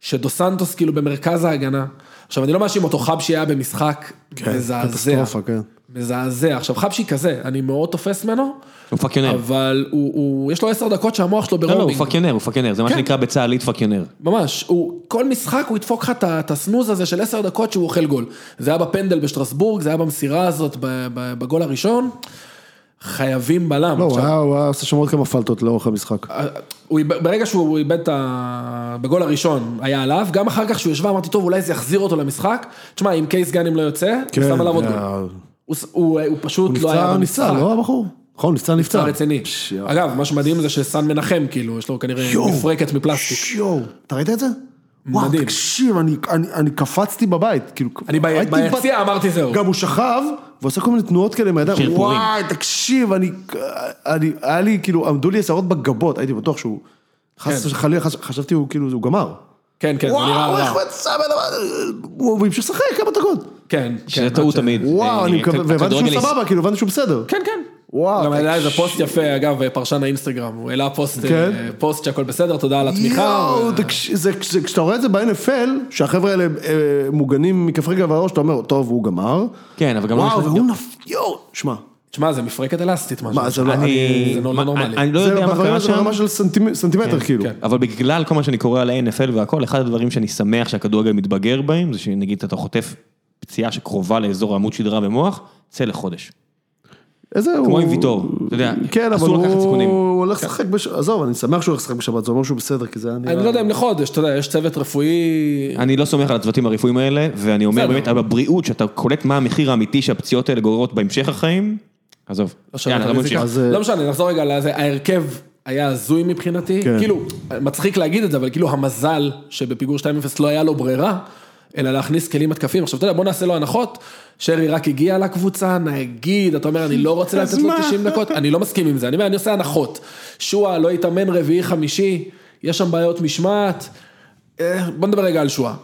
[SPEAKER 3] שדו סנטוס כאילו במרכז ההגנה. עכשיו, אני לא מאשים אותו, חבשי היה במשחק מזעזע.
[SPEAKER 2] כן, קטסטרופה, כן.
[SPEAKER 3] מזעזע. עכשיו, חבשי כזה, אני מאוד תופס ממנו,
[SPEAKER 1] הוא פאקיונר.
[SPEAKER 3] אבל הוא, הוא, יש לו עשר דקות שהמוח שלו
[SPEAKER 1] כן. לא, לא, הוא
[SPEAKER 3] ברומינג.
[SPEAKER 1] פאקיונר, הוא פאקיונר, זה מה
[SPEAKER 3] כן.
[SPEAKER 1] שנקרא בצה"לית פאקיונר.
[SPEAKER 3] ממש, הוא, כל משחק הוא ידפוק לך את ה- את הסנוז הזה של עשר דקות שהוא אוכל גול. זה היה בפנדל בשטרסבורג, זה היה במסירה הזאת ב- ב- בגול הראשון. חייבים בלם.
[SPEAKER 2] לא, הוא
[SPEAKER 3] עכשיו,
[SPEAKER 2] היה- הוא היה עושה שם עוד כמה פלטות לאורך המשחק.
[SPEAKER 3] הוא איבד- ברגע שהוא איבד את ה... בגול הראשון היה עליו, גם אחר כך שהוא ישבה אמרתי, טוב, אולי זה יחזיר אותו למשחק. תשמע, אם קייס גאנם לא יוצא, הוא שם עליו עוד גול.
[SPEAKER 2] היה-
[SPEAKER 3] הוא, ס- הוא, הוא פשוט
[SPEAKER 2] הוא
[SPEAKER 3] לא היה
[SPEAKER 2] כן, נפצע,
[SPEAKER 3] במשחק.
[SPEAKER 2] נפצע, לא הבחור? נכון, נפצע, נפצע.
[SPEAKER 3] מבצע לא, רציני.
[SPEAKER 2] פש, יואו.
[SPEAKER 3] אגב, מה שמדהים זה שסן מנחם, כאילו, יש לו כנראה
[SPEAKER 2] יואו.
[SPEAKER 3] מפרקת מפלסטיק.
[SPEAKER 2] שיואו, אתה ראית את זה? וואו,
[SPEAKER 3] מדהים.
[SPEAKER 2] תקשיב, אני- אני- אני קפצתי בבית, כאילו...
[SPEAKER 3] אני ב-
[SPEAKER 2] הייתי
[SPEAKER 3] ביציע אמרתי זהו.
[SPEAKER 2] גם הוא שכב, ועושה כל מיני תנועות כאלה עם הידיים.
[SPEAKER 1] שרפורים.
[SPEAKER 2] וואי, תקשיב, אני, אני, היה לי, כאילו, עמדו לי עשרות בגבות, הייתי בטוח שהוא, חס וחלילה, חש- חשבתי הוא, כאילו, הוא גמר.
[SPEAKER 3] כן, כן, זה נראה
[SPEAKER 2] וואו, איך
[SPEAKER 3] רע.
[SPEAKER 2] הוא יצא מהדבר, הוא הוא המשיך לשחק כמה דקות.
[SPEAKER 3] כן, כן,
[SPEAKER 1] שזה
[SPEAKER 3] עד
[SPEAKER 1] טעות
[SPEAKER 3] ש-
[SPEAKER 1] תמיד.
[SPEAKER 2] וואו,
[SPEAKER 1] אה,
[SPEAKER 2] אני מקווה, והבנתי
[SPEAKER 1] הכדורגל
[SPEAKER 2] שהוא סבבה, כאילו, הבנתי שהוא בסדר.
[SPEAKER 3] כן, כן.
[SPEAKER 2] וואו,
[SPEAKER 3] גם היה איזה
[SPEAKER 2] תקשיב.
[SPEAKER 3] פוסט יפה, אגב, פרשן האינסטגרם, הוא העלה פוסט,
[SPEAKER 2] כן.
[SPEAKER 3] אה, פוסט שהכל בסדר, תודה על התמיכה. אה,
[SPEAKER 2] יואו, תקשיב, זה- זה- כשאתה רואה את זה ב-NFL, שהחבר'ה האלה אה, מוגנים מכף רגל והראש, אתה אומר, טוב, הוא גמר.
[SPEAKER 1] כן, אבל גם לא
[SPEAKER 2] וואו,
[SPEAKER 1] נכנס-
[SPEAKER 2] והוא נפ... יואו, שמע,
[SPEAKER 3] תשמע, זה מפרקת אלסטית משהו.
[SPEAKER 2] מה, זה לא...
[SPEAKER 1] אני...
[SPEAKER 3] זה לא
[SPEAKER 1] מה-
[SPEAKER 3] נורמלי.
[SPEAKER 1] אני לא
[SPEAKER 2] זה
[SPEAKER 1] יודע מה
[SPEAKER 2] ברמה-
[SPEAKER 1] קרה
[SPEAKER 2] זה
[SPEAKER 1] שם,
[SPEAKER 2] ברמה של סנטימ- סנטימטר, כאילו.
[SPEAKER 3] כן.
[SPEAKER 1] אבל בגלל כל מה שאני קורא על ה-NFL והכל, אחד הדברים שאני שמח שהכדורגל מתבגר בהם, זה שנגיד אתה חוטף פציעה שקרובה לאזור העמוד שדרה במוח, צא לחודש.
[SPEAKER 2] איזה הוא...
[SPEAKER 1] כמו עם ויטור, אתה יודע,
[SPEAKER 2] כן, אבל
[SPEAKER 1] אסור לקחת
[SPEAKER 2] הוא
[SPEAKER 1] סיכונים. כן.
[SPEAKER 2] הוא הולך לשחק בשבת, עזוב, אני שמח שהוא הולך לשחק בשבת, זה אומר שהוא בסדר, כי זה היה נראה...
[SPEAKER 3] אני לא יודע אם לחודש, אתה יודע, יש צוות רפואי...
[SPEAKER 1] אני לא סומך על הצוותים הרפואיים האלה, ואני אומר
[SPEAKER 3] בסדר.
[SPEAKER 1] באמת, אבל בבריאות, שאתה קולט מה המחיר האמיתי שהפציעות האלה גוררות בהמשך החיים, עזוב.
[SPEAKER 3] לא שווה
[SPEAKER 1] יאללה,
[SPEAKER 3] את
[SPEAKER 1] לא
[SPEAKER 3] הרזיקה.
[SPEAKER 1] ממשיך.
[SPEAKER 2] אז, אה,
[SPEAKER 3] לא משנה, נחזור רגע לזה, ההרכב היה הזוי מבחינתי,
[SPEAKER 2] כן.
[SPEAKER 3] כאילו, מצחיק להגיד את זה, אבל כאילו המזל שבפיגור 2-0 לא היה לו ברירה, אלא להכניס כלים התקפים. עכשיו, אתה יודע, בוא נעשה לו הנחות, שרי רק הגיע לקבוצה, נגיד, אתה אומר, אני לא רוצה לתת לו 90 דקות, אני לא מסכים עם זה, אני אומר, אני עושה הנחות. שועה לא יתאמן רביעי-חמישי, יש שם בעיות משמעת. אה, בוא נדבר רגע על שועה.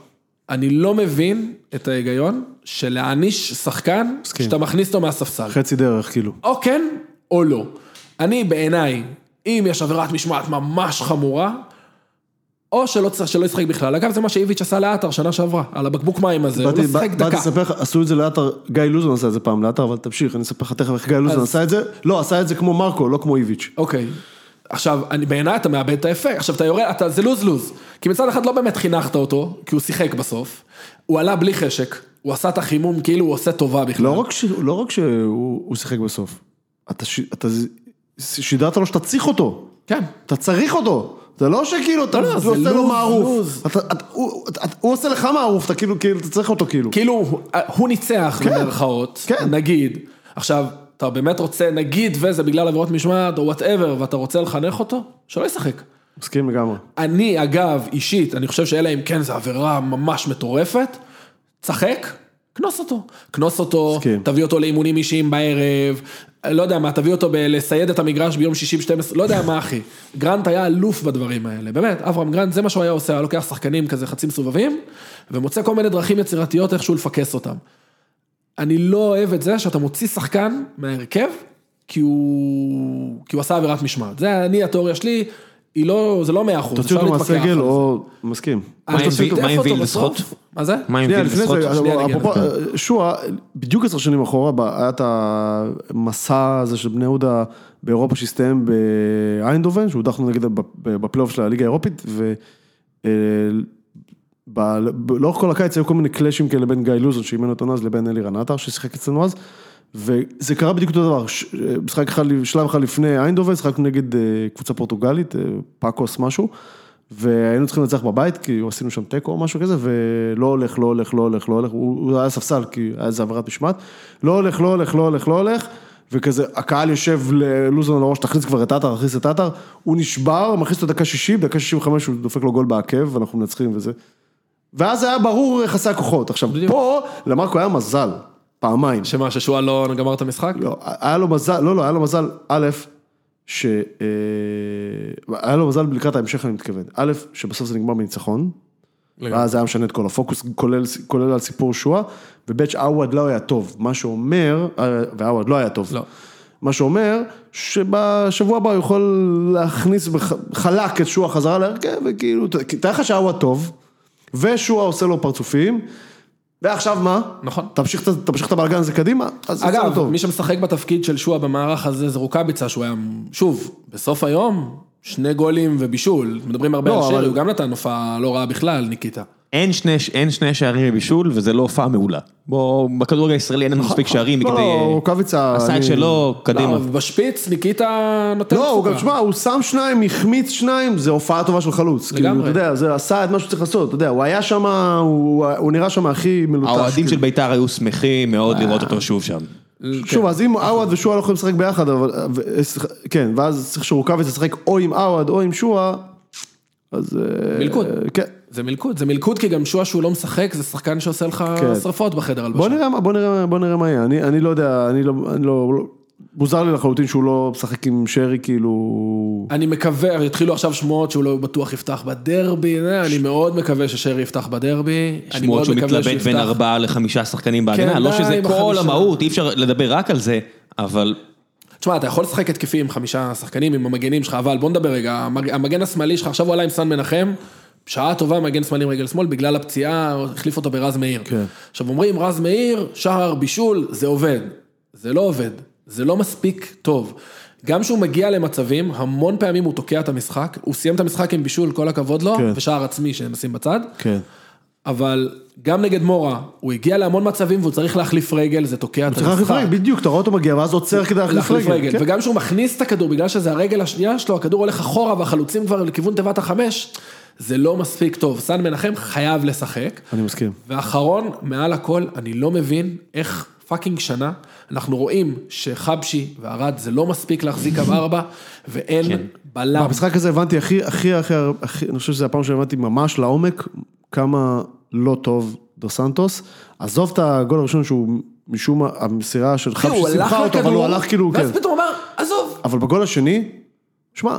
[SPEAKER 3] אני לא מבין את ההיגיון של להעניש שחקן שאתה מכניס אותו מהספסל.
[SPEAKER 2] חצי דרך, כאילו.
[SPEAKER 3] או כן או לא. אני בעיניי, אם יש עבירת משמעת ממש חמורה, או שלא, צריך- שלא ישחק בכלל. אגב, זה מה שאיביץ' עשה לעטר שנה שעברה, על הבקבוק מים הזה, הוא לא
[SPEAKER 2] באתי-
[SPEAKER 3] שיחק
[SPEAKER 2] בא- באתי
[SPEAKER 3] דקה.
[SPEAKER 2] לספר לך, עשו את זה לעטר, גיא לוזון עשה את זה פעם לעטר, אבל תמשיך, אני אספר לך תכף איך גיא לוזון
[SPEAKER 3] אז-
[SPEAKER 2] עשה את זה. לא, עשה את זה כמו מרקו, לא כמו איביץ'.
[SPEAKER 3] אוקיי. עכשיו, אני, בעיניי אתה מאבד את האפקט. עכשיו, אתה יורד, אתה, זה לוז-לוז. כי מצד אחד לא באמת חינכת אותו, כי הוא שיחק בסוף. הוא עלה בלי חשק, הוא עשה את החימום כאילו הוא עושה טובה בכלל.
[SPEAKER 2] לא רק ש- לא רק שהוא הוא שיחק בסוף, אתה ש- אתה ז- שידרת לו שאתה צריך אותו.
[SPEAKER 3] כן.
[SPEAKER 2] אתה צריך אותו. זה לא שכאילו, אתה
[SPEAKER 3] לא,
[SPEAKER 2] הוא
[SPEAKER 3] זה
[SPEAKER 2] עושה לו
[SPEAKER 3] לוז,
[SPEAKER 2] מערוף.
[SPEAKER 3] לוז.
[SPEAKER 2] אתה- אתה- הוא- אתה- הוא עושה לך מערוף, אתה כאילו, כאילו, אתה צריך אותו כאילו.
[SPEAKER 3] כאילו, הוא- הוא ניצח במרכאות,
[SPEAKER 2] כן.
[SPEAKER 3] נגיד. עכשיו, אתה באמת רוצה, נגיד, וזה בגלל עבירות משמעת או וואטאבר, ואתה רוצה לחנך אותו, שלא ישחק.
[SPEAKER 2] מסכים לגמרי.
[SPEAKER 3] אני, אגב, אישית, אני חושב שאלא אם כן זו עבירה ממש מטורפת, צחק, כנוס אותו. כנוס אותו,
[SPEAKER 2] מסכים.
[SPEAKER 3] תביא אותו לאימונים אישיים בערב, לא יודע מה, תביא אותו ב- לסייד את המגרש ביום שישי ב-12, לא יודע מה, אחי. גרנט היה אלוף בדברים האלה, באמת, אברהם גרנט, זה מה שהוא היה עושה, היה לוקח שחקנים כזה חצי מסובבים, ומוצא כל מיני דרכים יצירתיות איכשהו לפקס אותם. אני לא אוהב את זה שאתה מוציא שחקן מההרכב, כי הוא, כי הוא עשה עבירת משמעת. זה אני, התיאוריה שלי, היא לא, זה לא מאה אחוז,
[SPEAKER 2] תוציא
[SPEAKER 3] אפשר
[SPEAKER 2] אותו
[SPEAKER 3] להתווכח. כן, אה,
[SPEAKER 2] מהסגל או... מסכים.
[SPEAKER 1] מה עם וילד- מה עם וילד
[SPEAKER 3] בסוף?
[SPEAKER 1] סחוט?
[SPEAKER 3] מה זה?
[SPEAKER 1] מה עם
[SPEAKER 2] שנייה,
[SPEAKER 1] ויל
[SPEAKER 2] לפני
[SPEAKER 1] וסחוט?
[SPEAKER 2] זה,
[SPEAKER 3] כן, שנייה, אני אגיע
[SPEAKER 2] אפרופו, אה, שועה, בדיוק עשר שנים אחורה, ב- היה את המסע הזה של בני יהודה באירופה שהסתיים באיינדובן, שהודחנו נגד ב- בפלייאוף של הליגה האירופית, ו... אה, ב- ב- לאורך כל הקיץ היו כל מיני קלאשים כאלה בין גיא לוזון שאימן אותנו אז לבין אלירן עטר ששיחק אצלנו אז וזה קרה בדיוק אותו דבר, ש- אה, משחק אחד, שלב אחד לפני איינדובן, שחקנו נגד אה, קבוצה פורטוגלית, אה, פאקוס משהו והיינו צריכים לנצח בבית כי עשינו שם תיקו או משהו כזה ולא הולך, לא הולך, לא הולך, לא הולך, הוא הוא היה ספסל כי היה איזה עבירת משמעת, לא הולך, לא הולך, לא הולך, לא הולך וכזה, הקהל יושב ללוזון על הראש, תכניס כבר את עטר, תכניס את עטר, הוא נשבר, מכניס אותו דקה 60, דקה 65 הוא דופק לו גול בעקב, ואנחנו מנצחים וזה. ואז היה ברור יחסי הכוחות. עכשיו, פה למרקו היה מזל, פעמיים.
[SPEAKER 3] שמה, ששועה לא גמר את המשחק?
[SPEAKER 2] לא, היה לו מזל, לא, לא, היה לו מזל, א', ש... אה, היה לו מזל לקראת ההמשך, אני מתכוון. א', שבסוף זה נגמר בניצחון,
[SPEAKER 3] לגמרי.
[SPEAKER 2] ואז היה משנה את כל הפוקוס, כולל, כולל על סיפור שואה, וב' שעווד לא היה טוב. מה שאומר, אה, ועווד לא היה טוב.
[SPEAKER 3] לא.
[SPEAKER 2] מה שאומר, שבשבוע הבא הוא יכול להכניס בח- חלק את שואה חזרה להרכב, וכאילו, ת- כי תאר לך שעווד טוב, ושואה עושה לו פרצופים, ועכשיו מה?
[SPEAKER 3] נכון.
[SPEAKER 2] תמשיך, את- תמשיך את הבלגן הזה קדימה, אז יצא לו
[SPEAKER 3] אגב,
[SPEAKER 2] טוב.
[SPEAKER 3] מי שמשחק בתפקיד של שועה במערך הזה זה רוקאביצה, שהוא היה, שוב, בסוף היום, שני גולים ובישול. מדברים הרבה
[SPEAKER 2] לא,
[SPEAKER 3] על
[SPEAKER 2] אבל-
[SPEAKER 3] שרי, הוא גם נתן הופעה לא רעה בכלל, ניקיטה.
[SPEAKER 1] אין שני, אין שני שערים בבישול, וזה לא הופעה מעולה. בוא, בכדורגל הישראלי אין לנו מספיק שערים
[SPEAKER 2] לא,
[SPEAKER 1] כדי...
[SPEAKER 2] לא, רוקאביצה,
[SPEAKER 1] אה, עשה
[SPEAKER 2] אני-
[SPEAKER 1] את שלו, קדימה.
[SPEAKER 3] לא, בשפיץ ניקיטה נותן
[SPEAKER 2] לא, הוא
[SPEAKER 3] תפוקה.
[SPEAKER 2] גם, שמע, הוא שם שניים, החמיץ שניים, זה הופעה טובה של חלוץ. לגמרי. כאילו,
[SPEAKER 3] לגמרי.
[SPEAKER 2] אתה יודע, זה עשה את מה שצריך לעשות, אתה יודע, הוא היה שם, הוא הוא נראה שם הכי מלוטש.
[SPEAKER 1] האוהדים
[SPEAKER 2] כאילו.
[SPEAKER 1] של בית"ר היו שמחים מאוד לראות
[SPEAKER 3] אה.
[SPEAKER 1] אותו שוב שם.
[SPEAKER 2] שוב,
[SPEAKER 3] כן.
[SPEAKER 2] אז אם עווד ושועה לא יכולים לשחק ביחד, אבל... ו- סליחה, כן, ואז צריך שרוקאביץ ישחק או עם עווד או עם שועה, אז... אה,
[SPEAKER 3] מלכוד.
[SPEAKER 2] כן.
[SPEAKER 3] זה מלכוד, זה מלכוד כי גם שועה שהוא לא משחק, זה שחקן שעושה לך
[SPEAKER 2] כן.
[SPEAKER 3] שרפות בחדר הלבשה.
[SPEAKER 2] בוא נראה מה- בוא נראה- בוא נראה מה יהיה, אני אני לא יודע, אני לא... אני לא- לא- מוזר לי לחלוטין שהוא לא משחק עם שרי, כאילו...
[SPEAKER 3] אני מקווה, יתחילו עכשיו שמועות שהוא לא בטוח יפתח בדרבי, אה, אני מאוד מקווה ששרי יפתח בדרבי. אני מאוד
[SPEAKER 1] שמועות שהוא
[SPEAKER 3] מקווה
[SPEAKER 1] מתלבט בין
[SPEAKER 3] יפתח.
[SPEAKER 1] ארבעה לחמישה שחקנים בהגנה,
[SPEAKER 3] כן,
[SPEAKER 1] לא
[SPEAKER 3] די
[SPEAKER 1] שזה
[SPEAKER 3] עם
[SPEAKER 1] כל
[SPEAKER 3] החמישה.
[SPEAKER 1] המהות, אי אפשר לדבר רק על זה, אבל
[SPEAKER 3] תשמע, אתה יכול לשחק התקפי עם חמישה שחקנים, עם המגנים שלך, אבל בוא נדבר רגע, המג- המגן השמאלי שלך, עכשיו הוא עלה עם סן מנחם, שעה טובה מגן שמאלי עם רגל שמאל, בגלל הפציעה, החליף אותו ברז מאיר.
[SPEAKER 2] כן.
[SPEAKER 3] עכשיו אומרים, רז מאיר, שער, בישול, זה עובד. זה לא עובד, זה לא מספיק טוב. גם כשהוא מגיע למצבים, המון פעמים הוא תוקע את המשחק, הוא סיים את המשחק עם בישול, כל הכבוד לו,
[SPEAKER 2] כן.
[SPEAKER 3] ושער עצמי שהם נשים בצד.
[SPEAKER 2] כן.
[SPEAKER 3] אבל גם נגד מורה, הוא הגיע להמון מצבים והוא צריך להחליף רגל, זה תוקע את המשחק.
[SPEAKER 2] צריך להחליף רגל, בדיוק, אתה רואה אותו מגיע, ואז עוצר כדי להחליף רגל. כן.
[SPEAKER 3] וגם כשהוא מכניס את הכדור, בגלל שזה הרגל השנייה שלו, הכדור הולך אחורה והחלוצים כבר לכיוון תיבת החמש, זה לא מספיק טוב. סן מנחם חייב לשחק.
[SPEAKER 2] אני מסכים.
[SPEAKER 3] ואחרון, מעל הכל, אני לא מבין איך פאקינג שנה, אנחנו רואים שחבשי וערד זה לא מספיק להחזיק קו ארבע, ואין
[SPEAKER 2] כן.
[SPEAKER 3] בלם.
[SPEAKER 2] במשחק הזה הבנתי הכי, הכי, הכי, הכי, אני חושב שזו הפעם שהבנתי ממש לעומק, כמה לא טוב דו סנטוס. עזוב את הגול הראשון שהוא משום מה, המסירה של
[SPEAKER 3] אחי,
[SPEAKER 2] חפשי
[SPEAKER 3] הוא הלך
[SPEAKER 2] שמחה אותו, אבל
[SPEAKER 3] לכדור,
[SPEAKER 2] הוא הלך כאילו, כן.
[SPEAKER 3] ואז פתאום הוא אמר, עזוב.
[SPEAKER 2] אבל בגול השני, שמע,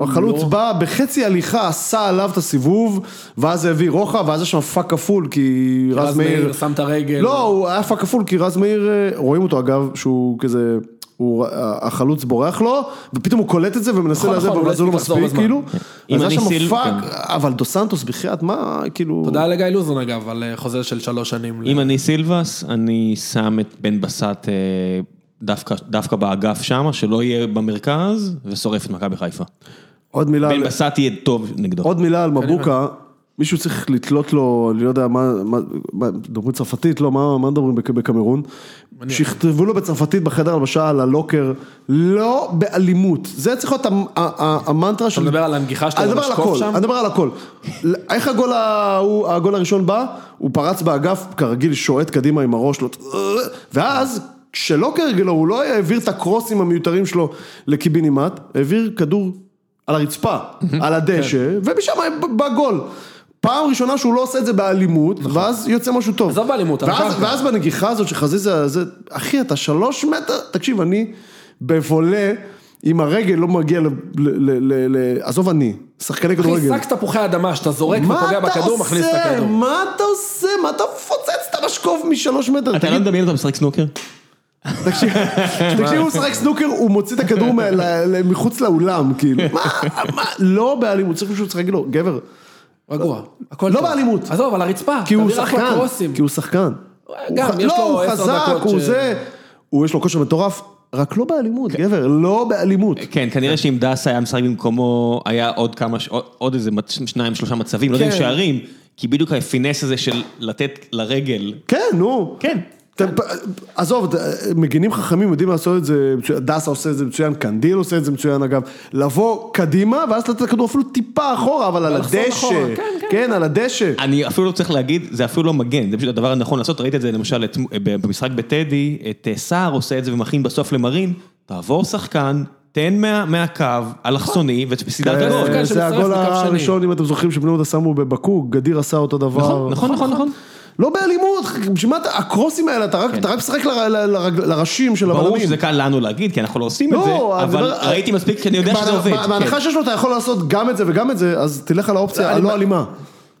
[SPEAKER 2] החלוץ
[SPEAKER 3] לא.
[SPEAKER 2] בא בחצי הליכה, עשה עליו את הסיבוב, ואז הביא רוחב, ואז יש שם פאק כפול, כי רז מאיר...
[SPEAKER 3] שם את הרגל.
[SPEAKER 2] לא, הוא היה פאק כפול, כי רז מאיר, אה, רואים אותו אגב, שהוא כזה, הוא, ה- החלוץ בורח לו, ופתאום הוא קולט את זה ומנסה
[SPEAKER 3] נכון,
[SPEAKER 2] לזה,
[SPEAKER 3] נכון,
[SPEAKER 2] אבל
[SPEAKER 3] הוא
[SPEAKER 2] זה לא
[SPEAKER 3] לא הספיק לחזור
[SPEAKER 2] מספיק,
[SPEAKER 3] בזמן.
[SPEAKER 2] כאילו.
[SPEAKER 1] אם
[SPEAKER 2] אז היה
[SPEAKER 1] אני
[SPEAKER 2] שם
[SPEAKER 1] סיל-
[SPEAKER 2] פאק,
[SPEAKER 1] כן.
[SPEAKER 2] אבל דו סנטוס, בחייאת, מה, כאילו...
[SPEAKER 3] תודה לגיא לוזון אגב, על אה, חוזה של שלוש שנים.
[SPEAKER 1] אם אני סילבס, אני שם את בן בסט אה, דווקא- דווקא באגף שמה, שלא יהיה במרכז, ושורף את מכבי חיפה.
[SPEAKER 2] עוד מילה, על-
[SPEAKER 1] בן בסט יהיה טוב נגדו.
[SPEAKER 2] עוד מילה על מבוקה, מישהו צריך לתלות לו, אני לא יודע מה, מה- מה- דוברים צרפתית, לא, מה מה מדברים בק- בקמרון? שיכתבו לו בצרפתית בחדר הלבשה על הלוקר, לא באלימות. זה צריך להיות המ- ה- ה- המנטרה של...
[SPEAKER 3] מדבר על הנגיחה שלו
[SPEAKER 2] אני מדבר על
[SPEAKER 3] במשקוף
[SPEAKER 2] הכל,
[SPEAKER 3] שם?
[SPEAKER 2] אני מדבר על הכל. איך הגול ההוא- הגול הראשון בא? הוא פרץ באגף, כרגיל שועט קדימה עם הראש, לא- ואז... כשלא כרגלו, הוא לא העביר את הקרוסים המיותרים שלו לקיבינימט, העביר כדור על הרצפה, על הדשא,
[SPEAKER 3] כן.
[SPEAKER 2] ומשם בא גול. פעם ראשונה שהוא לא עושה את זה באלימות, ואז יוצא משהו טוב.
[SPEAKER 3] נכון. עזוב באלימות, על
[SPEAKER 2] ואז-
[SPEAKER 3] הקרקע.
[SPEAKER 2] ואז בנגיחה הזאת שחזיזה, זה, אחי, אתה שלוש מטר, תקשיב, אני בבולה, עם הרגל לא מגיע ל... ל- ל- ל- ל- עזוב אני, שחקני
[SPEAKER 3] אחי,
[SPEAKER 2] כדורגל.
[SPEAKER 3] שק תפוחי אדמה, שאתה זורק
[SPEAKER 2] מה
[SPEAKER 3] ופוגע
[SPEAKER 2] אתה
[SPEAKER 3] בכדור, מכניס את
[SPEAKER 2] עושה?
[SPEAKER 3] הכדור.
[SPEAKER 2] מה אתה עושה? מה אתה מפוצץ את המשקוף משלוש מטר?
[SPEAKER 1] אתה לא
[SPEAKER 2] תגיד,
[SPEAKER 1] מדמיין אותו משחק סנוקר?
[SPEAKER 2] תקשיב, תקשיב, הוא משחק סנוקר, הוא מוציא את הכדור מה- ל- ל- מחוץ לאולם, כאילו. מה, מה, לא באלימות, צריך מישהו לשחק לו, גבר.
[SPEAKER 3] רגוע, הכל
[SPEAKER 2] לא
[SPEAKER 3] טוב.
[SPEAKER 2] באלימות.
[SPEAKER 3] עזוב, על הרצפה.
[SPEAKER 2] כי הוא
[SPEAKER 3] תעביר אחלה
[SPEAKER 2] שחקן,
[SPEAKER 3] קרוסים. אה,
[SPEAKER 2] כי הוא שחקן.
[SPEAKER 3] גם,
[SPEAKER 2] הוא ח-
[SPEAKER 3] יש
[SPEAKER 2] לא,
[SPEAKER 3] לו
[SPEAKER 2] הוא
[SPEAKER 3] עשר
[SPEAKER 2] חזק,
[SPEAKER 3] דקות
[SPEAKER 2] הוא
[SPEAKER 3] ש- כן.
[SPEAKER 2] זה, הוא יש לו כושר מטורף, רק לא באלימות, גבר, לא באלימות.
[SPEAKER 3] אה,
[SPEAKER 1] כן, כנראה שאם דסה היה משחק במקומו, היה עוד כמה, ש- עוד- עוד איזה מצ- שניים, שלושה מצבים, לא יודע אם
[SPEAKER 2] כן.
[SPEAKER 1] שערים, כי בדיוק הפינס הזה של לתת לרגל.
[SPEAKER 2] כן, נו.
[SPEAKER 1] כן.
[SPEAKER 2] אתם- עזוב, מגינים חכמים יודעים לעשות את זה, מצוין. דסה עושה את זה מצוין, קנדיל עושה את זה מצוין אגב, לבוא קדימה ואז לתת את הכדור אפילו טיפה אחורה, אבל על
[SPEAKER 3] ולחזור אחורה,
[SPEAKER 2] הדשא,
[SPEAKER 3] כן, כן.
[SPEAKER 2] כן, על הדשא.
[SPEAKER 1] אני אפילו לא צריך להגיד, זה אפילו לא מגן, זה פשוט הדבר הנכון לעשות, ראית את זה למשל את, במשחק בטדי, את אה, סער עושה את זה ומכין בסוף למרין, תעבור שחקן, תן מה, מהקו, אלכסוני, וסידרת גול.
[SPEAKER 3] שחקן
[SPEAKER 2] אה, זה
[SPEAKER 3] שמצטרף
[SPEAKER 2] הגול
[SPEAKER 3] לקו שני.
[SPEAKER 2] הראשון, אם אתם זוכרים, שבני יהודה שמו בבקוק, גדיר עשה אותו דבר.
[SPEAKER 1] נכון, נכון, נכון, נכון.
[SPEAKER 2] לא באלימות, בשביל מה אתה, הקרוסים האלה, אתה רק- אתה רק משחק ל- ל- לרג- לראשים של הבלמים.
[SPEAKER 1] ברור שזה קל לנו להגיד, כי אנחנו לא עושים את זה,
[SPEAKER 2] לא,
[SPEAKER 1] אבל
[SPEAKER 2] הדבר-
[SPEAKER 1] ראיתי מספיק שאני יודע שזה
[SPEAKER 2] בהנ-
[SPEAKER 1] עובד. כן.
[SPEAKER 2] בה- בהנחה שיש לו אתה יכול לעשות גם את זה וגם את זה, אז תלך על האופציה הלא אלימה.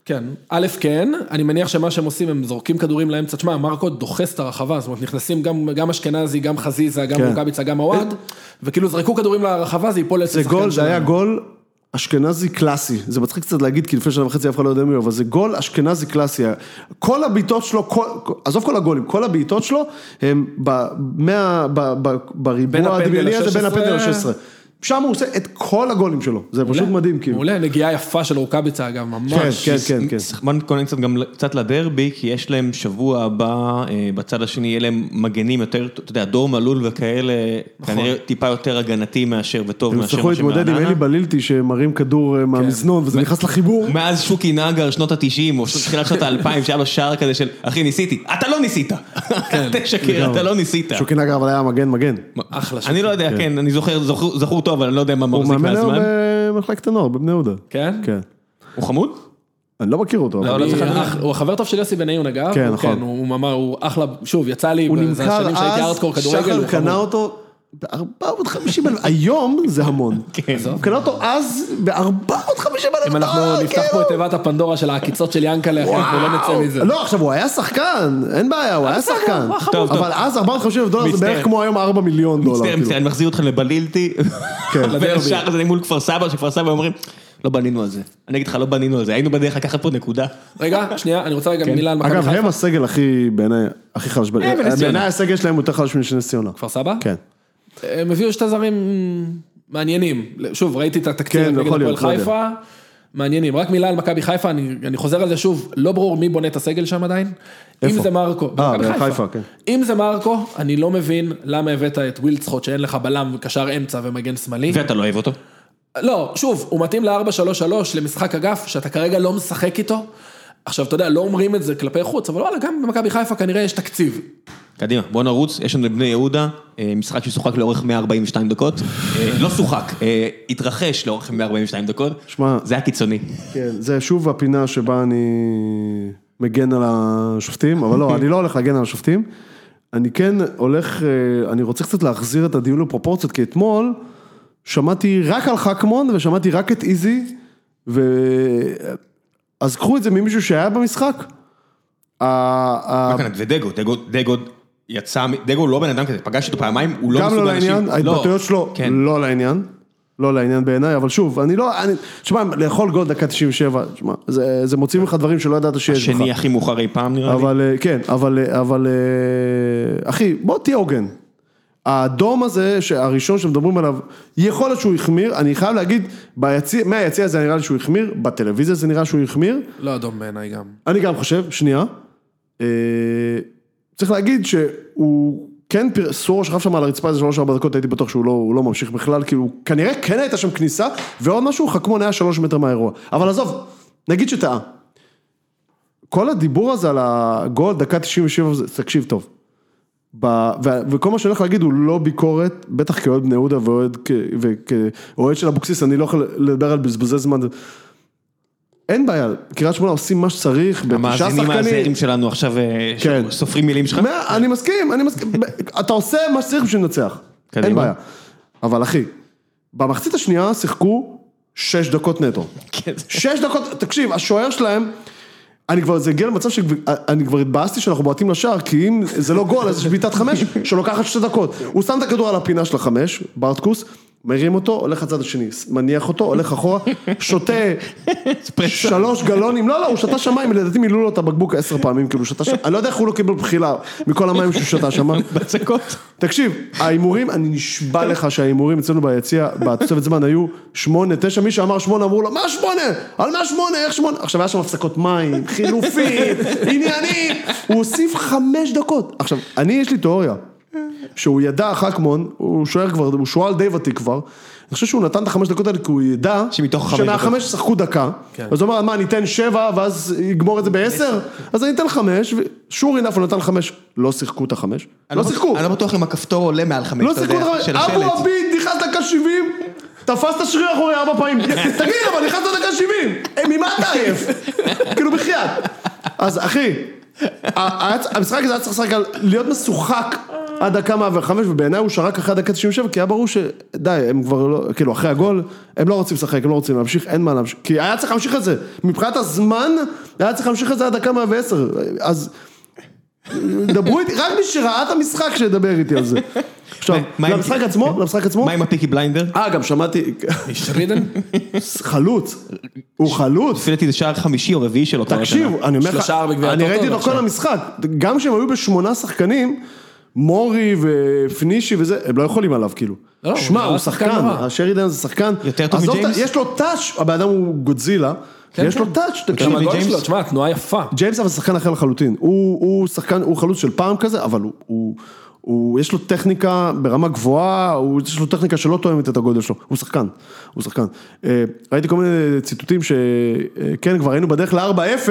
[SPEAKER 3] כן, א' כן, אני מניח שמה שהם עושים, הם זורקים כדורים לאמצע, תשמע, מרקו דוחס את הרחבה, זאת אומרת, נכנסים גם, גם אשכנזי, גם חזיזה, גם
[SPEAKER 2] כן. אה,
[SPEAKER 3] רוקאביצה, גם עוואד, וכאילו זרקו כדורים לרחבה, זה ייפול לעצם
[SPEAKER 2] זה
[SPEAKER 3] שחקן
[SPEAKER 2] גול, זה
[SPEAKER 3] שלהם.
[SPEAKER 2] היה גול אשכנזי קלאסי. זה מצחיק קצת להגיד, כי לפני שנה וחצי אף אחד לא יודע מי הוא, אבל זה גול אשכנזי קלאסי. כל הבעיטות שלו, כל- עזוב כל הגולים, כל הבעיטות שלו הם ב- מה- ב- ב-
[SPEAKER 3] בין
[SPEAKER 2] בריבוע
[SPEAKER 3] הפנדל
[SPEAKER 2] הדמיוני הזה בין
[SPEAKER 3] ל-
[SPEAKER 2] הפנדל ל-16. שם הוא עושה את כל הגולים שלו, זה פשוט מדהים, כאילו.
[SPEAKER 3] מעולה, נגיעה יפה של רוקאביצה, אגב, ממש.
[SPEAKER 2] כן, כן, כן, כן.
[SPEAKER 1] בוא נתכונן קצת גם קצת לדרבי, כי יש להם שבוע הבא, אה, בצד השני יהיה להם מגנים יותר, אתה יודע, דור מלול וכאלה, כנראה טיפה יותר הגנתי מאשר וטוב
[SPEAKER 2] נכון. הם
[SPEAKER 1] מאשר
[SPEAKER 2] יצטרכו
[SPEAKER 1] מה
[SPEAKER 2] להתמודד עם אלי
[SPEAKER 1] שמרעננה.
[SPEAKER 2] בלילטי שמרים כדור
[SPEAKER 3] כן.
[SPEAKER 2] אה, מהמזנון וזה נכנס לחיבור.
[SPEAKER 1] מאז שוקי נגר שנות ה-90, או תחילת שנות ה-2000, שהיה לו שער כזה של, אחי ניסיתי, אתה לא ניסית, תשקר, אתה לא ניסית.
[SPEAKER 2] כן, שוקי נגר אבל כן, היה מגן מגן.
[SPEAKER 3] אחלה שוקי.
[SPEAKER 1] אני לא יודע, כן, אני זוכר, זוכר- זכור טוב, אבל אני לא יודע מה
[SPEAKER 2] הוא
[SPEAKER 1] מחזיק
[SPEAKER 2] מאמן היום
[SPEAKER 1] מהזמן.
[SPEAKER 2] במחלקת הנוער, בבני יהודה.
[SPEAKER 3] כן?
[SPEAKER 2] כן.
[SPEAKER 1] הוא חמוד?
[SPEAKER 2] אני לא מכיר אותו. אבל-
[SPEAKER 3] לא, לא צריך לדעת. הוא החבר טוב של יוסי בניון אגב,
[SPEAKER 2] כן,
[SPEAKER 3] הוא-
[SPEAKER 2] נכון.
[SPEAKER 3] הוא הוא ממש, הוא אחלה, שוב, יצא לי,
[SPEAKER 2] הוא
[SPEAKER 3] זה
[SPEAKER 2] נמכר
[SPEAKER 3] השנים שהייתי
[SPEAKER 2] אז,
[SPEAKER 3] ארדקור כדורגל,
[SPEAKER 2] שחר
[SPEAKER 3] הוא
[SPEAKER 2] קנה
[SPEAKER 3] חמוד.
[SPEAKER 2] אותו ב-450 אלף, היום זה המון.
[SPEAKER 1] כן.
[SPEAKER 2] הוא קנה אותו אז ב-450 אלף. כאילו.
[SPEAKER 3] אם
[SPEAKER 2] אוקיי,
[SPEAKER 3] אנחנו נפתח פה את תיבת הפנדורה של העקיצות של ינקלה, אחי, אנחנו לא נצא מזה.
[SPEAKER 2] לא, עכשיו הוא היה שחקן, אין בעיה, הוא היה שחקן.
[SPEAKER 3] הוא היה
[SPEAKER 1] חמוד. טוב,
[SPEAKER 2] אבל אז 450 אלף דולר זה
[SPEAKER 1] מצטער.
[SPEAKER 2] בערך כמו היום 4 מיליון דולר.
[SPEAKER 1] מצטער,
[SPEAKER 2] כאילו.
[SPEAKER 1] מצטער, אני מחזיר אתכם לבלילתי.
[SPEAKER 2] כן.
[SPEAKER 1] ולשאר הזה מול כפר סבא, שכפר סבא אומרים, לא בנינו על זה. אני אגיד לך, לא בנינו על זה, היינו בדרך לקחת פה נקודה.
[SPEAKER 3] רגע, שנייה, אני רוצה רגע מילה על מכבי
[SPEAKER 2] כן. אגב,
[SPEAKER 3] חיפה. אה,
[SPEAKER 2] הם הסגל הכי, בעיניי, הכי חלש.
[SPEAKER 1] ונס ציונה.
[SPEAKER 2] בעיניי הסגל שלהם יותר חלש משל נס ציונה.
[SPEAKER 3] כפר סבא?
[SPEAKER 2] כן.
[SPEAKER 3] הם הביאו שתי זרים מעניינים. שוב, ראיתי את התקציב
[SPEAKER 2] כן, יכול
[SPEAKER 3] נגד הפועל
[SPEAKER 2] להיות, לא יודע.
[SPEAKER 3] חיפה. מעניינים, רק מילה על מכבי חיפה, אני, אני חוזר על זה שוב, לא ברור מי בונה את הסגל שם עדיין.
[SPEAKER 2] איפה?
[SPEAKER 3] אם זה מרקו, במכבי
[SPEAKER 2] בחיפה, כן.
[SPEAKER 3] אם זה מרקו, אני לא מבין למה הבאת את ווילדסחוט שאין לך בלם וקשר אמצע ומגן שמאלי.
[SPEAKER 1] ואתה לא אוהב אותו.
[SPEAKER 3] לא, שוב, הוא מתאים ל-4-3-3 למשחק אגף, שאתה כרגע לא משחק איתו. עכשיו, אתה יודע, לא אומרים את זה כלפי חוץ, אבל וואלה, גם במכבי חיפה כנראה יש תקציב.
[SPEAKER 1] קדימה, בוא נרוץ, יש לנו לבני יהודה, אה, משחק ששוחק לאורך 142 דקות. אה, לא שוחק, אה, התרחש לאורך 142 דקות.
[SPEAKER 2] שמע-
[SPEAKER 1] זה היה קיצוני.
[SPEAKER 2] כן, זה שוב הפינה שבה אני מגן על השופטים, אבל לא, אני לא הולך להגן על השופטים. אני כן הולך, אה, אני רוצה קצת להחזיר את הדיון לפרופורציות, כי אתמול שמעתי רק על חכמון ושמעתי רק את איזי, ו... אה, אז קחו את זה ממישהו שהיה במשחק. ה- ה-
[SPEAKER 1] מה כאן, ודגו, דגו, דגו יצא, מ- דגו לא בן אדם כזה, פגשתי אותו פעמיים, הוא לא
[SPEAKER 2] גם לא
[SPEAKER 1] מסוג האנשים-
[SPEAKER 2] לעניין, ההתבטאויות שלו
[SPEAKER 1] כן.
[SPEAKER 2] לא לעניין. לא לעניין בעיניי, אבל שוב, אני לא, אני, תשמע, לאכול גול דקה 97, תשמע, זה, זה מוציא ממך דברים שלא ידעת שיש בך.
[SPEAKER 1] השני הכי מאוחר אי פעם נראה לי.
[SPEAKER 2] אבל אה, כן, אבל, אה, אבל, אה, אחי, בוא תהיה הוגן. האדום הזה, הראשון שמדברים עליו, יכול להיות שהוא החמיר, אני חייב להגיד, ביציע, מהיציע הזה נראה לי שהוא החמיר, בטלוויזיה זה נראה שהוא החמיר,
[SPEAKER 3] לא אדום בעיניי גם.
[SPEAKER 2] אני גם חושב, שנייה, אה, צריך להגיד שהוא כן, פיר- סורו שכב שם על הרצפה איזה שלוש ארבע דקות, הייתי בטוח שהוא לא, הוא לא ממשיך בכלל, כאילו, כנראה כן הייתה שם כניסה, ועוד משהו, חכמון היה שלוש מטר מהאירוע. אבל עזוב, נגיד שטעה. כל הדיבור הזה על הגול, דקה 97, זה- תקשיב טוב. ב, ו, וכל מה שאני הולך להגיד הוא לא ביקורת, בטח כאוהד בני יהודה ואוהד כ- וכאוהד של אבוקסיס, אני לא יכול לדבר על בזבזי זמן. אין בעיה, קריית שמונה עושים מה שצריך, בתשעה שחקנים.
[SPEAKER 1] המאזינים הזרים שלנו עכשיו אה, ש-
[SPEAKER 2] כן.
[SPEAKER 1] סופרים מילים שלך.
[SPEAKER 2] מה, אני מסכים, אני מסכים. אתה עושה מה שצריך בשביל לנצח.
[SPEAKER 1] קדימה.
[SPEAKER 2] אין בעיה. אבל אחי, במחצית השנייה שיחקו שש דקות נטו.
[SPEAKER 1] כן, זה-
[SPEAKER 2] שש דקות, תקשיב, השוער שלהם, אני כבר, זה הגיע למצב שאני כבר התבאסתי שאנחנו בועטים לשער, כי אם זה לא גול, אז יש בעיטת חמש שלוקחת שתי דקות. הוא שם את הכדור על הפינה של החמש, ברטקוס, מרים אותו, הולך לצד השני, מניח אותו, הולך אחורה, שותה
[SPEAKER 1] אספרסו.
[SPEAKER 2] שלוש גלונים, לא, לא, הוא שתה שם מים, לדעתי מילאו לו את הבקבוק עשר פעמים, כאילו, שתה שם, אני לא יודע איך הוא לא קיבל בחילה מכל המים שהוא שתה שם. אה?
[SPEAKER 1] בצקות.
[SPEAKER 2] תקשיב, ההימורים, אני נשבע לך שההימורים אצלנו ביציע, בתוספת זמן היו שמונה, תשע, מי שאמר שמונה אמרו לו, מה שמונה? על מה שמונה? איך שמונה? עכשיו היה שם הפסקות מים, חילופים, עניינים, הוא הוסיף חמש דקות. עכשיו, אני יש לי תיאוריה, שהוא ידע חכמון, הוא שוער כבר, הוא שועל די ותיק כבר, אני חושב שהוא נתן את החמש דקות האלה כי הוא ידע,
[SPEAKER 1] שמתוך החמש דקות-
[SPEAKER 2] שמהחמש שחקו דקה,
[SPEAKER 3] כן.
[SPEAKER 2] אז הוא אמר, מה, ניתן שבע ואז יגמור את זה בעשר? אז אני אתן חמש, ושור אינף הוא נתן חמש, לא שיחקו את החמש,
[SPEAKER 4] אני
[SPEAKER 2] לא שיחקו,
[SPEAKER 4] אני לא בטוח אם הכפתור עולה מעל חמש,
[SPEAKER 2] לא
[SPEAKER 4] אתה
[SPEAKER 2] שיחקו את
[SPEAKER 4] יודע,
[SPEAKER 2] החמש,
[SPEAKER 4] של
[SPEAKER 2] אבו
[SPEAKER 4] השלט.
[SPEAKER 2] עביד נכנס דקה שבעים, תפס את השריר האחורי ארבע פעמים, תגיד אבל נכנסת דקה שבעים, אה, ממה אתה עייף? כאילו בחייאת, אז אחי, ה- היה צ- המשחק הזה היה צריך לשחק על להיות משוחק. עד דקה 105, ובעיניי הוא שרק אחרי הדקה 97, כי היה ברור ש... די, הם כבר לא... כאילו, אחרי הגול, הם לא רוצים לשחק, הם לא רוצים להמשיך, אין מה להמשיך. כי היה צריך להמשיך את זה. מבחינת הזמן, היה צריך להמשיך את זה עד דקה 110. אז... דברו איתי, רק מי שראה את המשחק שידבר איתי על זה. עכשיו,
[SPEAKER 1] מה עם-
[SPEAKER 2] למשחק עצמו, למשחק עצמו,
[SPEAKER 1] מה עם הפיקי בליינדר?
[SPEAKER 2] אה, גם שמעתי,
[SPEAKER 3] שרידן?
[SPEAKER 2] חלוץ, הוא חלוץ.
[SPEAKER 1] לפי דעתי זה שער חמישי או רביעי שלו. כבר השנה.
[SPEAKER 2] תקשיב, אני אומר לך,
[SPEAKER 3] שלושה ארבע גביע
[SPEAKER 2] אני
[SPEAKER 3] הטוטו,
[SPEAKER 2] ראיתי אותו
[SPEAKER 3] בבקשה.
[SPEAKER 2] כל המשחק, גם כשהם היו בשמונה שחקנים, מורי ופנישי וזה, הם לא יכולים עליו כאילו.
[SPEAKER 3] לא, הוא
[SPEAKER 2] שמע,
[SPEAKER 3] נראה
[SPEAKER 2] הוא
[SPEAKER 3] שחקן
[SPEAKER 2] שחקן,
[SPEAKER 3] נורא.
[SPEAKER 2] השרידן זה שחקן.
[SPEAKER 1] יותר טוב
[SPEAKER 2] עזוב,
[SPEAKER 1] מג'יימס?
[SPEAKER 2] יש לו טאץ', הבן אדם הוא גודזילה, יש לו טאץ',
[SPEAKER 3] גם
[SPEAKER 2] תקשיב.
[SPEAKER 1] מג'יימס?
[SPEAKER 3] הגול שלו, תשמע, תנועה יפה.
[SPEAKER 2] ג'יימס אבל שחקן אחר לחלוטין, הוא, הוא שחקן, הוא חלוץ של פעם כזה, אבל הוא, הוא, הוא, יש לו טכניקה ברמה גבוהה, הוא, יש לו טכניקה שלא תואמת את הגודל שלו, הוא שחקן, הוא שחקן. אה, ראיתי כל מיני ציטוטים שכן, כבר היינו בדרך ל-4-0,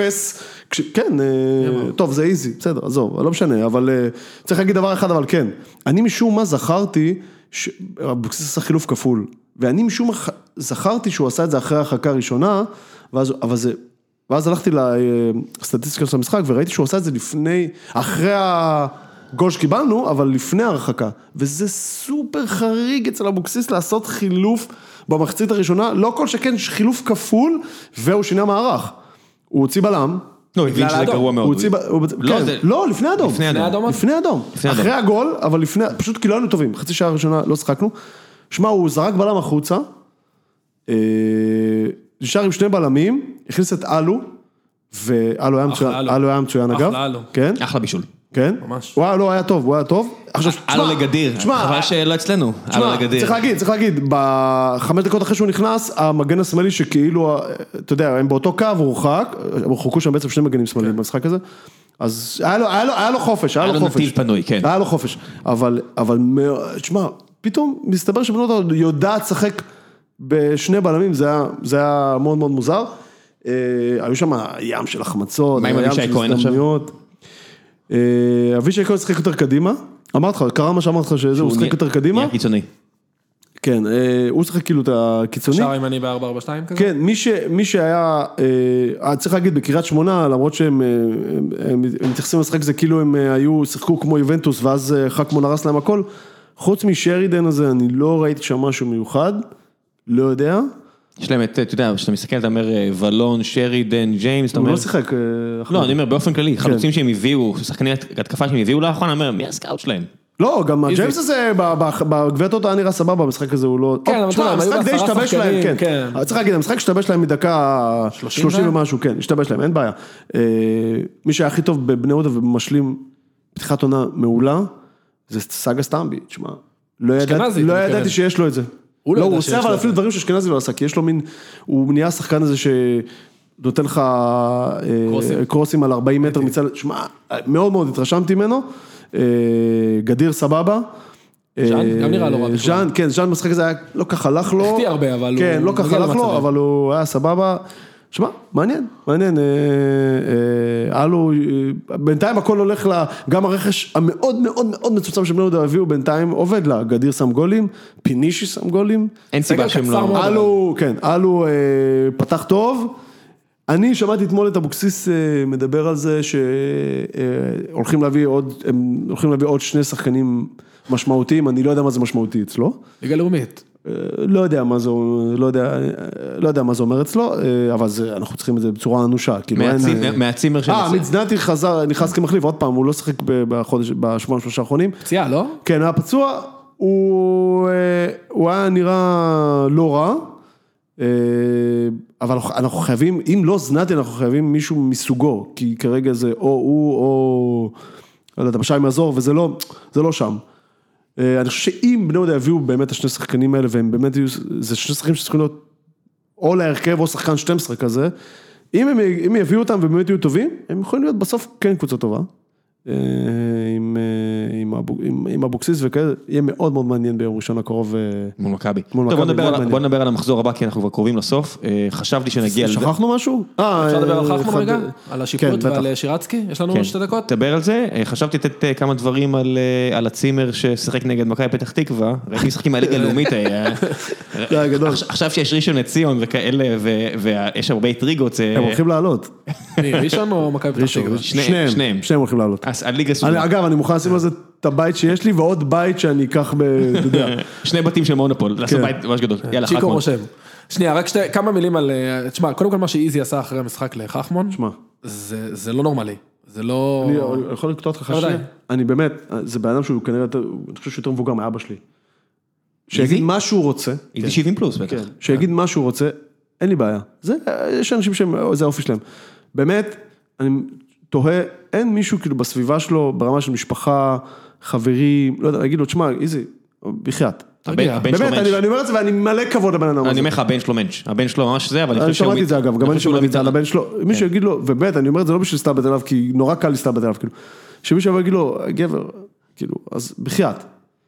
[SPEAKER 2] כש- כן, אה, טוב זה איזי, בסדר, עזוב, לא משנה, אבל אה, צריך להגיד דבר אחד, אבל כן, אני משום מה זכרתי, ש- אבוקסיס עשה חילוף כפול, ואני משום מה ח- זכרתי שהוא עשה את זה אחרי ההרחקה הראשונה, ואז, אבל זה... ואז הלכתי לסטטיסטיקה של המשחק וראיתי שהוא עשה את זה לפני, אחרי הגול שקיבלנו, אבל לפני ההרחקה. וזה סופר חריג אצל אבוקסיס לעשות חילוף במחצית הראשונה, לא כל שכן חילוף כפול, והוא שינה מערך. הוא הוציא בלם.
[SPEAKER 1] לא, הוא הבין
[SPEAKER 3] בגלל
[SPEAKER 1] שזה
[SPEAKER 3] האדום.
[SPEAKER 1] גרוע מאוד.
[SPEAKER 2] הוא הוציא, ב- הוא-
[SPEAKER 1] לא,
[SPEAKER 2] כן,
[SPEAKER 1] זה-
[SPEAKER 2] לא, לפני אדום.
[SPEAKER 1] לפני
[SPEAKER 3] לפני
[SPEAKER 1] אדום.
[SPEAKER 3] האדום?
[SPEAKER 2] לפני אדום.
[SPEAKER 1] לפני אדום.
[SPEAKER 2] אחרי הגול, אבל לפני, פשוט כי לא היינו טובים, חצי שעה ראשונה לא שחקנו. שמע, הוא זרק בלם החוצה, אה, נשאר עם שני בלמים, הכניס את אלו, ואלו היה מצוין,
[SPEAKER 3] אלו.
[SPEAKER 2] אלו היה מצוין
[SPEAKER 3] אחלה
[SPEAKER 2] אגב.
[SPEAKER 3] אלו.
[SPEAKER 2] כן,
[SPEAKER 1] אחלה בישול.
[SPEAKER 2] כן.
[SPEAKER 3] ממש.
[SPEAKER 2] הוא היה, לא, היה טוב, הוא היה טוב. עכשיו,
[SPEAKER 1] הלו
[SPEAKER 2] תשמע,
[SPEAKER 1] לגדיר.
[SPEAKER 2] תשמע,
[SPEAKER 1] חבל שלא אצלנו. הלו
[SPEAKER 2] תשמע,
[SPEAKER 1] לגדיר.
[SPEAKER 2] צריך להגיד, צריך להגיד, בחמש דקות אחרי שהוא נכנס, המגן השמאלי שכאילו, אה, אתה יודע, הם באותו קו, הוא הורחק, הורחקו שם בעצם שני מגנים שמאליים במשחק הזה, אז היה לו, היה לו, היה לו חופש, היה
[SPEAKER 1] כן. היה
[SPEAKER 2] לו
[SPEAKER 1] לו
[SPEAKER 2] חופש.
[SPEAKER 1] נתיב פנוי, כן.
[SPEAKER 2] היה לו חופש, אבל, אבל, מא- תשמע, פתאום מסתבר שבני יהודה יודעת לשחק בשני בלמים, זה היה, זה היה מאוד מאוד מוזר. אה, היו שם ים של החמצות,
[SPEAKER 1] מה עם
[SPEAKER 2] ים
[SPEAKER 1] אבישי
[SPEAKER 2] של
[SPEAKER 1] כהן עכשיו?
[SPEAKER 2] הזדמנויות. אה, אבישי כהן שיחק יותר קדימה, אמרתי לך, קרה מה שאמרתי לך שזה, הוא
[SPEAKER 1] נהיה-
[SPEAKER 2] שיחק יותר קדימה.
[SPEAKER 1] נהיה קיצוני.
[SPEAKER 2] כן, אה, הוא שיחק כאילו את הקיצוני.
[SPEAKER 3] שער ימני ב-442 כזה?
[SPEAKER 2] כן, מי, ש, מי שהיה, אה, צריך להגיד, בקריית שמונה, למרות שהם אה, הם, הם, הם מתייחסים למשחק הזה כאילו הם אה, היו, שיחקו כמו יובנטוס, ואז אה, חכמון הרס להם הכל, חוץ משרידן הזה, אני לא ראיתי שם משהו מיוחד, לא יודע,
[SPEAKER 1] יש להם את, אתה יודע, כשאתה מסתכל, אתה אומר אה, ולון, שרידן, ג'יימס, אתה
[SPEAKER 2] הוא
[SPEAKER 1] אומר...
[SPEAKER 2] לא שיחק. כן. אה,
[SPEAKER 1] לא,
[SPEAKER 2] חכמון.
[SPEAKER 1] אני אומר באופן כללי, חלוצים שהם הביאו, שחקני התקפה שהם הביאו לאחרונה, אני אומר, מי הסקאוט שלהם?
[SPEAKER 2] לא, גם הג'יימס הזה, ב- ב- בגביע הטוטו היה נראה סבבה, המשחק הזה הוא לא...
[SPEAKER 3] כן, אבל
[SPEAKER 2] תשמע,
[SPEAKER 3] אתה יודע, הם היו
[SPEAKER 2] המשחק די
[SPEAKER 3] בעשרה
[SPEAKER 2] השתבש להם, כן.
[SPEAKER 3] שחקנים, כן.
[SPEAKER 2] אבל צריך להגיד, המשחק השתבש להם מדקה
[SPEAKER 3] 30
[SPEAKER 2] 30
[SPEAKER 3] זה?
[SPEAKER 2] ומשהו, כן, השתבש להם, אין בעיה. אה, מי שהיה הכי טוב בבני יהודה ומשלים פתיחת עונה מעולה, זה סאגה סטמבי, תשמע. לא ידעתי-
[SPEAKER 3] אשכנזי,
[SPEAKER 2] לא
[SPEAKER 3] אתה מתכוון.
[SPEAKER 2] ידעתי שיש לו את זה.
[SPEAKER 3] הוא לא
[SPEAKER 2] לא,
[SPEAKER 3] ידע
[SPEAKER 2] הוא
[SPEAKER 3] שיש
[SPEAKER 2] עושה
[SPEAKER 3] לו
[SPEAKER 2] אבל
[SPEAKER 3] את
[SPEAKER 2] אפילו
[SPEAKER 3] זה.
[SPEAKER 2] דברים שאשכנזי לא עשה, כי יש לו מין, הוא נהיה השחקן הזה שנותן לך אה,
[SPEAKER 3] קרוסים.
[SPEAKER 2] קרוסים על 40 מטר מצד, שמע, מאוד מאוד התרשמתי ממנו, אה, גדיר סבבה.
[SPEAKER 3] ז'אן, גם נראה לא רע
[SPEAKER 2] אה,
[SPEAKER 3] בכלל.
[SPEAKER 2] ז'אן, כן, ז'אן במשחק הזה היה, לא ככה הלך לו.
[SPEAKER 3] החטיא הרבה, אבל
[SPEAKER 2] כן,
[SPEAKER 3] הוא
[SPEAKER 2] לא ככה
[SPEAKER 3] מגיע
[SPEAKER 2] הלך לו,
[SPEAKER 3] למצבים.
[SPEAKER 2] אבל הוא היה סבבה. שמע, מעניין, מעניין. אה, אה, הלו, אה, בינתיים הכל הולך ל... גם הרכש המאוד מאוד מאוד מצומצם שבני יהודה הביאו, בינתיים עובד לה. גדיר שם גולים, פינישי שם גולים.
[SPEAKER 1] אין סיבה
[SPEAKER 3] סגל
[SPEAKER 1] שהם
[SPEAKER 3] קצר
[SPEAKER 1] לא...
[SPEAKER 3] מאוד.
[SPEAKER 2] הלו, כן, הלו אה, פתח טוב. אני שמעתי אתמול את אבוקסיס אה, מדבר על זה שהולכים להביא עוד, הם הולכים להביא עוד שני שחקנים משמעותיים, אני לא יודע מה זה משמעותי אצלו.
[SPEAKER 3] ליגה לאומית.
[SPEAKER 2] אה, לא יודע מה זה, לא יודע, אה, לא יודע מה זה אומר אצלו, אה, אבל זה, אנחנו צריכים את זה בצורה אנושה, כאילו אין...
[SPEAKER 1] מהצימ-
[SPEAKER 2] אה,
[SPEAKER 1] מהצימר של...
[SPEAKER 2] אה, מצדנתי חזר, נכנס כמחליף, עוד פעם, הוא לא שיחק ב- בחודש, בשבועיים שלושה האחרונים.
[SPEAKER 3] פציעה, לא?
[SPEAKER 2] כן, היה פצוע, הוא, אה, הוא היה נראה לא רע, אה, אבל אנחנו- אנחנו חייבים, אם לא זנתי, אנחנו חייבים מישהו מסוגו, כי כרגע זה או הוא או, לא יודע, בשיים יעזור, וזה לא, זה לא שם. אה, אני חושב שאם בני יהודה יביאו באמת את השני שחקנים האלה, והם באמת יהיו, זה שני שחקנים שצריכים להיות או להרכב או שחקן 12 כזה, אם הם אם יביאו אותם ובאמת יהיו טובים, הם יכולים להיות בסוף כן קבוצה טובה. אה, עם, אה, עם אבו- עם- עם אבוקסיס וכאלה, יהיה מאוד מאוד מעניין ביום ראשון הקרוב. אה,
[SPEAKER 1] מול מכבי.
[SPEAKER 2] מול
[SPEAKER 1] טוב, בוא
[SPEAKER 2] מכבי,
[SPEAKER 1] נדבר
[SPEAKER 2] מאוד
[SPEAKER 1] על-
[SPEAKER 2] מעניין.
[SPEAKER 1] בוא נדבר על המחזור הבא, כי אנחנו כבר קרובים לסוף. אה, חשבתי שנגיע לזה.
[SPEAKER 2] שכחנו משהו? אה,
[SPEAKER 3] אפשר לדבר על
[SPEAKER 2] אה,
[SPEAKER 3] חכמון
[SPEAKER 2] אחד-
[SPEAKER 3] רגע? על השיפוט
[SPEAKER 2] כן, בטח.
[SPEAKER 3] ועל אה, שירצקי? יש לנו
[SPEAKER 1] כן,
[SPEAKER 3] עוד שתי דקות?
[SPEAKER 1] תדבר על זה, אה, חשבתי לתת אה, כמה דברים על, אה, על הצימר ששיחק נגד מכבי פתח תקווה, ראיתי משחקים מהליגה הלאומית, אה,
[SPEAKER 2] זה היה גדול.
[SPEAKER 1] עכש- עכשיו שיש ראשון לציון וכאלה, ו- ויש הרבה טריגות, זה-
[SPEAKER 2] הם הולכים לעלות.
[SPEAKER 3] מי, ראשון או מכבי פתח תקווה?
[SPEAKER 1] שניהם,
[SPEAKER 2] שניהם,
[SPEAKER 1] שניהם. אה,
[SPEAKER 2] שניהם הולכים לעלות.
[SPEAKER 1] אז הליגה
[SPEAKER 2] אני-
[SPEAKER 1] סגורה,
[SPEAKER 2] אגב, אני מוכן לשים על זה את הבית שיש לי ועוד בית שאני אקח ב... אתה יודע.
[SPEAKER 1] שני בתים של מונופול, לעשות
[SPEAKER 2] כן.
[SPEAKER 1] בית ממש גדול, יאללה,
[SPEAKER 3] צ'יקו
[SPEAKER 1] חכמון.
[SPEAKER 3] רושם. שנייה, רק שתי, כמה מילים על... אה, תשמע, קודם כל מה שאיזי עשה אחרי המשחק לחכמון,
[SPEAKER 2] שמע,
[SPEAKER 3] זה זה לא נורמלי. זה לא...
[SPEAKER 2] אני אני יכול לקטוע אותך חשוב?
[SPEAKER 3] בוודאי.
[SPEAKER 2] אני באמת, זה בן אדם שהוא כנראה יותר, אני חושב שהוא יותר מבוגר מאבא שלי. שיגיד מה שהוא רוצה,
[SPEAKER 1] היא 70 פלוס
[SPEAKER 2] כן.
[SPEAKER 1] בטח.
[SPEAKER 2] שיגיד מה שהוא רוצה, אין לי בעיה. זה, יש אנשים שהם, זה האופי שלהם. באמת, אני תוהה, אין מישהו כאילו בסביבה שלו, ברמה של משפחה, חברים, לא יודע, להגיד לו, תשמע, איזי, בחייאת.
[SPEAKER 1] הבן
[SPEAKER 3] תרגיע.
[SPEAKER 1] הבן שלו
[SPEAKER 2] באמת, אני לא-
[SPEAKER 1] מענץ'.
[SPEAKER 2] אני אומר את זה ואני מלא כבוד לבן אדם
[SPEAKER 1] אני
[SPEAKER 2] הזה.
[SPEAKER 1] אומר לך, הבן שלו מענץ'. הבן שלו ממש זה, אבל אני
[SPEAKER 2] אני
[SPEAKER 1] חושב שהוא...
[SPEAKER 2] שמעתי את זה אגב, גם אני
[SPEAKER 1] חושב שהוא
[SPEAKER 2] שמעתי את
[SPEAKER 1] לא
[SPEAKER 2] זה על
[SPEAKER 1] מתעלם.
[SPEAKER 2] הבן שלו, מישהו יגיד לו, ובאמת, אני אומר את זה לא בשביל סתיו עליו, כי נורא קל להסתלבט עליו, כאילו, שמישהו יבוא ויגיד לו, גבר, כאילו, אז בחייאת.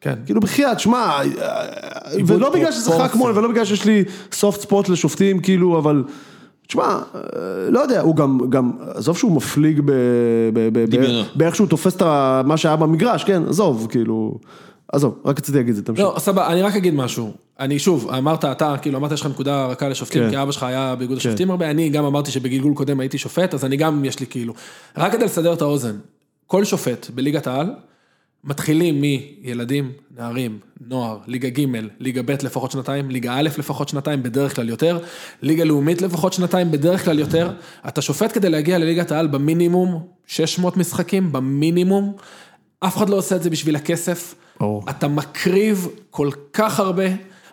[SPEAKER 3] כן.
[SPEAKER 2] כאילו בחייאת, שמע, אה, ולא בגלל שזה
[SPEAKER 3] פרופורציה.
[SPEAKER 2] חכמון, ולא בגלל שיש לי סופט ספוט לשופטים, כאילו, אבל, תשמע, אה, לא יודע, הוא גם, גם, עזוב שהוא מפליג ב- ב- ב- ב-
[SPEAKER 1] דמיונו.
[SPEAKER 2] באיך שהוא תופס את ה- מה שהיה במגרש, כן, עזוב, כאילו, עזוב, רק רציתי להגיד את זה, תמשיך.
[SPEAKER 3] לא, סבבה, אני רק אגיד משהו. אני שוב, אמרת אתה, כאילו אמרת יש לך נקודה רכה לשופטים,
[SPEAKER 2] כן.
[SPEAKER 3] כי אבא שלך היה באיגוד השופטים הרבה, אני גם אמרתי שבגלגול קודם הייתי שופט, אז אני גם, יש לי כאילו. רק כדי לסדר את האוזן, כל שופט בליגת העל, מתחילים מילדים, נערים, נוער, ליגה ג', ליגה ב' לפחות שנתיים, ליגה א' לפחות שנתיים, בדרך כלל יותר, ליגה לאומית לפחות שנתיים, בדרך כלל יותר. אתה שופט כדי להגיע לליגת העל במינימום 600 משחקים, במינימום. אף אחד לא עושה את זה בשביל הכסף.
[SPEAKER 2] ברור.
[SPEAKER 3] אתה מקריב כל כך הרבה.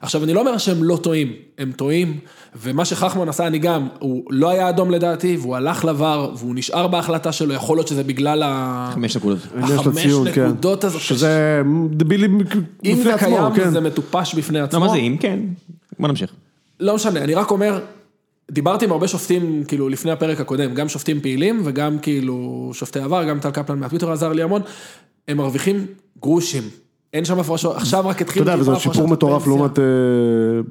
[SPEAKER 3] עכשיו, אני לא אומר שהם לא טועים, הם טועים, ומה שחכמון עשה, אני גם, הוא לא היה אדום לדעתי, והוא הלך לבר, והוא נשאר בהחלטה שלו, יכול להיות שזה בגלל ה...
[SPEAKER 1] חמש נקודות.
[SPEAKER 2] העניין של
[SPEAKER 3] החמש
[SPEAKER 2] הציון, כן.
[SPEAKER 3] נקודות הזאת,
[SPEAKER 2] שזה דבילי
[SPEAKER 3] אם
[SPEAKER 2] בפני
[SPEAKER 3] זה
[SPEAKER 2] עצמו, כן.
[SPEAKER 3] קיים, זה מטופש בפני
[SPEAKER 1] לא,
[SPEAKER 3] עצמו.
[SPEAKER 1] מה זה אם? כן. בוא נמשיך.
[SPEAKER 3] לא משנה, אני רק אומר, דיברתי עם הרבה שופטים, כאילו, לפני הפרק הקודם, גם שופטים פעילים וגם כאילו שופטי עבר, גם טל קפלן מהטוויטר עזר לי המון, הם מרוויחים גרושים. אין שם הפרשות, עכשיו רק
[SPEAKER 2] אתה
[SPEAKER 3] התחיל...
[SPEAKER 2] יודע,
[SPEAKER 3] טיפה
[SPEAKER 2] וזה עוד
[SPEAKER 3] הפרשות
[SPEAKER 2] שיפור מטורף
[SPEAKER 3] הפנסיה.
[SPEAKER 2] לעומת אה,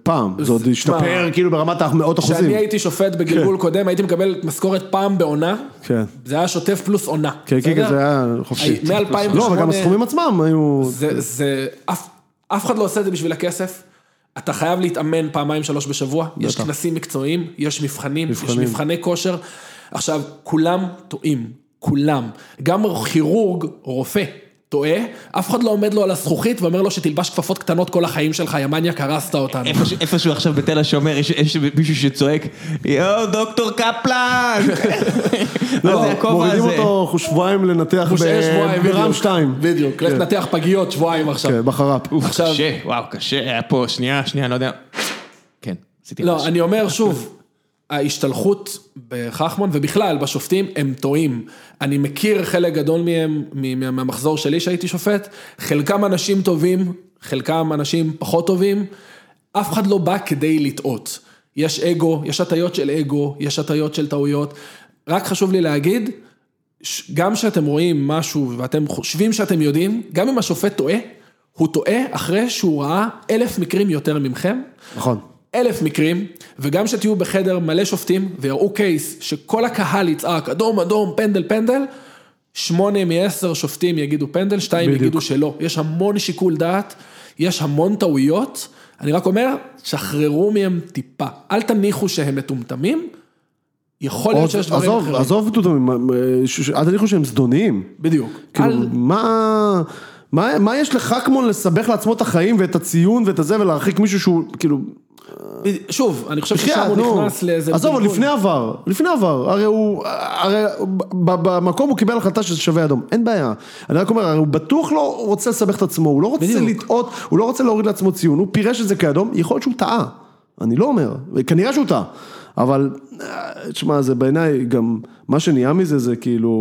[SPEAKER 2] פעם, זה עוד
[SPEAKER 3] שמע,
[SPEAKER 2] השתפר כאילו ברמת המאות אחוזים.
[SPEAKER 3] כשאני הייתי שופט בגלגול קודם, הייתי מקבל משכורת פעם בעונה,
[SPEAKER 2] כן.
[SPEAKER 3] זה היה שוטף פלוס עונה.
[SPEAKER 2] כן, כן,
[SPEAKER 3] בסדר?
[SPEAKER 2] כן, זה היה חופשי.
[SPEAKER 3] הי- מ-2008
[SPEAKER 2] לא, אבל גם הסכומים עצמם היו...
[SPEAKER 3] זה, זה, אף, אף אחד לא עושה את זה בשביל הכסף. אתה חייב להתאמן פעמיים שלוש בשבוע, יש כנסים מקצועיים, יש מבחנים,
[SPEAKER 2] מבחנים.
[SPEAKER 3] יש מבחני כושר. עכשיו, כולם טועים, כולם. גם כירורג, רופא, טועה, אף אחד לא עומד לו על הזכוכית ואומר לו שתלבש כפפות קטנות כל החיים שלך, יא מניאק, הרסת אותנו.
[SPEAKER 1] איפה ש- איפשהו עכשיו בתל השומר יש- יש מישהו שצועק, יואו, דוקטור קפלן! מה
[SPEAKER 2] לא,
[SPEAKER 1] זה הכובע
[SPEAKER 2] מורידים
[SPEAKER 1] הזה?
[SPEAKER 2] אותו אנחנו שבועיים לנתח
[SPEAKER 3] הוא שיש שבועיים, בדיוק.
[SPEAKER 2] ברם 2.
[SPEAKER 3] בדיוק, לך תנתח פגיות שבועיים עכשיו.
[SPEAKER 2] כן, בחר"פ.
[SPEAKER 3] עכשיו-
[SPEAKER 1] קשה, וואו, קשה, היה פה, שנייה, שנייה, אני לא יודע. כן, עשיתי
[SPEAKER 3] לא,
[SPEAKER 1] רעש.
[SPEAKER 3] אני אומר שוב, ההשתלחות בחכמון ובכלל בשופטים הם טועים. אני מכיר חלק גדול מהם, מ- מה- מהמחזור שלי שהייתי שופט, חלקם אנשים טובים, חלקם אנשים פחות טובים, אף אחד לא בא כדי לטעות. יש אגו, יש הטיות של אגו, יש הטיות של טעויות. רק חשוב לי להגיד, ש- גם כשאתם רואים משהו ואתם חושבים שאתם יודעים, גם אם השופט טועה, הוא טועה אחרי שהוא ראה אלף מקרים יותר ממכם,
[SPEAKER 2] נכון.
[SPEAKER 3] אלף מקרים, וגם שתהיו בחדר מלא שופטים ויראו קייס שכל הקהל יצעק אדום, אדום, פנדל, פנדל, שמונה מעשר שופטים יגידו פנדל, שתיים
[SPEAKER 2] בדיוק.
[SPEAKER 3] יגידו שלא. יש המון שיקול דעת, יש המון טעויות, אני רק אומר, שחררו מהם טיפה. אל תניחו שהם מטומטמים, יכול להיות שיש דברים
[SPEAKER 2] עזוב,
[SPEAKER 3] אחרים.
[SPEAKER 2] עזוב מטומטמים, ש- ש- אל תניחו שהם זדוניים.
[SPEAKER 3] בדיוק.
[SPEAKER 2] כאילו,
[SPEAKER 3] אל-
[SPEAKER 2] מה... מה, מה יש לחכמון לסבך לעצמו את החיים ואת הציון ואת הזה ולהרחיק מישהו שהוא כאילו,
[SPEAKER 3] שוב, אני חושב ששם
[SPEAKER 2] בחייאת,
[SPEAKER 3] הוא
[SPEAKER 2] נו.
[SPEAKER 3] נכנס לאיזה...
[SPEAKER 2] עזוב, עוד
[SPEAKER 3] בלבול.
[SPEAKER 2] לפני עבר, לפני עבר, הרי הוא, הרי ב- ב- במקום הוא קיבל החלטה שזה שווה אדום, אין בעיה. אני רק אומר, הרי הוא בטוח לא רוצה לסבך את עצמו, הוא לא רוצה
[SPEAKER 3] בדיוק.
[SPEAKER 2] לטעות, הוא לא רוצה להוריד לעצמו ציון, הוא פירש את זה כאדום, יכול להיות שהוא טעה, אני לא אומר, כנראה שהוא טעה, אבל, אה, תשמע, זה בעיניי גם, מה שנהיה מזה זה כאילו,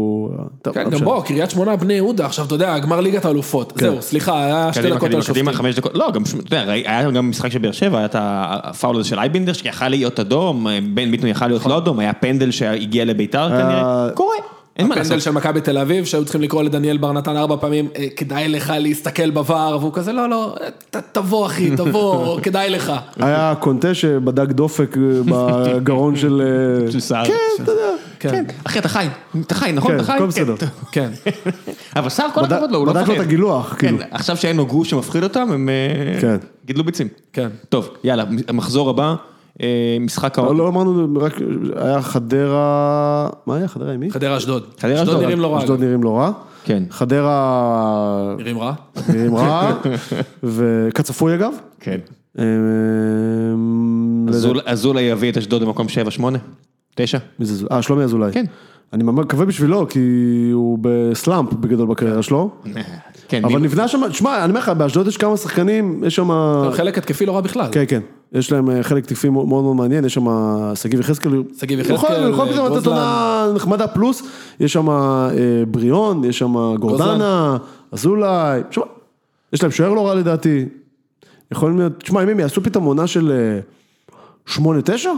[SPEAKER 2] טוב, לא
[SPEAKER 3] כן, גם
[SPEAKER 2] משנה.
[SPEAKER 3] בוא, קריית שמונה, בני יהודה, עכשיו אתה יודע, גמר ליגת האלופות. זהו, סליחה, היה
[SPEAKER 1] כן.
[SPEAKER 3] שתי
[SPEAKER 1] קדימה,
[SPEAKER 3] דקות על
[SPEAKER 1] קדימה,
[SPEAKER 3] שופטים.
[SPEAKER 1] קדימה, חמש דקות, לא, גם, אתה יודע, ראי- היה גם משחק של באר שבע, היה את הפאול הזה של אייבינדר, אה,
[SPEAKER 2] אה,
[SPEAKER 1] שיכל להיות אדום, בן ביטון יכל להיות לא אדום, היה פנדל שהגיע לביתר כנראה, קורה. אין מה
[SPEAKER 3] הפנדל
[SPEAKER 1] לעשות.
[SPEAKER 3] של מכבי תל אביב, שהיו צריכים לקרוא לדניאל בר נתן ארבע פעמים, "אה, כדאי לך להסתכל בVAR, והוא כזה, לא, לא, אה, ת- תבוא אחי, תבוא, כדאי לך.
[SPEAKER 2] היה קונטה שבדק דופק בגרון של... אה,
[SPEAKER 1] של סער.
[SPEAKER 2] כן, אתה יודע.
[SPEAKER 3] כן,
[SPEAKER 1] אחי, אתה חי, אתה חי, נכון?
[SPEAKER 2] כן,
[SPEAKER 1] אתה חי?
[SPEAKER 2] הכל בסדר.
[SPEAKER 3] כן.
[SPEAKER 1] אבל סער, כל
[SPEAKER 2] בדק-
[SPEAKER 1] הכבוד לו, הוא לא
[SPEAKER 2] בדק
[SPEAKER 1] מפחד.
[SPEAKER 2] לו את הגילוח,
[SPEAKER 1] כן,
[SPEAKER 2] כאילו.
[SPEAKER 1] עכשיו שאין לו גוף שמפחיד אותם, הם אה,
[SPEAKER 2] כן.
[SPEAKER 1] גידלו ביצים.
[SPEAKER 3] כן.
[SPEAKER 1] טוב, יאללה, המחזור הבא, אה, משחק
[SPEAKER 2] לא,
[SPEAKER 1] העונה.
[SPEAKER 2] לא אמרנו, רק היה חדרה... מה היה? חדרה עם מי?
[SPEAKER 3] חדרה אשדוד.
[SPEAKER 1] חדרה
[SPEAKER 3] אשדוד
[SPEAKER 1] אשדוד.
[SPEAKER 3] נראים לא רע.
[SPEAKER 2] אשדוד נראים לא רע.
[SPEAKER 1] כן.
[SPEAKER 2] חדרה
[SPEAKER 3] נראים רע?
[SPEAKER 2] נראים רע, וכצפוי אגב. אמ,
[SPEAKER 1] כן.
[SPEAKER 2] אה,
[SPEAKER 1] אזול- אזולאי יביא את אשדוד למקום 7, 8, 9.
[SPEAKER 2] מי זה זו- אה, שלומי אזולאי.
[SPEAKER 1] כן.
[SPEAKER 2] אני ממש מקווה בשבילו, כי הוא בסלאמפ בגדול בקריירה שלו.
[SPEAKER 1] כן,
[SPEAKER 2] אבל
[SPEAKER 1] מי-
[SPEAKER 2] נבנה שם, שמע, אני אומר לך, באשדוד יש כמה שחקנים, יש שם...
[SPEAKER 3] חלק התקפי לא רע בכלל.
[SPEAKER 2] כן, כן. יש להם אה, חלק תקפי מאוד מאוד מעניין, יש שם אה, שגיב יחזקאל.
[SPEAKER 3] שגיב
[SPEAKER 2] הוא יכול-
[SPEAKER 3] יחזקאל,
[SPEAKER 2] הוא יכול פתאום לתת
[SPEAKER 3] גוזלן.
[SPEAKER 2] עונה נחמדה פלוס, יש שם אה, בריאון, יש שם אה, גורדנה, אזולאי, שמע, יש להם שוער לא רע לדעתי. יכולים להיות, תשמע, אם הם יעשו פתאום עונה של אה, שמונה, תשע,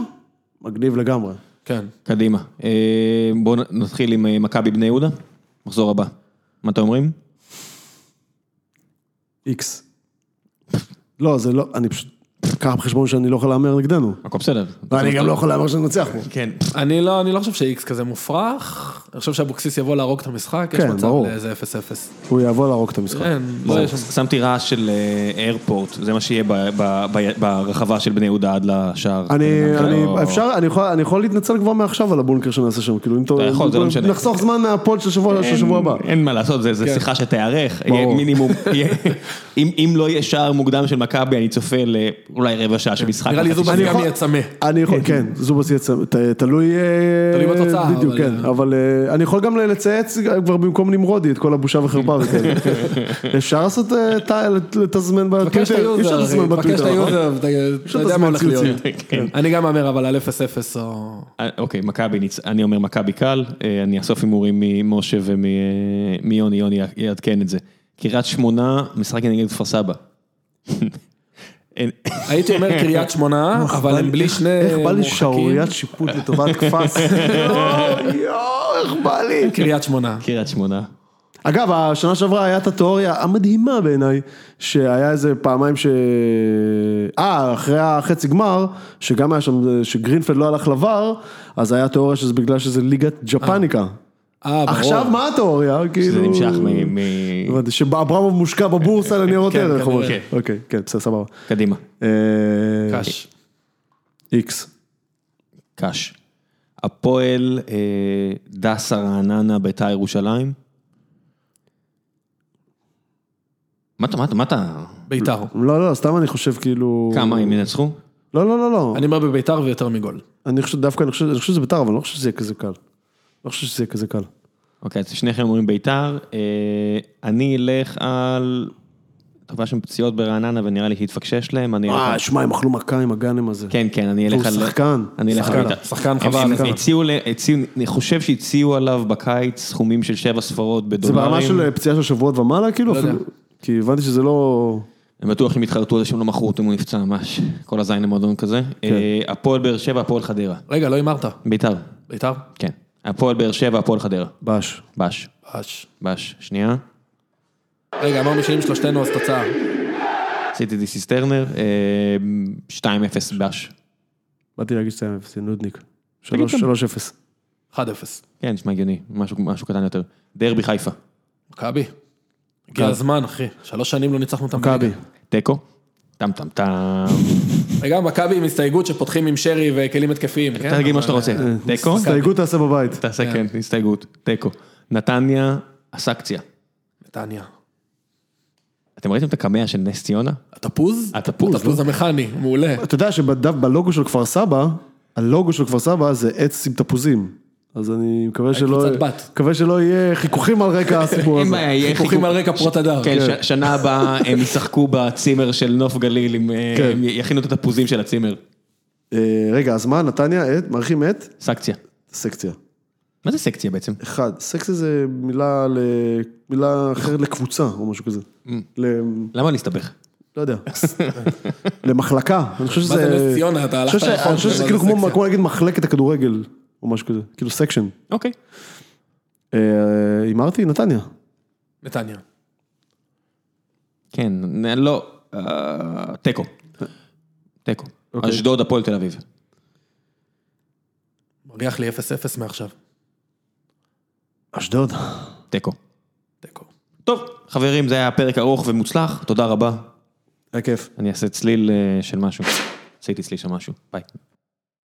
[SPEAKER 2] מגניב לגמרי.
[SPEAKER 3] כן.
[SPEAKER 1] קדימה. אה, בואו נ- נתחיל עם אה, מכבי בני יהודה, מחזור הבא. מה אתם אומרים?
[SPEAKER 2] איקס. לא, זה לא, אני פשוט, קח בחשבון שאני לא יכול להמר נגדנו.
[SPEAKER 1] הכל בסדר.
[SPEAKER 2] ואני גם לא יכול להמר שננצח פה.
[SPEAKER 1] כן.
[SPEAKER 3] אני לא, אני לא חושב שאיקס כזה מופרך, אני חושב שאבוקסיס יבוא להרוג את המשחק, יש
[SPEAKER 2] כן,
[SPEAKER 3] מצב
[SPEAKER 2] ברור.
[SPEAKER 3] לאיזה 0-0.
[SPEAKER 2] הוא יבוא להרוג את המשחק.
[SPEAKER 3] כן, לא
[SPEAKER 1] לא,
[SPEAKER 3] יש שם.
[SPEAKER 1] שמתי רעש של אה, איירפורט, זה מה שיהיה ב- ב- ב- ברחבה של בני יהודה עד לשער.
[SPEAKER 2] אני,
[SPEAKER 1] כן,
[SPEAKER 2] אני,
[SPEAKER 1] לא-
[SPEAKER 2] אפשר, אני יכול, אני יכול להתנצל כבר מעכשיו על הבונקר שנעשה שם, כאילו אם אתה,
[SPEAKER 1] יכול, זה לא משנה.
[SPEAKER 2] נחסוך זמן מהפוד של שבוע, של
[SPEAKER 1] אין-
[SPEAKER 2] שבוע הבא.
[SPEAKER 1] אין מה לעשות, זה- זה
[SPEAKER 3] כן.
[SPEAKER 1] שיחה שתיארך, יהיה מינימום. יהיה- אם אם לא יהיה שער מוקדם של מכבי, אני צופה לאולי רבע שעה של משחק.
[SPEAKER 3] נראה לי
[SPEAKER 1] וחצי
[SPEAKER 3] זובס
[SPEAKER 1] שעה.
[SPEAKER 3] גם
[SPEAKER 2] יכול-
[SPEAKER 3] יהיה צמא.
[SPEAKER 2] אני יכול, כן, זובס יצא, ת- תלוי, אה,
[SPEAKER 3] תלוי בתוצאה,
[SPEAKER 2] בדיוק,
[SPEAKER 3] אבל-
[SPEAKER 2] כן, אבל אה, אני יכול גם לצייץ כבר במקום נמרודי את כל הבושה וחרפה וכאלה. כן. אפשר לעשות, אה, ת- לתזמן
[SPEAKER 3] מבקש את
[SPEAKER 2] בטוויטר, אי אפשר
[SPEAKER 3] היוזר, אחי,
[SPEAKER 2] לתזמן
[SPEAKER 3] מבקש את
[SPEAKER 2] בטוויטר, נכון?
[SPEAKER 3] היוזר, אתה- אתה יודע
[SPEAKER 2] לתזמן
[SPEAKER 3] מה הולך להיות.
[SPEAKER 2] ציוצים.
[SPEAKER 1] כן.
[SPEAKER 3] אני גם מהמר אבל על 0-0 או...
[SPEAKER 1] אה, אוקיי, מכבי, ניצ- אני אומר מכבי קל, אה, אני אאסוף הימורים ממשה ומיוני, יוני י- יעדכן את זה. קריית שמונה, משחק נגד כפר סבא. אין-
[SPEAKER 3] הייתי אומר קריית שמונה, אבל הם בלי שני
[SPEAKER 2] איך בא לי
[SPEAKER 3] מורחקים.
[SPEAKER 2] שערוריית שיפוט לטובת כפס, יואו, יואו, איך בא לי.
[SPEAKER 3] קריית שמונה.
[SPEAKER 1] קריית שמונה.
[SPEAKER 2] אגב, השנה שעברה היה את התיאוריה המדהימה בעיניי, שהיה איזה פעמיים ש... אה, אחרי החצי גמר, שגם היה שם, שגרינפלד לא הלך לבר, אז היה תיאוריה שזה בגלל שזה ליגת ג'פניקה.
[SPEAKER 3] אה, ברור.
[SPEAKER 2] עכשיו מה התיאוריה? כאילו...
[SPEAKER 1] שזה נמשך מ- מ-
[SPEAKER 2] הבנתי, שאברמוב מושקע בבורסה לניירות
[SPEAKER 3] כן,
[SPEAKER 2] ערך.
[SPEAKER 3] כנראה.
[SPEAKER 2] אומרים. אוקיי, כן, בסדר, סבבה.
[SPEAKER 1] קדימה,
[SPEAKER 2] אה,
[SPEAKER 3] קש.
[SPEAKER 2] איקס.
[SPEAKER 1] קאש. הפועל, אה, דסה רעננה, ביתר ירושלים. מה אתה, מה אתה, מה אתה,
[SPEAKER 3] ביתר.
[SPEAKER 2] לא, לא, סתם אני חושב כאילו...
[SPEAKER 1] כמה הם ינצחו?
[SPEAKER 2] לא, לא, לא, לא.
[SPEAKER 3] אני אומר בביתר ויותר מגול.
[SPEAKER 2] אני חושב דווקא, אני חושב אני חושב שזה בית"ר, אבל אני לא חושב שזה יהיה כזה קל. לא חושב שזה יהיה כזה קל.
[SPEAKER 1] אוקיי, אז שניכם אומרים ביתר, אה, אני אלך על... טוב, היה שם פציעות ברעננה ונראה לי שהתפקשש להם, אני אלך על...
[SPEAKER 2] אה, שמע, הם אכלו מכה עם הגאנם הזה.
[SPEAKER 1] כן, כן, אני אלך
[SPEAKER 2] והוא
[SPEAKER 1] על...
[SPEAKER 2] שחקן.
[SPEAKER 1] אני אלך על
[SPEAKER 3] שחקן,
[SPEAKER 1] ביתר.
[SPEAKER 3] שחקן
[SPEAKER 1] הם-
[SPEAKER 3] חבל,
[SPEAKER 1] הם
[SPEAKER 3] שחקן.
[SPEAKER 1] הציעו, ל- הציעו, אני חושב שהציעו עליו בקיץ סכומים של שבע ספרות
[SPEAKER 2] זה
[SPEAKER 1] בדולרים.
[SPEAKER 2] ברמה של אה, פציעה של שבועות ומעלה, כאילו?
[SPEAKER 3] לא יודע.
[SPEAKER 2] אפילו- כי הבנתי שזה לא...
[SPEAKER 1] הם בטוח שהם התחרטו על זה שהם לא מכרו אותו אם הוא נפצע ממש. כל הזין למועדון כזה. אה, הפועל באר שבע, הפועל חדרה.
[SPEAKER 3] רגע, לא הימרת.
[SPEAKER 1] ביתר,
[SPEAKER 3] ביתר?
[SPEAKER 1] כן. הפועל באר שבע, הפועל חדרה.
[SPEAKER 2] בש.
[SPEAKER 1] בש,
[SPEAKER 3] אש.
[SPEAKER 1] בש. שנייה.
[SPEAKER 3] רגע, אמרנו שאם שלושתנו אז תוצאה.
[SPEAKER 1] עשיתי דיסיס טרנר, אה, 2-0 בש.
[SPEAKER 2] באתי להגיד שאתה אפס, נודניק.
[SPEAKER 1] תגיד
[SPEAKER 2] שלוש-
[SPEAKER 1] גם.
[SPEAKER 2] שלוש אפס.
[SPEAKER 3] 1-0.
[SPEAKER 1] כן, נשמע הגיוני, משהו, משהו קטן יותר. דרבי חיפה,
[SPEAKER 3] מכבי. הגיע הזמן, אחי. שלוש שנים לא ניצחנו אותם.
[SPEAKER 2] כן. מכבי.
[SPEAKER 3] בליגה.
[SPEAKER 1] תיקו, טם טם טם.
[SPEAKER 3] וגם מכבי עם הסתייגות שפותחים עם שרי וכלים התקפיים. כן?
[SPEAKER 1] תגיד מה
[SPEAKER 3] אבל-
[SPEAKER 1] שאתה רוצה, תיקו,
[SPEAKER 2] אה, הסתייגות תעשה בבית.
[SPEAKER 1] תעשה כן, הסתייגות, תיקו. נתניה, הסקציה.
[SPEAKER 3] אה, נתניה.
[SPEAKER 1] אתם ראיתם את הקמע של נס ציונה?
[SPEAKER 3] התפוז?
[SPEAKER 1] התפוז,
[SPEAKER 3] התפוז
[SPEAKER 2] לא?
[SPEAKER 3] המכני, מעולה.
[SPEAKER 2] אתה יודע שבלוגו של כפר סבא, הלוגו של כפר סבא זה עץ עם תפוזים. אז אני מקווה שלא...
[SPEAKER 3] קבוצת בת.
[SPEAKER 2] מקווה שלא יהיה חיכוכים על רקע הסיפור הזה.
[SPEAKER 1] בעיה, יהיה
[SPEAKER 3] חיכוכים על רקע פרות הדר.
[SPEAKER 1] כן, ש- שנה הבאה הם ישחקו בצימר של נוף גליל, עם, אה,
[SPEAKER 2] כן.
[SPEAKER 1] הם יכינו את התפוזים של הצימר.
[SPEAKER 2] אה, רגע, אז מה, נתניה, עט, מארחים עט?
[SPEAKER 1] סקציה.
[SPEAKER 2] סקציה.
[SPEAKER 1] מה זה סקציה בעצם?
[SPEAKER 2] אחד, סקציה זה מילה ל- מילה אחרת לקבוצה או משהו כזה. ל-
[SPEAKER 1] למה להסתבך?
[SPEAKER 2] לא יודע, למחלקה, אני חושב שזה,
[SPEAKER 3] מה זה נס ציונה? אתה
[SPEAKER 2] אני
[SPEAKER 3] הלכת
[SPEAKER 2] חושב ש-
[SPEAKER 3] רחוק,
[SPEAKER 2] אני חושב
[SPEAKER 3] זה
[SPEAKER 2] שזה
[SPEAKER 3] לא
[SPEAKER 2] כאילו
[SPEAKER 3] זה
[SPEAKER 2] כמו
[SPEAKER 3] סקציה.
[SPEAKER 2] כמו להגיד מחלקת הכדורגל, או משהו כזה, כאילו סקשן,
[SPEAKER 1] אוקיי.
[SPEAKER 2] אה, הימרתי נתניה.
[SPEAKER 3] נתניה.
[SPEAKER 1] כן, נ- לא, אה, תיקו. תיקו. אשדוד, הפועל תל אביב.
[SPEAKER 3] מריח לי 0-0 מעכשיו.
[SPEAKER 2] אשדוד.
[SPEAKER 1] תיקו.
[SPEAKER 3] תיקו.
[SPEAKER 1] טוב, חברים, זה היה פרק ארוך ומוצלח, תודה רבה.
[SPEAKER 2] היה כיף.
[SPEAKER 1] אני אעשה צליל אה, של משהו. עשיתי צליל של משהו, ביי.